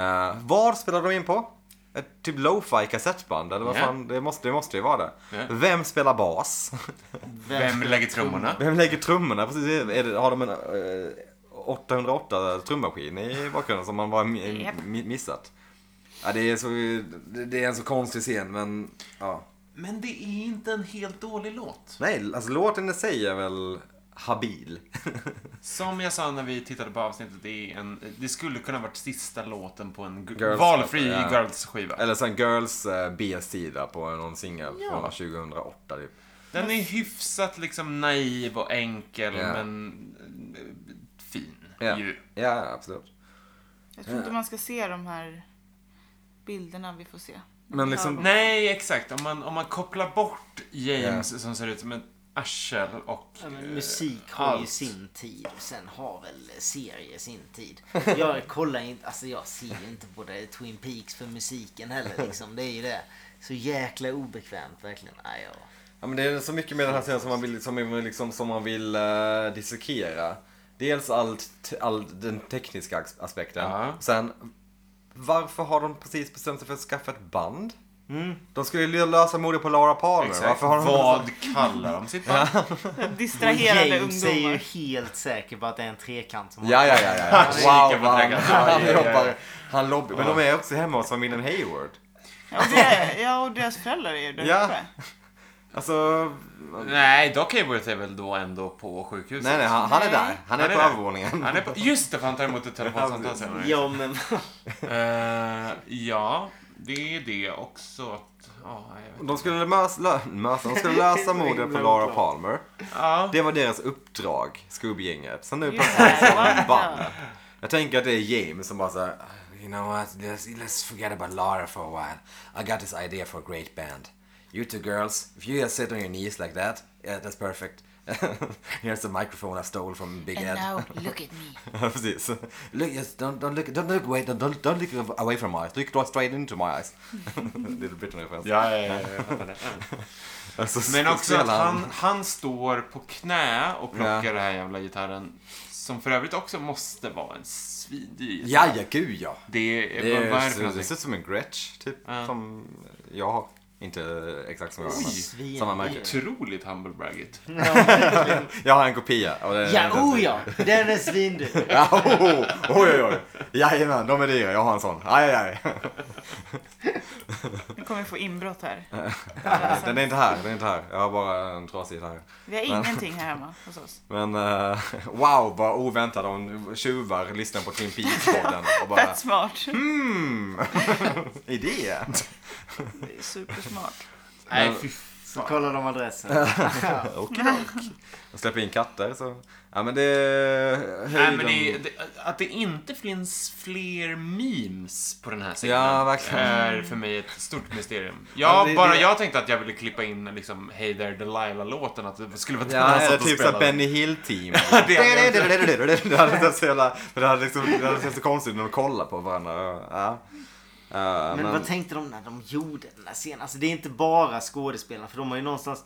A: Eh, vad spelade de in på? Ett typ lo-fi kassettband eller vad
D: Ja.
A: fan, det måste, det måste ju vara det.
D: Ja.
A: Vem spelar bas?
D: Vem lägger trummorna?
A: Vem lägger trummorna? Precis, är det, har de en eh, 808 trummaskin i bakgrunden som man bara mi-
B: Japp.
A: mi- missat? Ja, det, är så, det- det är en så konstig scen men ja.
D: Men det är inte en helt dålig låt.
A: Nej, alltså låten i sig är väl habil.
D: Som jag sa när vi tittade på avsnittet, det, är en, det skulle kunna varit sista låten på en gu-
A: Girls-
D: valfri
A: ja.
D: Girls-skiva.
A: Eller så en Girls eh, B-sida på någon singel
D: Ja.
A: från 2008 typ.
D: Den är hyfsat liksom naiv och enkel,
A: Ja.
D: men eh, fin
A: Ja.
D: ju.
A: Ja, absolut.
B: Jag tror inte man ska se de här bilderna vi får se.
A: Men liksom,
D: Nej, exakt. Om man, om man kopplar bort James som ser ut som ett arsel och...
C: Ja,
D: eh,
C: men musik har ju
D: allt.
C: sin tid. Sen har väl serier sin tid. Jag kollar inte, alltså jag ser ju inte på det Twin Peaks för musiken heller liksom. Det är ju det. Så jäkla obekvämt verkligen. Nej, ja.
A: ja, men det är så mycket med den här serien som man vill, som, man liksom, som man vill eh, dissekera. Dels allt, all den tekniska as- aspekten.
D: Ja.
A: Sen, varför har de precis bestämt sig för att skaffa ett band? De skulle ju lösa mordet på Laura Palmer.
D: Mm. Exakt.
A: Varför har de
D: Vad kallar de sitt band?
C: Och
B: Distraherade
C: James är ju
B: ungdomar.
C: helt säker på att det är en trekant som
A: Ja, ja, ja. ja.
D: är lika
A: Wow,
D: bra
A: vad han,
D: dragan. Ja,
A: han
D: ja, ja, ja.
A: jobbar. Han lobbar. Men de är också hemma hos familjen Hayward.
B: Ja, och det- Ja, och deras föräldrar är ju där
A: Ja.
B: uppe.
A: Alltså,
D: Nej, Doc Hayward är väl då ändå på sjukhuset?
A: nej, nej, han, han är där. Han är
D: Han är
A: på
D: där.
A: övervåningen.
D: Han är på, just det, för han tar emot ett telefonsamtal senare.
C: Ja men
D: Eh, ja, det är det också. Att, ja, jag vet.
A: De skulle lösa, lö, mösa, de skulle lösa mordet på Laura Palmer.
D: Ja.
A: Det var deras uppdrag, Scooby-gänget. Så nu
B: Just
A: plötsligt
B: det,
A: så har de
B: wow.
A: ett band. Jag tänker att det är James som bara såhär, you know what, let's, let's forget about Laura for a while. I got this idea for a great band. You two girls, if you just sit on your knees like that, yeah, that's perfect. Here's the microphone I stole from Big Ed.
B: look at me.
A: Ja, precis. Look, yes, don't, don't, look, don't, look away, don't, don't, don't look away from my eyes. Look straight into my eyes. Little Britain-referens.
D: Ja, ja, ja, jag fattar det.
A: Alltså,
D: Men
A: så
D: också att
A: Eh, spelar
D: han, han står på knä och plockar
A: Ja.
D: den här jävla gitarren. Som för övrigt också måste vara en svindyr gitarr.
A: Ja, ja, gud ja.
D: Det är...
A: Det,
D: vad är det
A: är, det,
D: för någonting?
A: ser ut som en Gretsch, typ.
D: Ja.
A: Som jag har. Inte exakt som jag har, men
C: svin.
A: samma märke.
D: Otroligt humblebraggigt.
A: Jag har en kopia. Och det,
C: Ja, oh ja! Den är svindyr.
A: Ja, oh, oh, oj, oj, oj. Jajamän, de är dyra. Jag har en sån. Aj, aj, aj.
B: Nu kommer vi få inbrott här.
A: Den är inte här, den är inte här. Jag har bara en trasig här.
B: Vi har ingenting här hemma hos oss.
A: Men eh, wow, vad oväntat. De tjuvar lyssnar på Twin Peaks-podden och bara
B: Fett smart.
A: hmm, idé.
B: Det är supersmart.
D: Nej, fy
C: Så
D: fan.
C: kollar de adressen.
A: Okej. De släpper in katter så. Ja men det är
D: Nej, men det,
A: höjden.
D: det, att det inte finns fler memes på den här sidan
A: Ja, verkligen.
D: är för mig ett stort mysterium.
A: Ja,
D: Jag,
A: det-
D: bara
A: det-
D: jag tänkte att jag ville klippa in liksom Hey there Delilah-låten, att det skulle vara den
A: Ja,
D: han
A: eller
D: satt och
A: typ såhär
D: spelade.
A: Benny Hill-team.
D: det hade jag
A: Det hade känts så jävla... Det hade liksom... Det hade känts så konstigt när de kollar på varandra. Ja. Eh, Ja,
C: Men vad tänkte de när de gjorde den där scenen? Alltså det är inte bara skådespelarna för de har ju någonstans...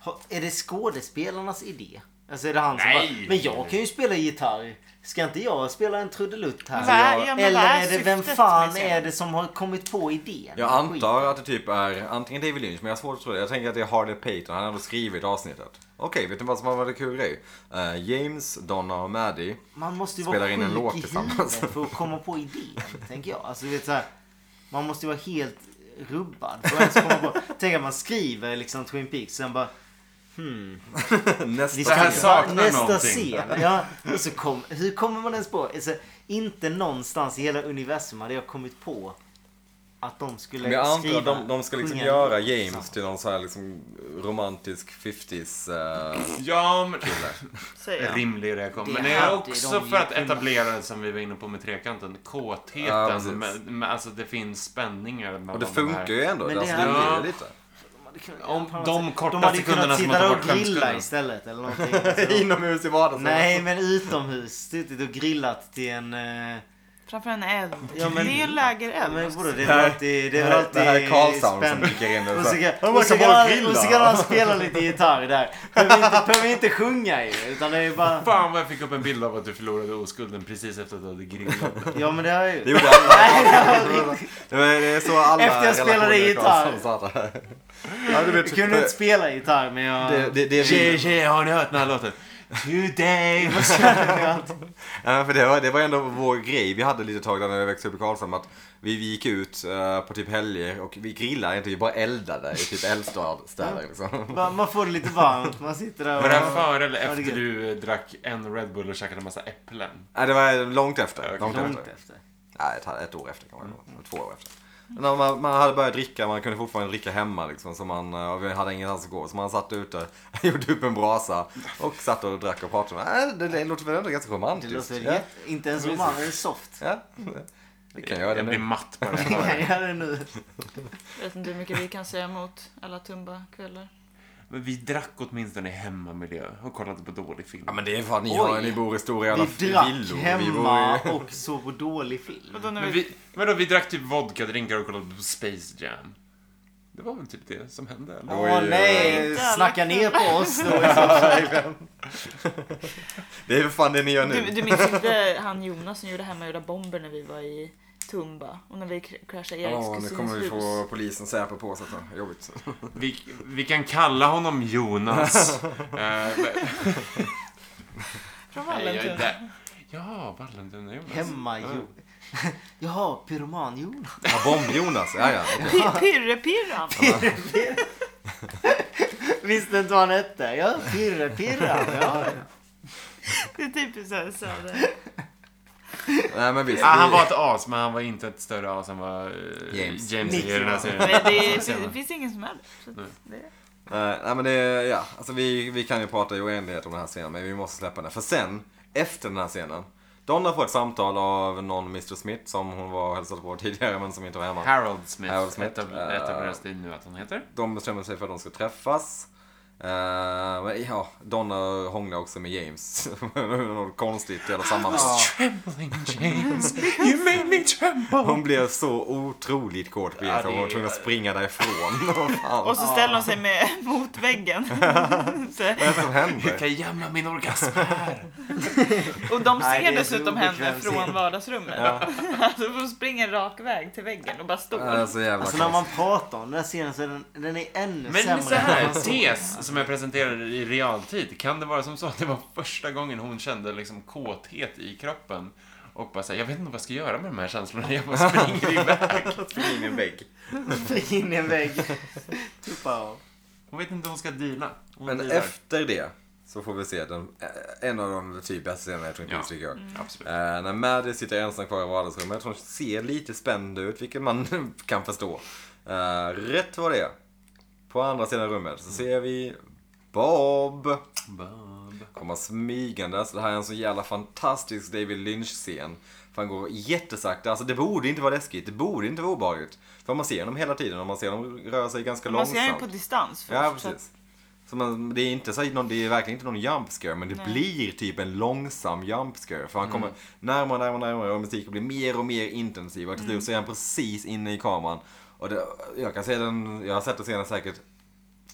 C: Har- Är det skådespelarnas idé? Alltså är det han som
D: Nej.
C: bara, Men jag kan ju spela gitarr. Ska inte jag spela en trudelutt här?
B: Men vad är- ja, men
C: Eller
B: vad är
C: är det vem
B: syftet med
C: fan
B: scenen?
C: är det som har kommit på idén?
A: Jag antar att det typ är antingen David Lynch, men jag har svårt att tro det. Jag tänker att det är Harley Payton, han har ändå skrivit avsnittet. Okej, vet ni vad som har varit en kul grej? Eh, James, Donna och Maddie.
C: Man måste ju
A: Spelar
C: vara
A: in en låt
C: sjuk i
A: tillsammans.
C: huvudet för att komma på idén, tänker jag. Alltså, du vet, så här, man måste ju vara helt rubbad för att ens komma på. Tänk att man skriver liksom Twin Peaks sen bara
A: Nästa
C: vi
D: Det här
A: scen.
D: sa- saknar
C: nästa
D: någonting.
C: scen. Ja, och så kom, hur kommer man ens på? Alltså, inte någonstans i hela universum hade jag kommit på att de skulle
A: Men jag antar
C: skriva.
A: att de, de ska liksom
C: sjunga.
A: göra James till någon så här liksom romantisk 50s... eh,
D: Ja, men...
B: Säger jag.
D: Rimlig reaktion.
C: Det
D: Men det är
C: hade
D: också
C: de
D: för att
C: ju kunnat.
D: etablera det som vi var inne på med trekanten. Kåtheten.
A: Ja, precis.
D: med, med, alltså det finns spänningar mellan
A: och det
D: de här.
A: funkar ju ändå.
C: Men det
A: alltså, det
D: hade-
A: blir ju lite.
C: De hade kunnat-
D: Om
C: på något
D: de
C: sätt-
D: korta
C: alltså, de hade
D: sekunderna
C: kunnat
D: som har
C: sitta där
D: tagit
C: och
D: bort
C: grilla
D: skämskudden.
C: istället eller någonting. Alltså, de-
A: Inomhus i vardagsrummet.
C: Nej men utomhus. Suttit och grillat till en... eh,
B: Framför en eld.
C: Ja, men-
B: det är ju
C: Ja,
B: lägereld.
C: men
B: måste
C: vadå, det är
A: Det här-
C: väl alltid, det
A: det
C: är
A: här-
C: väl alltid
A: det här är Karlsson som
C: spännande.
A: dyker in och
C: Och
A: så
C: så
A: här,
C: kan,
A: "Man
C: och så
A: kan bara
C: kan,
A: grilla."
C: och så kan han spela lite gitarr där. Behöver inte, behöver inte sjunga ju. Utan det är bara...
D: Fan vad jag fick upp en bild av att du förlorade oskulden precis efter att du hade grillat.
C: Ja men det har jag
A: Det
C: ju.
A: gjorde alla. det var- det är så alla
C: Efter jag spelade
A: relationer i
C: gitarr.
A: Karlsson startar. ja, du vet,
C: Jag kunde inte spela gitarr men jag...
A: det, det, det, är vi-
D: tjejer, har ni hört den här låten?
E: Today was...
A: Ja, för det var, det var ändå vår grej vi hade lite tag där när vi växte upp i Karlshamn. Att vi, vi gick ut eh, på typ helger och vi grillade inte, vi bara eldade i typ eldstad. Städer, liksom.
C: Man, man får det lite varmt. Man sitter där och...
E: Var det här före eller
C: Ja, det är
E: efter
C: gött.
E: du drack en Red Bull och käkade en massa äpplen?
A: Nej, det var långt efter.
E: Okej.
A: Långt
C: Långt
A: efter.
C: efter.
A: Nej, ett, ett år efter kan man mm. Två år efter. Men man, man hade börjat dricka, man kunde fortfarande dricka hemma liksom. Så man eh, vi hade ingenstans att gå. Så man satt ute, gjorde upp en brasa och satt och drack och pratade. Nej, det, det låter väl ändå ganska
C: Det
A: romantiskt.
C: låter väl
A: ja.
C: jätte- Inte ens romantiskt, det är soft.
A: ja. Vi kan göra det
E: jag blir
A: nu.
E: matt på det
C: Vi kan
E: här.
C: göra det nu.
B: Jag vet inte hur mycket vi kan säga emot alla Tumba-kvällar.
E: Men vi drack åtminstone i hemmamiljö och kollade på dålig film.
A: Ja men det är fan, ni,
C: Oj.
A: har, ni bor i stora jävla
C: Vi drack
A: villor. Vi bor
C: hemma
A: i...
C: och såg på dålig film.
B: Vadå, när
E: Men
B: vi...
E: vi, vadå, vi drack typ vodka-drinkar och kollade på Space Jam. Det var väl typ det som hände? Eller?
A: Ja.
C: Åh
A: Oj, oj, oj.
C: nej,
B: Inte alla
C: snacka ner på oss då.
A: Det är ju fan det ni gör nu.
B: Du, du minns inte han Jonas som gjorde hemmagjorda bomber när vi var i Tumba? Och när vi kr- kraschade Eriks
A: Ja, nu
B: kusins
A: kommer vi
B: hus?
A: få polisen säpo på oss. alltså. Jobbigt.
E: Vi, vi kan kalla honom Jonas. Eh,
B: Från
E: nej, jag är
B: Vallentuna.
E: där. Ja, Vallentuna Jonas.
C: Hemma
E: Ja.
C: jo. Jaha, pyroman Jonas.
A: Ja, bomb-Jonas. Ja, ja. okej.
B: Pi- Pirre-Pirran!
C: Visste inte vad han hette? Ja, Pirre Pirran. Ja.
B: Det är typiskt såhär söder.
A: Nej, men visst.
E: Ja, Ah, han
A: vi-
E: var ett as, men han var inte ett större as än vad eh,
A: James.
E: James, är i den här
B: Nej,
E: serien.
B: det, är, det finns ingen som är det. Så att det.
A: Eh, Nej, nej men det, ja. Alltså vi, vi kan ju prata i oändlighet om den här scenen, men vi måste släppa den. För sen, efter den här scenen, Donna får ett samtal av någon Mr Smith som hon var och hälsade på tidigare, men som inte var hemma.
E: Harold Smith, eh,
A: Harold Smith,
E: etab- etableras det nu att han heter.
A: De bestämmer sig för att de ska träffas. Eh, men ja, Donna hånglar också med James. Något konstigt jävla sammanhang.
E: Trembling James, you made me tremble.
A: Hon blev så otroligt kort
E: Ja,
A: ja,
E: det
A: hon var tvungen att
E: är-
A: springa därifrån. Vad fan
B: Och så ställer hon sig med, mot väggen. Så,
A: är det som
E: Jag
A: händer?
E: kan gömma min orgasm här.
B: och de
C: Nej, det
B: ser
C: är så
B: dessutom henne
C: obekväm
B: från
C: scen.
B: vardagsrummet. Alltså hon springer rak väg till väggen och bara står.
A: Det är så jävla
C: Alltså
A: konstigt.
C: när man pratar om den här scenen så är den, den är ännu
E: Men
C: sämre.
E: så
C: än
E: här,
C: vad man såg.
E: tes som jag presenterade i realtid. Kan det vara som så att det var första gången hon kände liksom kåthet i kroppen? Och bara såhär, jag vet inte vad jag ska göra med de här känslorna. Jag bara springer iväg.
A: in i en vägg.
C: Fick in i en vägg. Typ Tuppa av.
E: Hon vet inte hur hon ska deala. Hon
A: Men
E: dealar.
A: efter det så får vi se den, eh, en av de typ bästa scenerna jag tror inte
E: Ja.
A: vi tycker jag.
B: Mm.
E: Absolut.
A: Eh, när Maddie sitter ensam kvar i vardagsrummet. Hon ser lite spänd ut, vilket man kan förstå. Eh, rätt vad det är, på andra sidan rummet, så ser vi Bob
E: Bob.
A: komma smygande. Så det här är en så jävla fantastisk David Lynch-scen. För han går jättesakta. Alltså det borde inte vara läskigt, det borde inte vara obehagligt. För man ser dem hela tiden och man ser dem röra sig ganska
B: Man
A: långsamt.
B: ser henne på distans först.
A: Ja,
B: så att-
A: precis. Så man, det, är inte så, någon, det är verkligen inte någon jump scare, men det
B: Nej.
A: blir typ en långsam jump scare. För han kommer närmare och närmare, närmare och musiken blir mer och mer intensiv. Och till slut så är han precis inne i kameran. Och det, jag kan se den, jag har sett den scenen säkert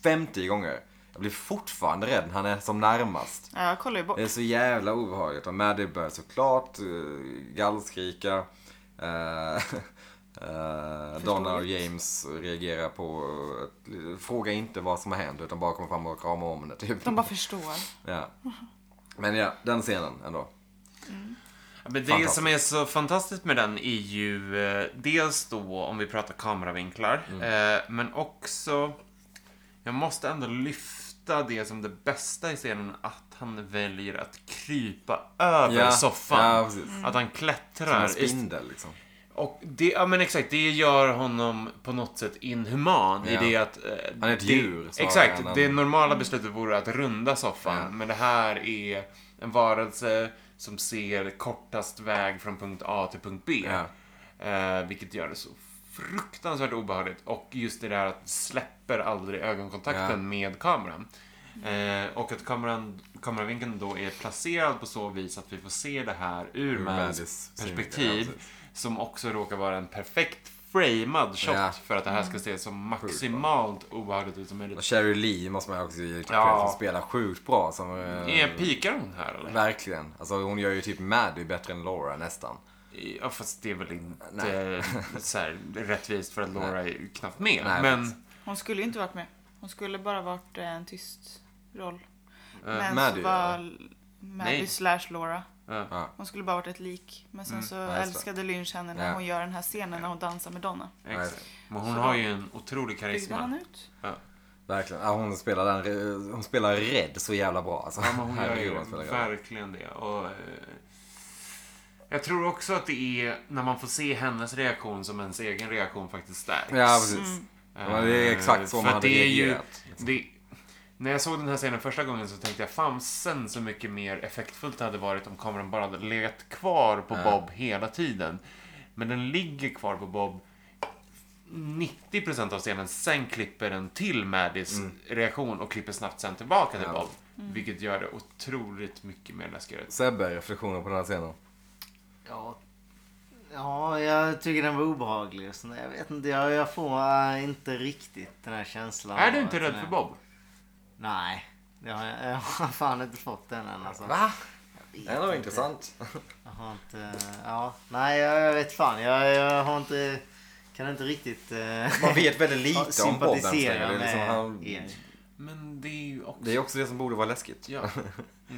A: 50 gånger. Jag blir fortfarande rädd när han är som närmast.
B: Ja, jag kollar ju bort.
A: Det är så jävla obehagligt. Och Maddie börjar såklart uh, gallskrika. Eh, eh, Donna och James reagerar på... ett- fråga inte vad som har hänt utan bara kommer fram och kramar om det. Typ.
B: De bara förstår.
A: ja. Men ja, den scenen ändå.
E: Ja, Men det
A: Fantastiskt.
E: som är så fantastiskt med den är ju eh, dels då om vi pratar kameravinklar,
A: Mm.
E: eh, men också jag måste ändå lyfta det som det bästa i scenen, att han väljer att krypa över
A: Ja,
E: soffan.
A: ja, precis.
E: Att han
A: En
E: klättrar. i-
A: spindel liksom.
E: Och det, ja men exakt, det gör honom på något sätt inhuman
A: Ja.
E: i det att... eh,
A: Han är ett
E: det,
A: djur snarare
E: Exakt,
A: än en-
E: det normala beslutet vore att runda soffan.
A: Ja.
E: Men det här är en varelse som ser kortast väg från punkt A till punkt B.
A: Ja.
E: Eh, vilket gör det så fruktansvärt obehagligt. Och just det där att släpper aldrig ögonkontakten
A: Ja.
E: med kameran. Eh, och att kameran, kameravinkeln då är placerad på så vis att vi får se det här ur Mans
A: Mandys synvinkel,
E: perspektiv.
A: ja, precis.
E: Som också råkar vara en perfekt framad shot
A: Ja.
E: för att det här ska se så maximalt obehagligt ut som
A: Och
E: möjligt.
A: Cherry Lee måste man också ge
E: Ja.
A: ja. som spelar sjukt bra. Som, eh,
E: Är pikar hon här eller?
A: verkligen. Alltså hon gör ju typ Maddie bättre än Laura nästan.
E: Ja, fast det är väl inte eh,
A: Nej.
E: så här rättvist för att Laura är ju knappt med.
A: Nej,
E: men
A: precis.
B: Hon skulle ju inte varit med. Hon skulle bara varit eh, en tyst roll. Men
A: Maddie,
B: så var
A: eller?
D: Nej.
B: Maddie slash Laura.
D: Ja.
A: Ja. Mm,
B: Hon skulle bara varit ett lik. Men sen så
A: Ja, just det.
B: älskade Lynch henne när
A: Ja.
B: hon gör den här scenen när hon dansar med Donna.
D: Exakt. Men hon
B: Så
D: har
B: då-
D: ju en otrolig
B: Byggde
D: karisma.
B: han ut?
D: Ja.
A: Verkligen. Ja, hon, spelar den, re- hon spelar rädd så jävla bra. Alltså.
D: Ja, men hon gör
A: Herregud,
D: ju
A: hon spelar rädd.
D: verkligen det. Och, eh, jag tror också att det är när man får se hennes reaktion som ens egen reaktion faktiskt stärks.
A: Ja, precis.
B: Mm.
A: Ja, det är exakt så
D: Eh,
A: man
D: för
A: hade
D: det är
A: reagerat,
D: Ju, det, när jag såg den här scenen första gången så tänkte jag famsen så mycket mer effektfullt det hade varit om kameran bara hade legat kvar på Bob hela tiden. Men den ligger kvar på Bob 90% av scenen, sen klipper den till Maddys
C: Mm.
D: reaktion och klipper snabbt sen tillbaka till
A: Ja.
D: Bob. Vilket gör det otroligt mycket mer läskigt.
A: Sebbe, reflektioner på den här scenen?
C: Ja, ja jag tycker den var obehaglig. och sånt där. Jag vet inte, jag, jag får äh, inte riktigt den här känslan.
D: Är
C: av
D: du inte
C: att
D: rädd
C: den
D: för
C: är-
D: Bob?
C: Nej, det har jag, jag har fan inte fått den än alltså.
A: Va?
C: Jag vet
A: Det var
C: inte.
A: intressant.
C: Jag har inte, ja, nej jag, jag vet fan. Jag, jag har inte, kan inte riktigt... eh,
A: Man vet väldigt lite om Bob än så länge. Det
C: sympatisera
A: är liksom
C: med
A: han-
C: er.
D: Men det är ju också...
A: Det är också det som borde vara läskigt.
D: Ja.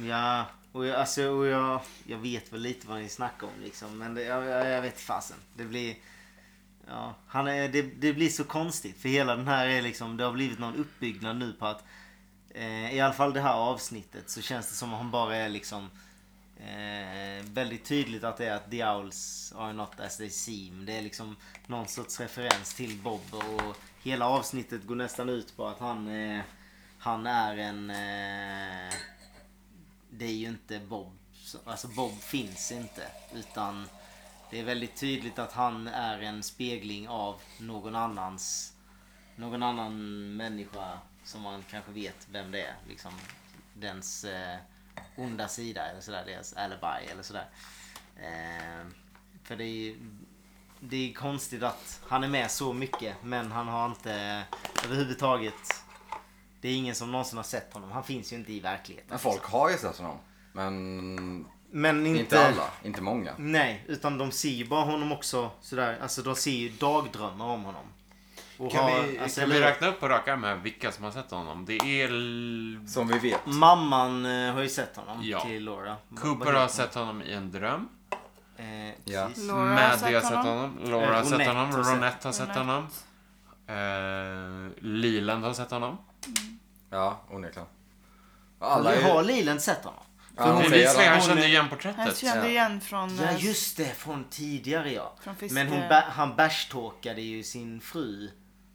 C: Ja, och jag, alltså, och jag, jag vet väl lite vad ni snackar om liksom. Men det, jag, jag, jag vet fasen. Det blir... Ja, han är, det, det blir så konstigt. För hela den här är liksom... Det har blivit någon uppbyggnad nu på att... Eh, I alla fall det här avsnittet så känns det som att han bara är liksom... Eh, väldigt tydligt att det är att the owls are not as they seem. Det är liksom någon sorts referens till Bob och hela avsnittet går nästan ut på att han... Eh, han är en... Eh, det är ju inte Bob. Alltså Bob finns inte. Utan det är väldigt tydligt att han är en spegling av någon annans... Någon annan människa som man kanske vet vem det är. Liksom dens eh, onda sida eller sådär. Deras alibi eller sådär. Eh, för det är ju... Det är konstigt att han är med så mycket men han har inte överhuvudtaget... Det är ingen som någonsin har sett honom. Han finns ju inte i verkligheten.
A: Men folk har ju sett honom. Men
C: Men inte,
A: inte, alla. Inte många.
C: Nej, utan de ser ju bara honom också sådär. Alltså de ser ju dagdrömmar om honom. Och
D: Kan,
C: har-
D: vi,
C: alltså,
D: kan
C: eller-
D: vi räkna upp på rak arm här vilka som har sett honom? Det är... L-
A: Som vi vet.
C: Mamman eh, har ju sett honom
D: Ja.
C: till Laura. Vad- vad
D: Cooper
C: heter
D: har
C: hon?
D: sett honom i en dröm.
C: Eh,
A: Ja.
C: precis.
B: Laura
D: Maddie har sett honom. Laura har
C: Eh,
D: sett
C: Ronette
D: honom.
C: har sett-
D: Ronette har sett
B: Ronette.
D: honom. Eh, Leland har sett honom.
A: Ja, onekligen. Alla
C: Alla
A: är
C: Har
A: ju...
C: Leland sett honom?
A: Ja,
C: För
A: hon
C: hon
A: säger
C: visar-
D: Bevisligen, han
C: hon-
D: kände igen
B: Han
D: porträttet.
B: kände
A: Ja.
B: igen från...
C: Ja
B: eh,
C: just det, från tidigare ja.
B: Från fiske-
C: Men hon, ba- han bashtalkade ju sin fru.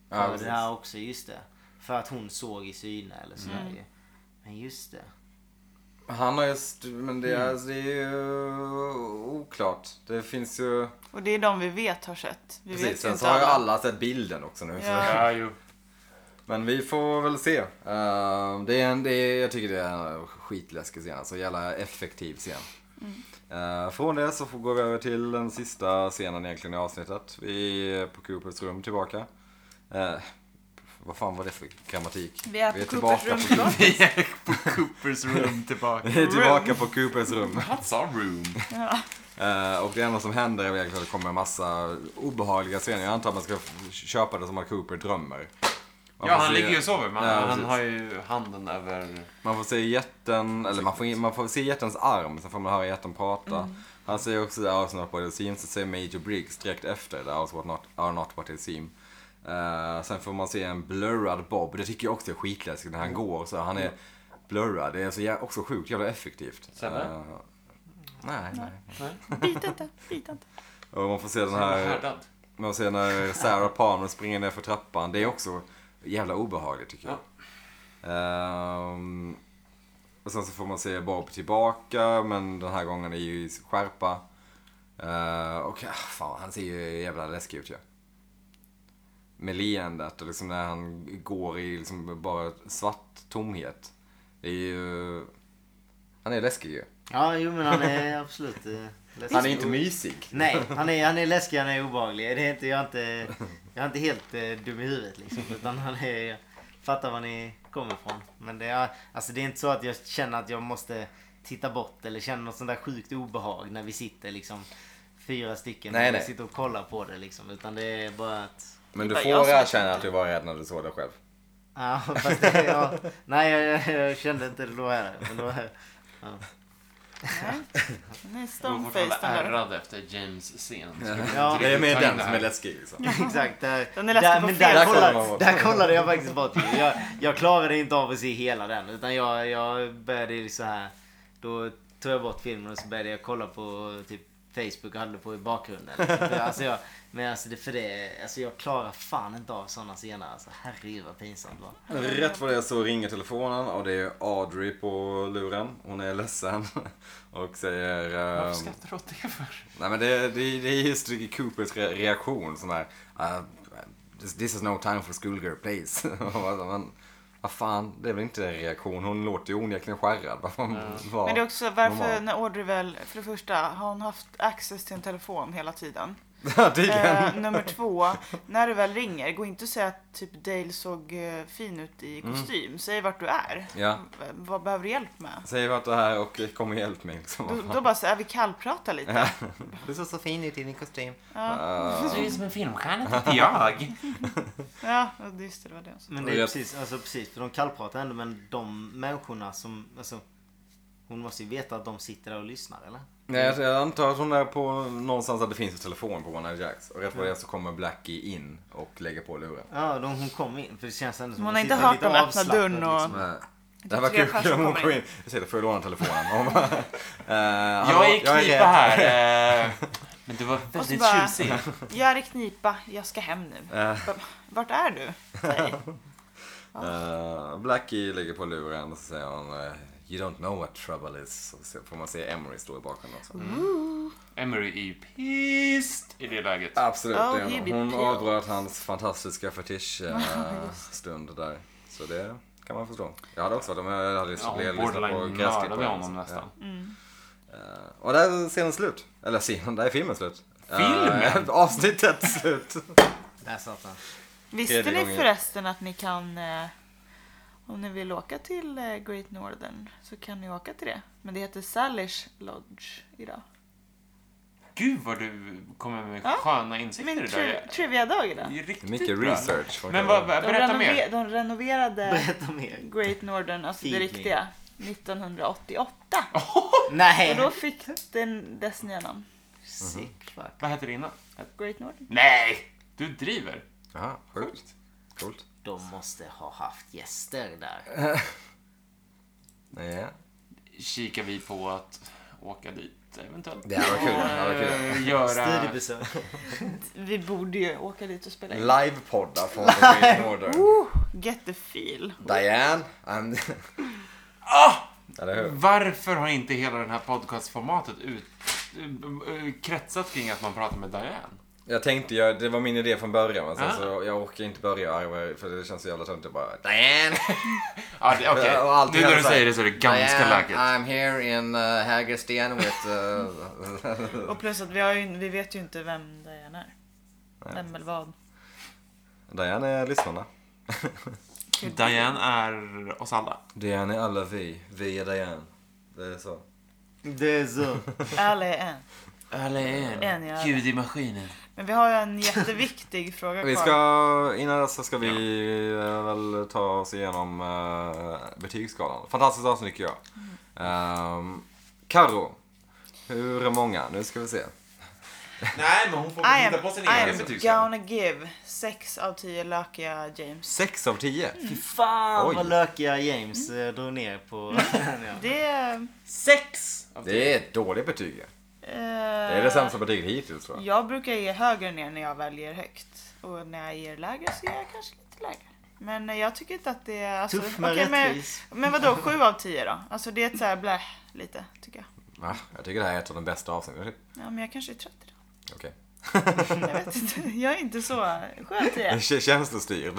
A: Ja,
C: Ja, det
A: precis.
C: här också, just det. För att hon såg i syne eller sådär
B: Mm.
C: ju. Men just det.
A: Han har ju... st- Men det är,
D: Mm.
A: det är ju oklart. Det finns ju...
B: Och det är de vi vet har sett. Vi
A: Precis,
B: vet ju
A: sen så
B: inte
A: har ju
B: alla.
A: alla sett bilden också nu.
B: Ja.
A: Så.
D: Ja, jo.
A: Men vi får väl se. Ehm, det är en, det är, jag tycker det är en skitläskig scen. Alltså jävla effektiv scen.
D: Mm.
A: Ehm, från det så får, går vi över till den sista scenen egentligen i avsnittet. Vi är på Coopers rum tillbaka. Ehm, vad fan var det för grammatik?
B: Vi är på Coopers rum
A: på,
B: tillbaka.
D: Vi är på Coopers room tillbaka.
A: vi är tillbaka på Coopers rum.
D: Han sa room.
A: Eh, och det enda som händer är väl egentligen att det kommer en massa obehagliga scener. Jag antar att man ska f- köpa det som att Cooper drömmer. Man
D: Ja,
A: får
D: han
A: se-
D: ligger ju och sover. men
A: Ja,
D: han
A: precis.
D: har ju handen över...
A: Man får se jätten, eller man får, man får se jättens arm, sen får man höra jätten prata. Han säger också där House Not What It Seems, så säger Major Briggs direkt efter där House what not, Are Not What It Seem. Eh, sen får man se en blurrad Bob, det tycker jag också är skitläskigt när han går så han är blurrad. Det är så jä- också sjukt jävla effektivt.
D: Sebbe?
A: Eh, nej, nej.
B: Bit inte, bit inte.
A: Och man får se den här...
D: Härdad.
A: Man ser när Sarah Palmer springer ner för trappan. Det är också jävla obehagligt tycker jag. Ehm, och sen så får man se Bob tillbaka men den här gången är ju i skärpa. Uh, och ah, fan, han ser ju jävla läskig ut ju. Med leendet och liksom när han går i liksom bara svart tomhet. Det är ju... Han är läskig ju.
C: Ja, jo men han är absolut eh, läskig.
A: Han är inte mysig.
C: Nej, han är, han är läskig, han är obehaglig. Det är inte, jag, är inte, jag är inte helt eh, dum i huvudet liksom. Utan han är, jag fattar var ni kommer ifrån. Men det är, alltså, det är inte så att jag känner att jag måste titta bort eller känna något sånt där sjukt obehag när vi sitter liksom fyra stycken
A: Nej,
C: och
A: nej.
C: sitter och kollar på det liksom. Utan det är bara att...
A: Men du
B: bara
A: får
B: jag som är typ-
A: erkänna att du var rädd när du såg det själv.
C: Ja, fast det, ja, nej, jag, jag, jag kände inte det då heller. Men då är, ja.
B: Nej. Den är
D: Jag var fortfarande
B: stoneface den där.
D: ärrad efter James scen.
C: Ja,
A: Det är mer den som är
D: lätt.
A: läskig. Liksom.
C: Exakt. Där,
B: Den är läskig
C: där,
B: på
C: men
B: fel
C: där,
A: sätt.
C: kollade, där kollade jag faktiskt bort. Jag, jag klarade inte av att se hela den. Utan jag, jag började ju så här. Då tog jag bort filmen och så började jag kolla på typ Facebook och hade det på i bakgrunden. För, alltså jag, men alltså det, för det, alltså jag klarar fan inte av sådana scener. Alltså herregud vad pinsamt det var.
A: Rätt vad det är så ringer telefonen och det är Audrey på luren. Hon är ledsen och säger... ehm,
D: Varför skrattar du åt det för?
A: Nej men det, det, det är just Coopers re- reaktion som är... Uh, this, this is no time for schoolgirl please. men vad fan, det är väl inte en reaktion. Hon låter ju onekligen skärrad. Vad fan, vad-
B: Men det är också varför
A: normal.
B: när Audrey väl, för det första, har hon haft access till en telefon hela tiden?
A: Ja, tydligen.
B: Eh, nummer två, när du väl ringer, gå inte och säg att typ Dale såg eh, fin ut i kostym. Säg vart du är.
A: Ja.
B: V- vad behöver du hjälp med?
A: Säger att du är här och kom och hjälp mig. Liksom.
B: Då, då bara så här, vi kallpratar lite.
A: Du såg så fin ut i din kostym. Ah.
D: Du ser ut som en filmstjärna, tycker jag.
B: Ja, och just det, det var det.
C: Men
A: Och
C: det är
A: jag-
C: precis, alltså precis, för de kallpratar ändå men de människorna som, alltså hon måste ju veta att de sitter där och lyssnar eller?
A: Nej, alltså, jag- jag antar att hon är på någonstans att det finns en telefon på One Jacks. Och rätt vad det är så kommer Blackie in och lägger på luren.
C: Ja, de, hon kom in för det känns ändå som
B: Hon
C: hon
B: har inte
C: sitter
B: hört
C: lite
B: dem öppna
C: avslappnad,
B: dörren och-
D: Mm.
C: liksom.
A: Nej. Eh, Det här var
B: tre
A: kul
B: personer
A: om hon
B: kommer
A: kom
B: in.
A: in. Jag säger, får jag låna telefonen? Och Hon bara, eh, hallå,
D: Jag är i knipa
A: rädd.
D: här. eh, Men du var
B: Och så
D: väldigt
B: bara-
D: tjusig.
B: Jag är i knipa, jag ska hem nu. Bara, Vart är du? Säg.
A: Eh, Blackie lägger på luren och så säger hon eh, You don't know what trouble is. Och så får man se Emery stå i bakgrunden också.
B: Mm.
D: Emery är ju pissed i det läget.
A: Absolut,
B: Oh,
A: det är
B: he
A: hon.
B: be
A: Hon
B: peeled.
A: avbröt hans fantastiska fetisch-stund där. Så det kan man förstå. Jag hade också varit om jag hade
D: Ja,
A: lyssnat
D: hon
A: lyssnat liksom på
D: borderline mördade
A: gräsklipparen.
D: honom nästan.
A: Eh, Och där är scenen slut. Eller scenen, där är filmen slut. Eh,
D: Filmen?
A: avsnittet slut.
C: Där satt han.
B: Visste
A: Tredje
B: ni
A: gången.
B: förresten att ni kan, eh, om ni vill åka till eh, Great Northern så kan ni åka till det. Men det heter Salish Lodge idag.
D: Gud vad du kommer med
B: Ja.
D: sköna
B: Det är
D: insikter i
B: min
D: det där.
B: tri- trivia-dag idag.
D: Det är riktigt
A: Mycket
D: bra.
A: research. från
D: Men vad,
A: Kalle.
D: vad- berätta
B: de,
D: mer.
B: de renoverade
C: Berätta mer.
B: Great Northern, alltså det
C: Tidning.
B: riktiga, 1988. Och
C: Nej!
B: då fick den dess nya namn,
C: Sick fuck.
D: Vad hette det innan?
B: Great Northern.
D: Nej! Du driver.
A: Jaha, sjukt. Coolt.
C: De måste ha haft gäster där.
A: Ja.
D: Kikar vi på att åka dit eventuellt.
A: Det här var kul. Det här var kul.
D: Eh, Göra...
C: Studiebesök.
B: Vi borde ju åka dit och spela in.
A: Livepoddar från The Great Northern.
B: Oh, get the feel.
A: Diane, I'm... ah! Eller hur?
D: Varför har inte hela det här podcastformatet ut, eh, eh, kretsat kring att man pratar med Diane?
A: Jag tänkte, jag, det var min idé från början men sen
D: Ah.
A: så jag orkar inte börja arva, för det känns så jävla tönt att bara Diane!
D: Ja, det- okej.
A: Ja, och alltid
D: Nu när du
A: hälsa.
D: säger det så är det ganska
A: Diane,
D: läget.
A: I'm here in uh, Hägersten with... Uh,
B: Och plus att vi, har ju, vi vet ju inte vem Diana är. Vem eller vad.
A: Diane är lyssnarna.
D: Diane är oss alla.
A: Diane är alla vi, vi är Diane. Det är så.
C: Det är så.
B: Alla är en.
D: Alla är
B: En, ja.
D: Gud i maskinen.
B: Men vi har ju en jätteviktig fråga kvar.
A: Vi ska, innan dess så ska vi eh, väl ta oss igenom eh, betygsskalan. Fantastiskt avsnitt tycker jag. Ehm, Karo, hur många? Nu ska vi se.
D: Nej, men hon får
B: I am, I am
D: betygsskala.
B: gonna give 6 av 10 lökiga James.
A: 6 av 10.
C: Fy fan
A: Oj.
C: vad lökiga James eh, drog ner på... ja.
B: Det är...
D: Sex! av tio.
A: Det är ett dåligt betyg. ju.
B: eh,
A: Det är det sämsta betyget hittills tror jag.
B: Jag brukar ge högre ner när jag väljer högt. Och när jag ger lägre så ger jag kanske lite lägre. Men eh, jag tycker inte att det är... Alltså,
C: Tuff men
B: okej, men,
C: rättvis.
B: men vadå 7 av 10 då? Alltså det är ett så här blä lite tycker jag.
A: Ah, jag tycker det här är ett av de bästa avsnitten. typ.
B: Ja men jag kanske är trött idag.
A: Okej.
B: Jag vet inte. Jag är inte så... 7 av 10.
A: K- Känslostyrd.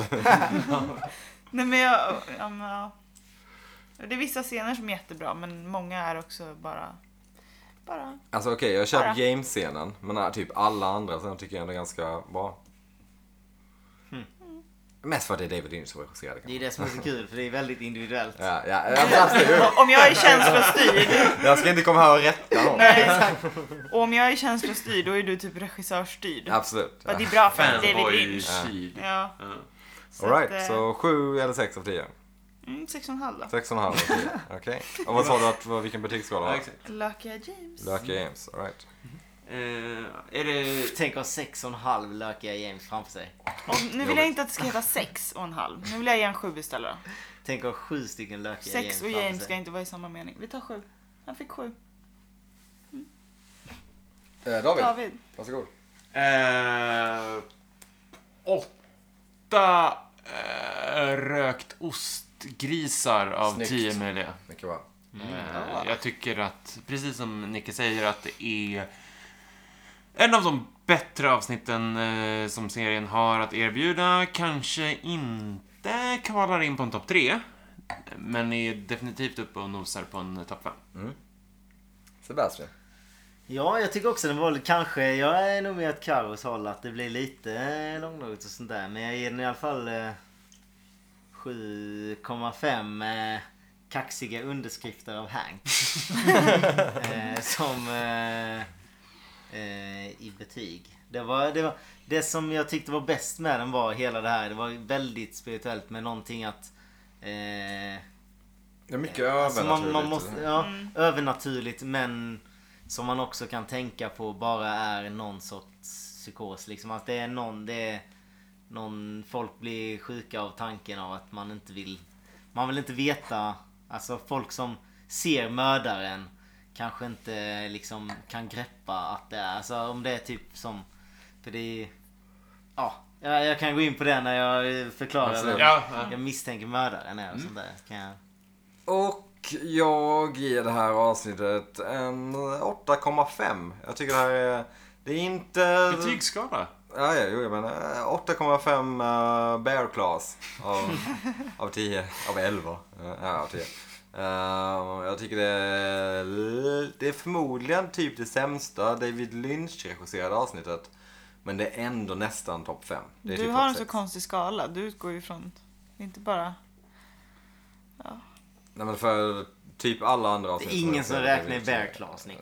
B: Nej men jag... Ja, men, ja. Och Det är vissa scener som är jättebra men många är också bara... Bara...
A: Alltså okej, jag köper
B: Bara.
A: James-scenen. Men äh, typ alla andra sen tycker jag ändå är ganska bra. Hmm. Mm. Mest för att det är David Lynch som regisserade
C: Det
A: kanske.
C: är det som är så kul för det är väldigt individuellt.
A: Ja, ja, ja, absolut.
B: Om jag är känslostyrd,
A: Jag ska inte komma här och rätta någon.
B: nej, exakt. och om jag är känslostyrd då är du typ regissörsstyrd.
A: Absolut.
B: Vad det är bra för David
D: Fanboy typ.
B: Lynch.
D: Shield.
B: Ja. Så
A: Alright,
B: att, eh,
A: så 7 eller 6 av 10?
B: Mm, 6,5 då.
A: 6,5 av 10. Okej. Och vad sa du att, vad- vilken betygsskala
D: Ja,
A: har
D: exakt.
B: Lucky James.
A: Lucky Games, alright.
D: Eh, är det...
C: Tänk ha sex och en halv lökiga James framför sig.
B: Och nu vill jag inte att det ska heta 6,5. Nu vill jag ge en 7 istället då.
C: Tänk ha sju stycken lökiga James
B: 6 och
C: framför sig.
B: James ska inte vara i samma mening. Vi tar 7. Han fick 7.
A: Eh, David,
B: David.
A: varsågod.
D: Eh, åtta eh, rökt ostgrisar av
A: Snyggt. Mm.
D: tio möjliga.
A: Mycket bra.
D: Eh, jag tycker att, precis som Nicke säger, att det är en av de bättre avsnitten eh, som serien har att erbjuda. Kanske inte kvalar in på en topp tre, men är definitivt uppe och nosar på en topp fem.
A: Sebastian.
C: Ja, jag tycker också den var kanske... Jag är nog med åt Carros håll att det blir lite eh, långdraget och sånt där. Men jag ger den i alla fall eh, 7,5 eh, kaxiga underskrifter av Hank. eh, som... Eh, eh, I betyg. Det, var, det, var, det som jag tyckte var bäst med den var hela det här. Det var väldigt spirituellt med någonting att... Eh,
A: Det är mycket
C: Alltså man,
A: övernaturligt.
C: man måste, ja,
D: Mm.
C: Övernaturligt men som man också kan tänka på bara är någon sorts psykos. Liksom. Att det är någon, det är någon, folk blir sjuka av tanken av att man inte vill, man vill inte veta. Alltså folk som ser mördaren kanske inte liksom kan greppa att det är, alltså om det är typ som, för det är, ja, jag, jag kan gå in på det när jag förklarar.
A: Absolut. Mm.
C: vem
D: Ja, ja.
C: Jag misstänker mördaren är och sånt där. Kan jag...
A: Och jag ger det här avsnittet en 8,5. Jag tycker det här är... Det är inte...
D: Betygsskala?
A: Ja, ja, jo, jag menar eh, 8,5 eh, bear class av, av 10, av 11. eh, Ja, av 10. Eh, jag tycker det är, l- det är förmodligen typ det sämsta David Lynch-regisserade avsnittet. Men det är ändå nästan topp 5. Det är
B: Du
A: typ
B: har
A: topp
B: en så
A: sex.
B: konstig skala. Du utgår ju från, inte bara...
A: Nej, men för typ alla andra
C: Det
A: avsnitt.
C: är ingen som
A: regisserade
C: räknar i
A: David
C: bear
A: Lynch.
C: class, Nick.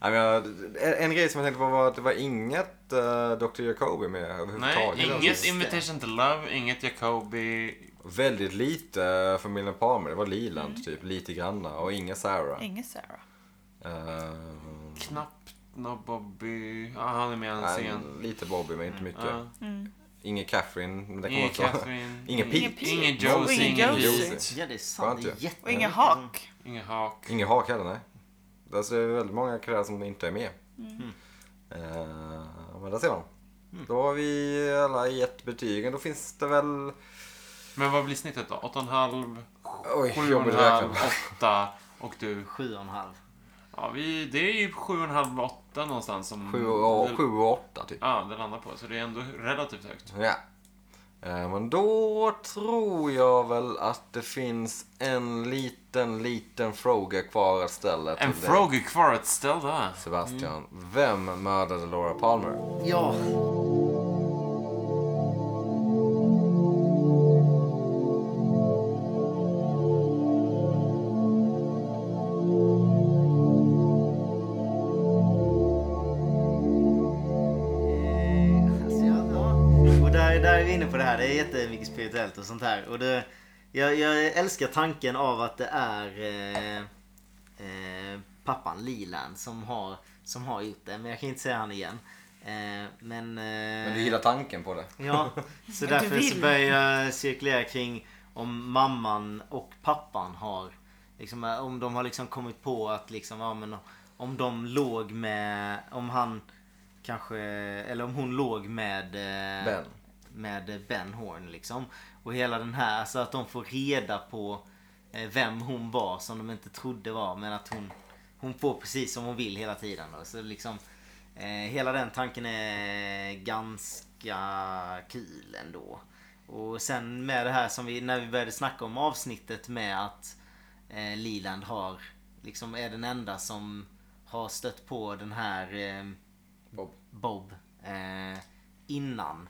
A: Nej, men jag, en, en grej som jag tänkte på var att det var inget eh, Dr. Jacobi med
D: Nej,
A: överhuvudtaget.
D: inget Invitation to Love, inget Jacobi.
A: Väldigt lite familjen Palmer. Det var Liland typ, lite granna. Och ingen Sarah.
B: Ingen Sarah.
A: Eh,
D: Knappt någon Bobby. Ja, han är med i en
A: nej,
D: scen.
A: lite Bobby, men inte mycket.
D: Ja.
A: Ingen Catherine. men Det
D: Ingen
A: kommer också.
D: Catherine.
A: Ingen Pete.
B: Pete.
D: Ingen
B: Och
D: Josie.
B: ingen
D: Ingen
A: Josie.
D: Pete.
C: Ja, det är sant. Det är
A: Skönt ju.
C: jätte...
B: Och ingen Hak.
D: Ingen Hak.
A: Ingen Hak heller, nej. Alltså, det är väldigt många karaktärer som inte är med.
D: Mm.
A: Eh, men där ser man. Då har vi alla gett betygen. Då finns det väl...
D: Men vad blir snittet då? 8,5,
A: Oj, jobbigt att räkna
D: 7,5, 8 och du?
C: Sju och en halv.
D: Ja, vi, det är ju 7,5, 8 någonstans som...
A: Sju och- sju och åtta typ.
D: Ja, det landar på. Så det är ändå relativt högt.
A: Ja. Eh, Men då tror jag väl att det finns en liten, liten fråga kvar att ställa till
D: En
A: dig.
D: fråga Mm. kvar att ställa.
A: Sebastian, vem mördade Laura
B: Eh.
A: Palmer?
C: Ja. Eh, alltså, ja, ja. Och där, där är vi inne på det här. Det är jättemycket spirituellt och sånt här. Och det, jag, jag älskar tanken av att det är eh, eh, pappan Lilan som har, som har gjort det. Men jag kan inte säga han igen. Eh, men... Eh,
A: Men du gillar tanken på det?
C: Ja, så
B: Men du
C: därför så
B: vill.
C: börjar jag cirkulera kring om mamman och pappan har liksom, eh, om de har liksom kommit på att liksom, ja, men om de låg med, om han kanske, eller om hon låg med eh,
A: Ben.
C: med Ben Horn liksom. Och hela den här, alltså att de får reda på eh, vem hon var som de inte trodde var men att hon, hon får precis som hon vill hela tiden. Då. Så liksom, eh, hela den tanken är ganska kul ändå. Och sen med det här som vi, när vi började snacka om avsnittet med att eh, Liland har, liksom är den enda som har stött på den här eh,
A: Bob.
C: Bob eh, innan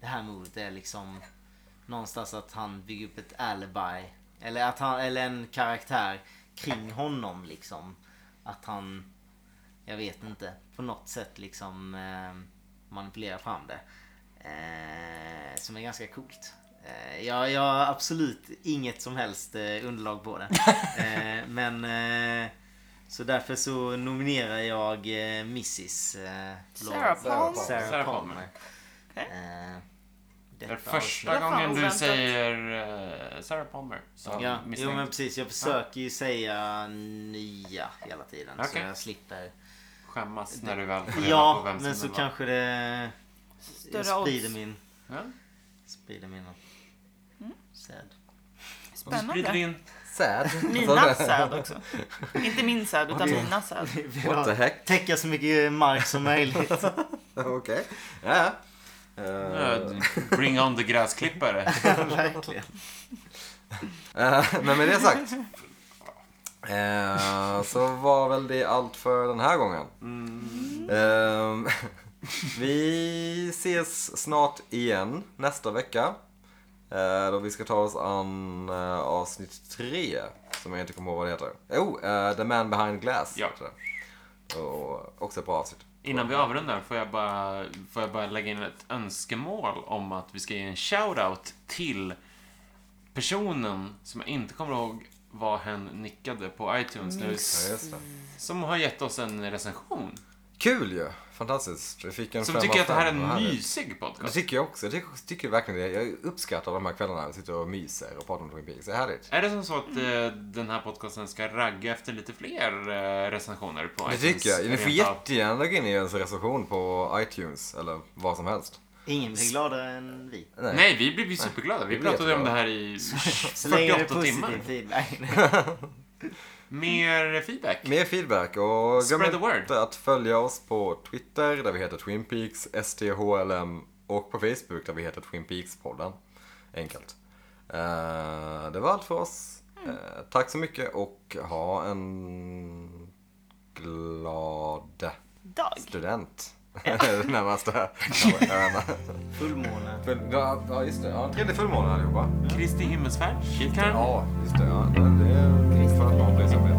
C: det här mordet är liksom någonstans att han bygger upp ett alibi. Eller, att han, eller en karaktär kring honom liksom. Att han, jag vet inte, på något sätt liksom eh, manipulera fram det. Eh, som är ganska coolt. Eh, jag, jag har absolut inget som helst eh, underlag på det. Eh, men eh, så därför så nominerar jag eh, Mrs. Eh,
B: Sarah Palmer.
C: Sarah,
E: Sarah
C: Palmer.
E: Palmer.
B: Okej.
C: Eh,
E: Det är
C: detta
E: första
B: Det var fan
E: gången du
B: oväntat.
E: säger eh, Sarah Palmer. Så
C: Ja,
E: misstänkt.
C: jo men precis. Jag försöker ju säga nya hela tiden. Så
E: Okej.
C: jag slipper.
E: Skämmas när du väl får reda på
C: Ja,
E: vem som
C: men så
E: är vad.
C: kanske det...
B: Större
C: Jag sprider
B: odds.
C: min...
E: Ja.
C: Sprider mina...
B: Mm.
C: Säd.
E: Sprider
B: Spännande.
E: in.
A: Sad.
B: Mina säd också. Inte min säd, utan mina säd.
A: What the heck?
C: Täcka så mycket mark som möjligt.
A: Okej. Ja. Eh,
E: Eh, Bring on the gräsklippare.
C: Verkligen.
A: Eh, Men med det sagt. eh, så var väl det allt för den här gången. Eh, vi ses snart igen nästa vecka. eh, Då vi ska ta oss an eh, avsnitt tre. Som jag inte kommer ihåg vad det heter. Jo, eh, The Man Behind Glass.
E: Ja.
A: heter det. Och också ett bra avsnitt.
E: Innan vi avrundar får jag, bara, får jag bara lägga in ett önskemål om att vi ska ge en shout-out till personen som jag inte kommer ihåg vad hen nickade på iTunes nu.
A: Ja, just det.
E: Som har gett oss en recension.
A: Kul ju! Fantastiskt. Vi fick en
E: Som
A: fem
E: tycker
A: av
E: att det här är
A: fem.
E: en
A: Vad härligt.
E: mysig
A: Det
E: podcast.
A: tycker jag också. Jag tycker, tycker verkligen det. Jag uppskattar de här kvällarna när vi sitter och myser och pratar om Twin Peaks. Det är härligt.
E: Är det som så att eh, den här podcasten ska ragga efter lite fler eh, recensioner på
A: Det
E: iTunes?
A: tycker jag. Ni får
E: Rent av.
A: jättegärna lägga in i en recension på iTunes eller vad som helst.
C: Ingen blir gladare än vi.
E: Nej, vi blev ju superglada. Vi
A: vi
E: pratade
A: vet
E: om
A: det.
E: det här i
C: Så länge det är
E: 48 timmar.
C: positiv feedback.
E: Mer feedback.
A: Mer feedback och glöm
E: Spread the word.
A: inte att följa oss på Twitter där vi heter Twin Peaks STHLM och på Facebook där vi heter Twin Peaks-podden. Enkelt. Eh, det var allt för oss.
E: Mm.
A: Eh, tack så mycket och ha en glad
B: Dag.
A: student. Närmaste.
C: Fullmåne.
A: Full- Ja, ja, just det. Ja, trevlig
E: Mm.
A: fullmåne allihopa.
E: Kristi himmelsfärd. Kyrkan.
A: Ja, just det. Ja, det det är för att någon blir som det.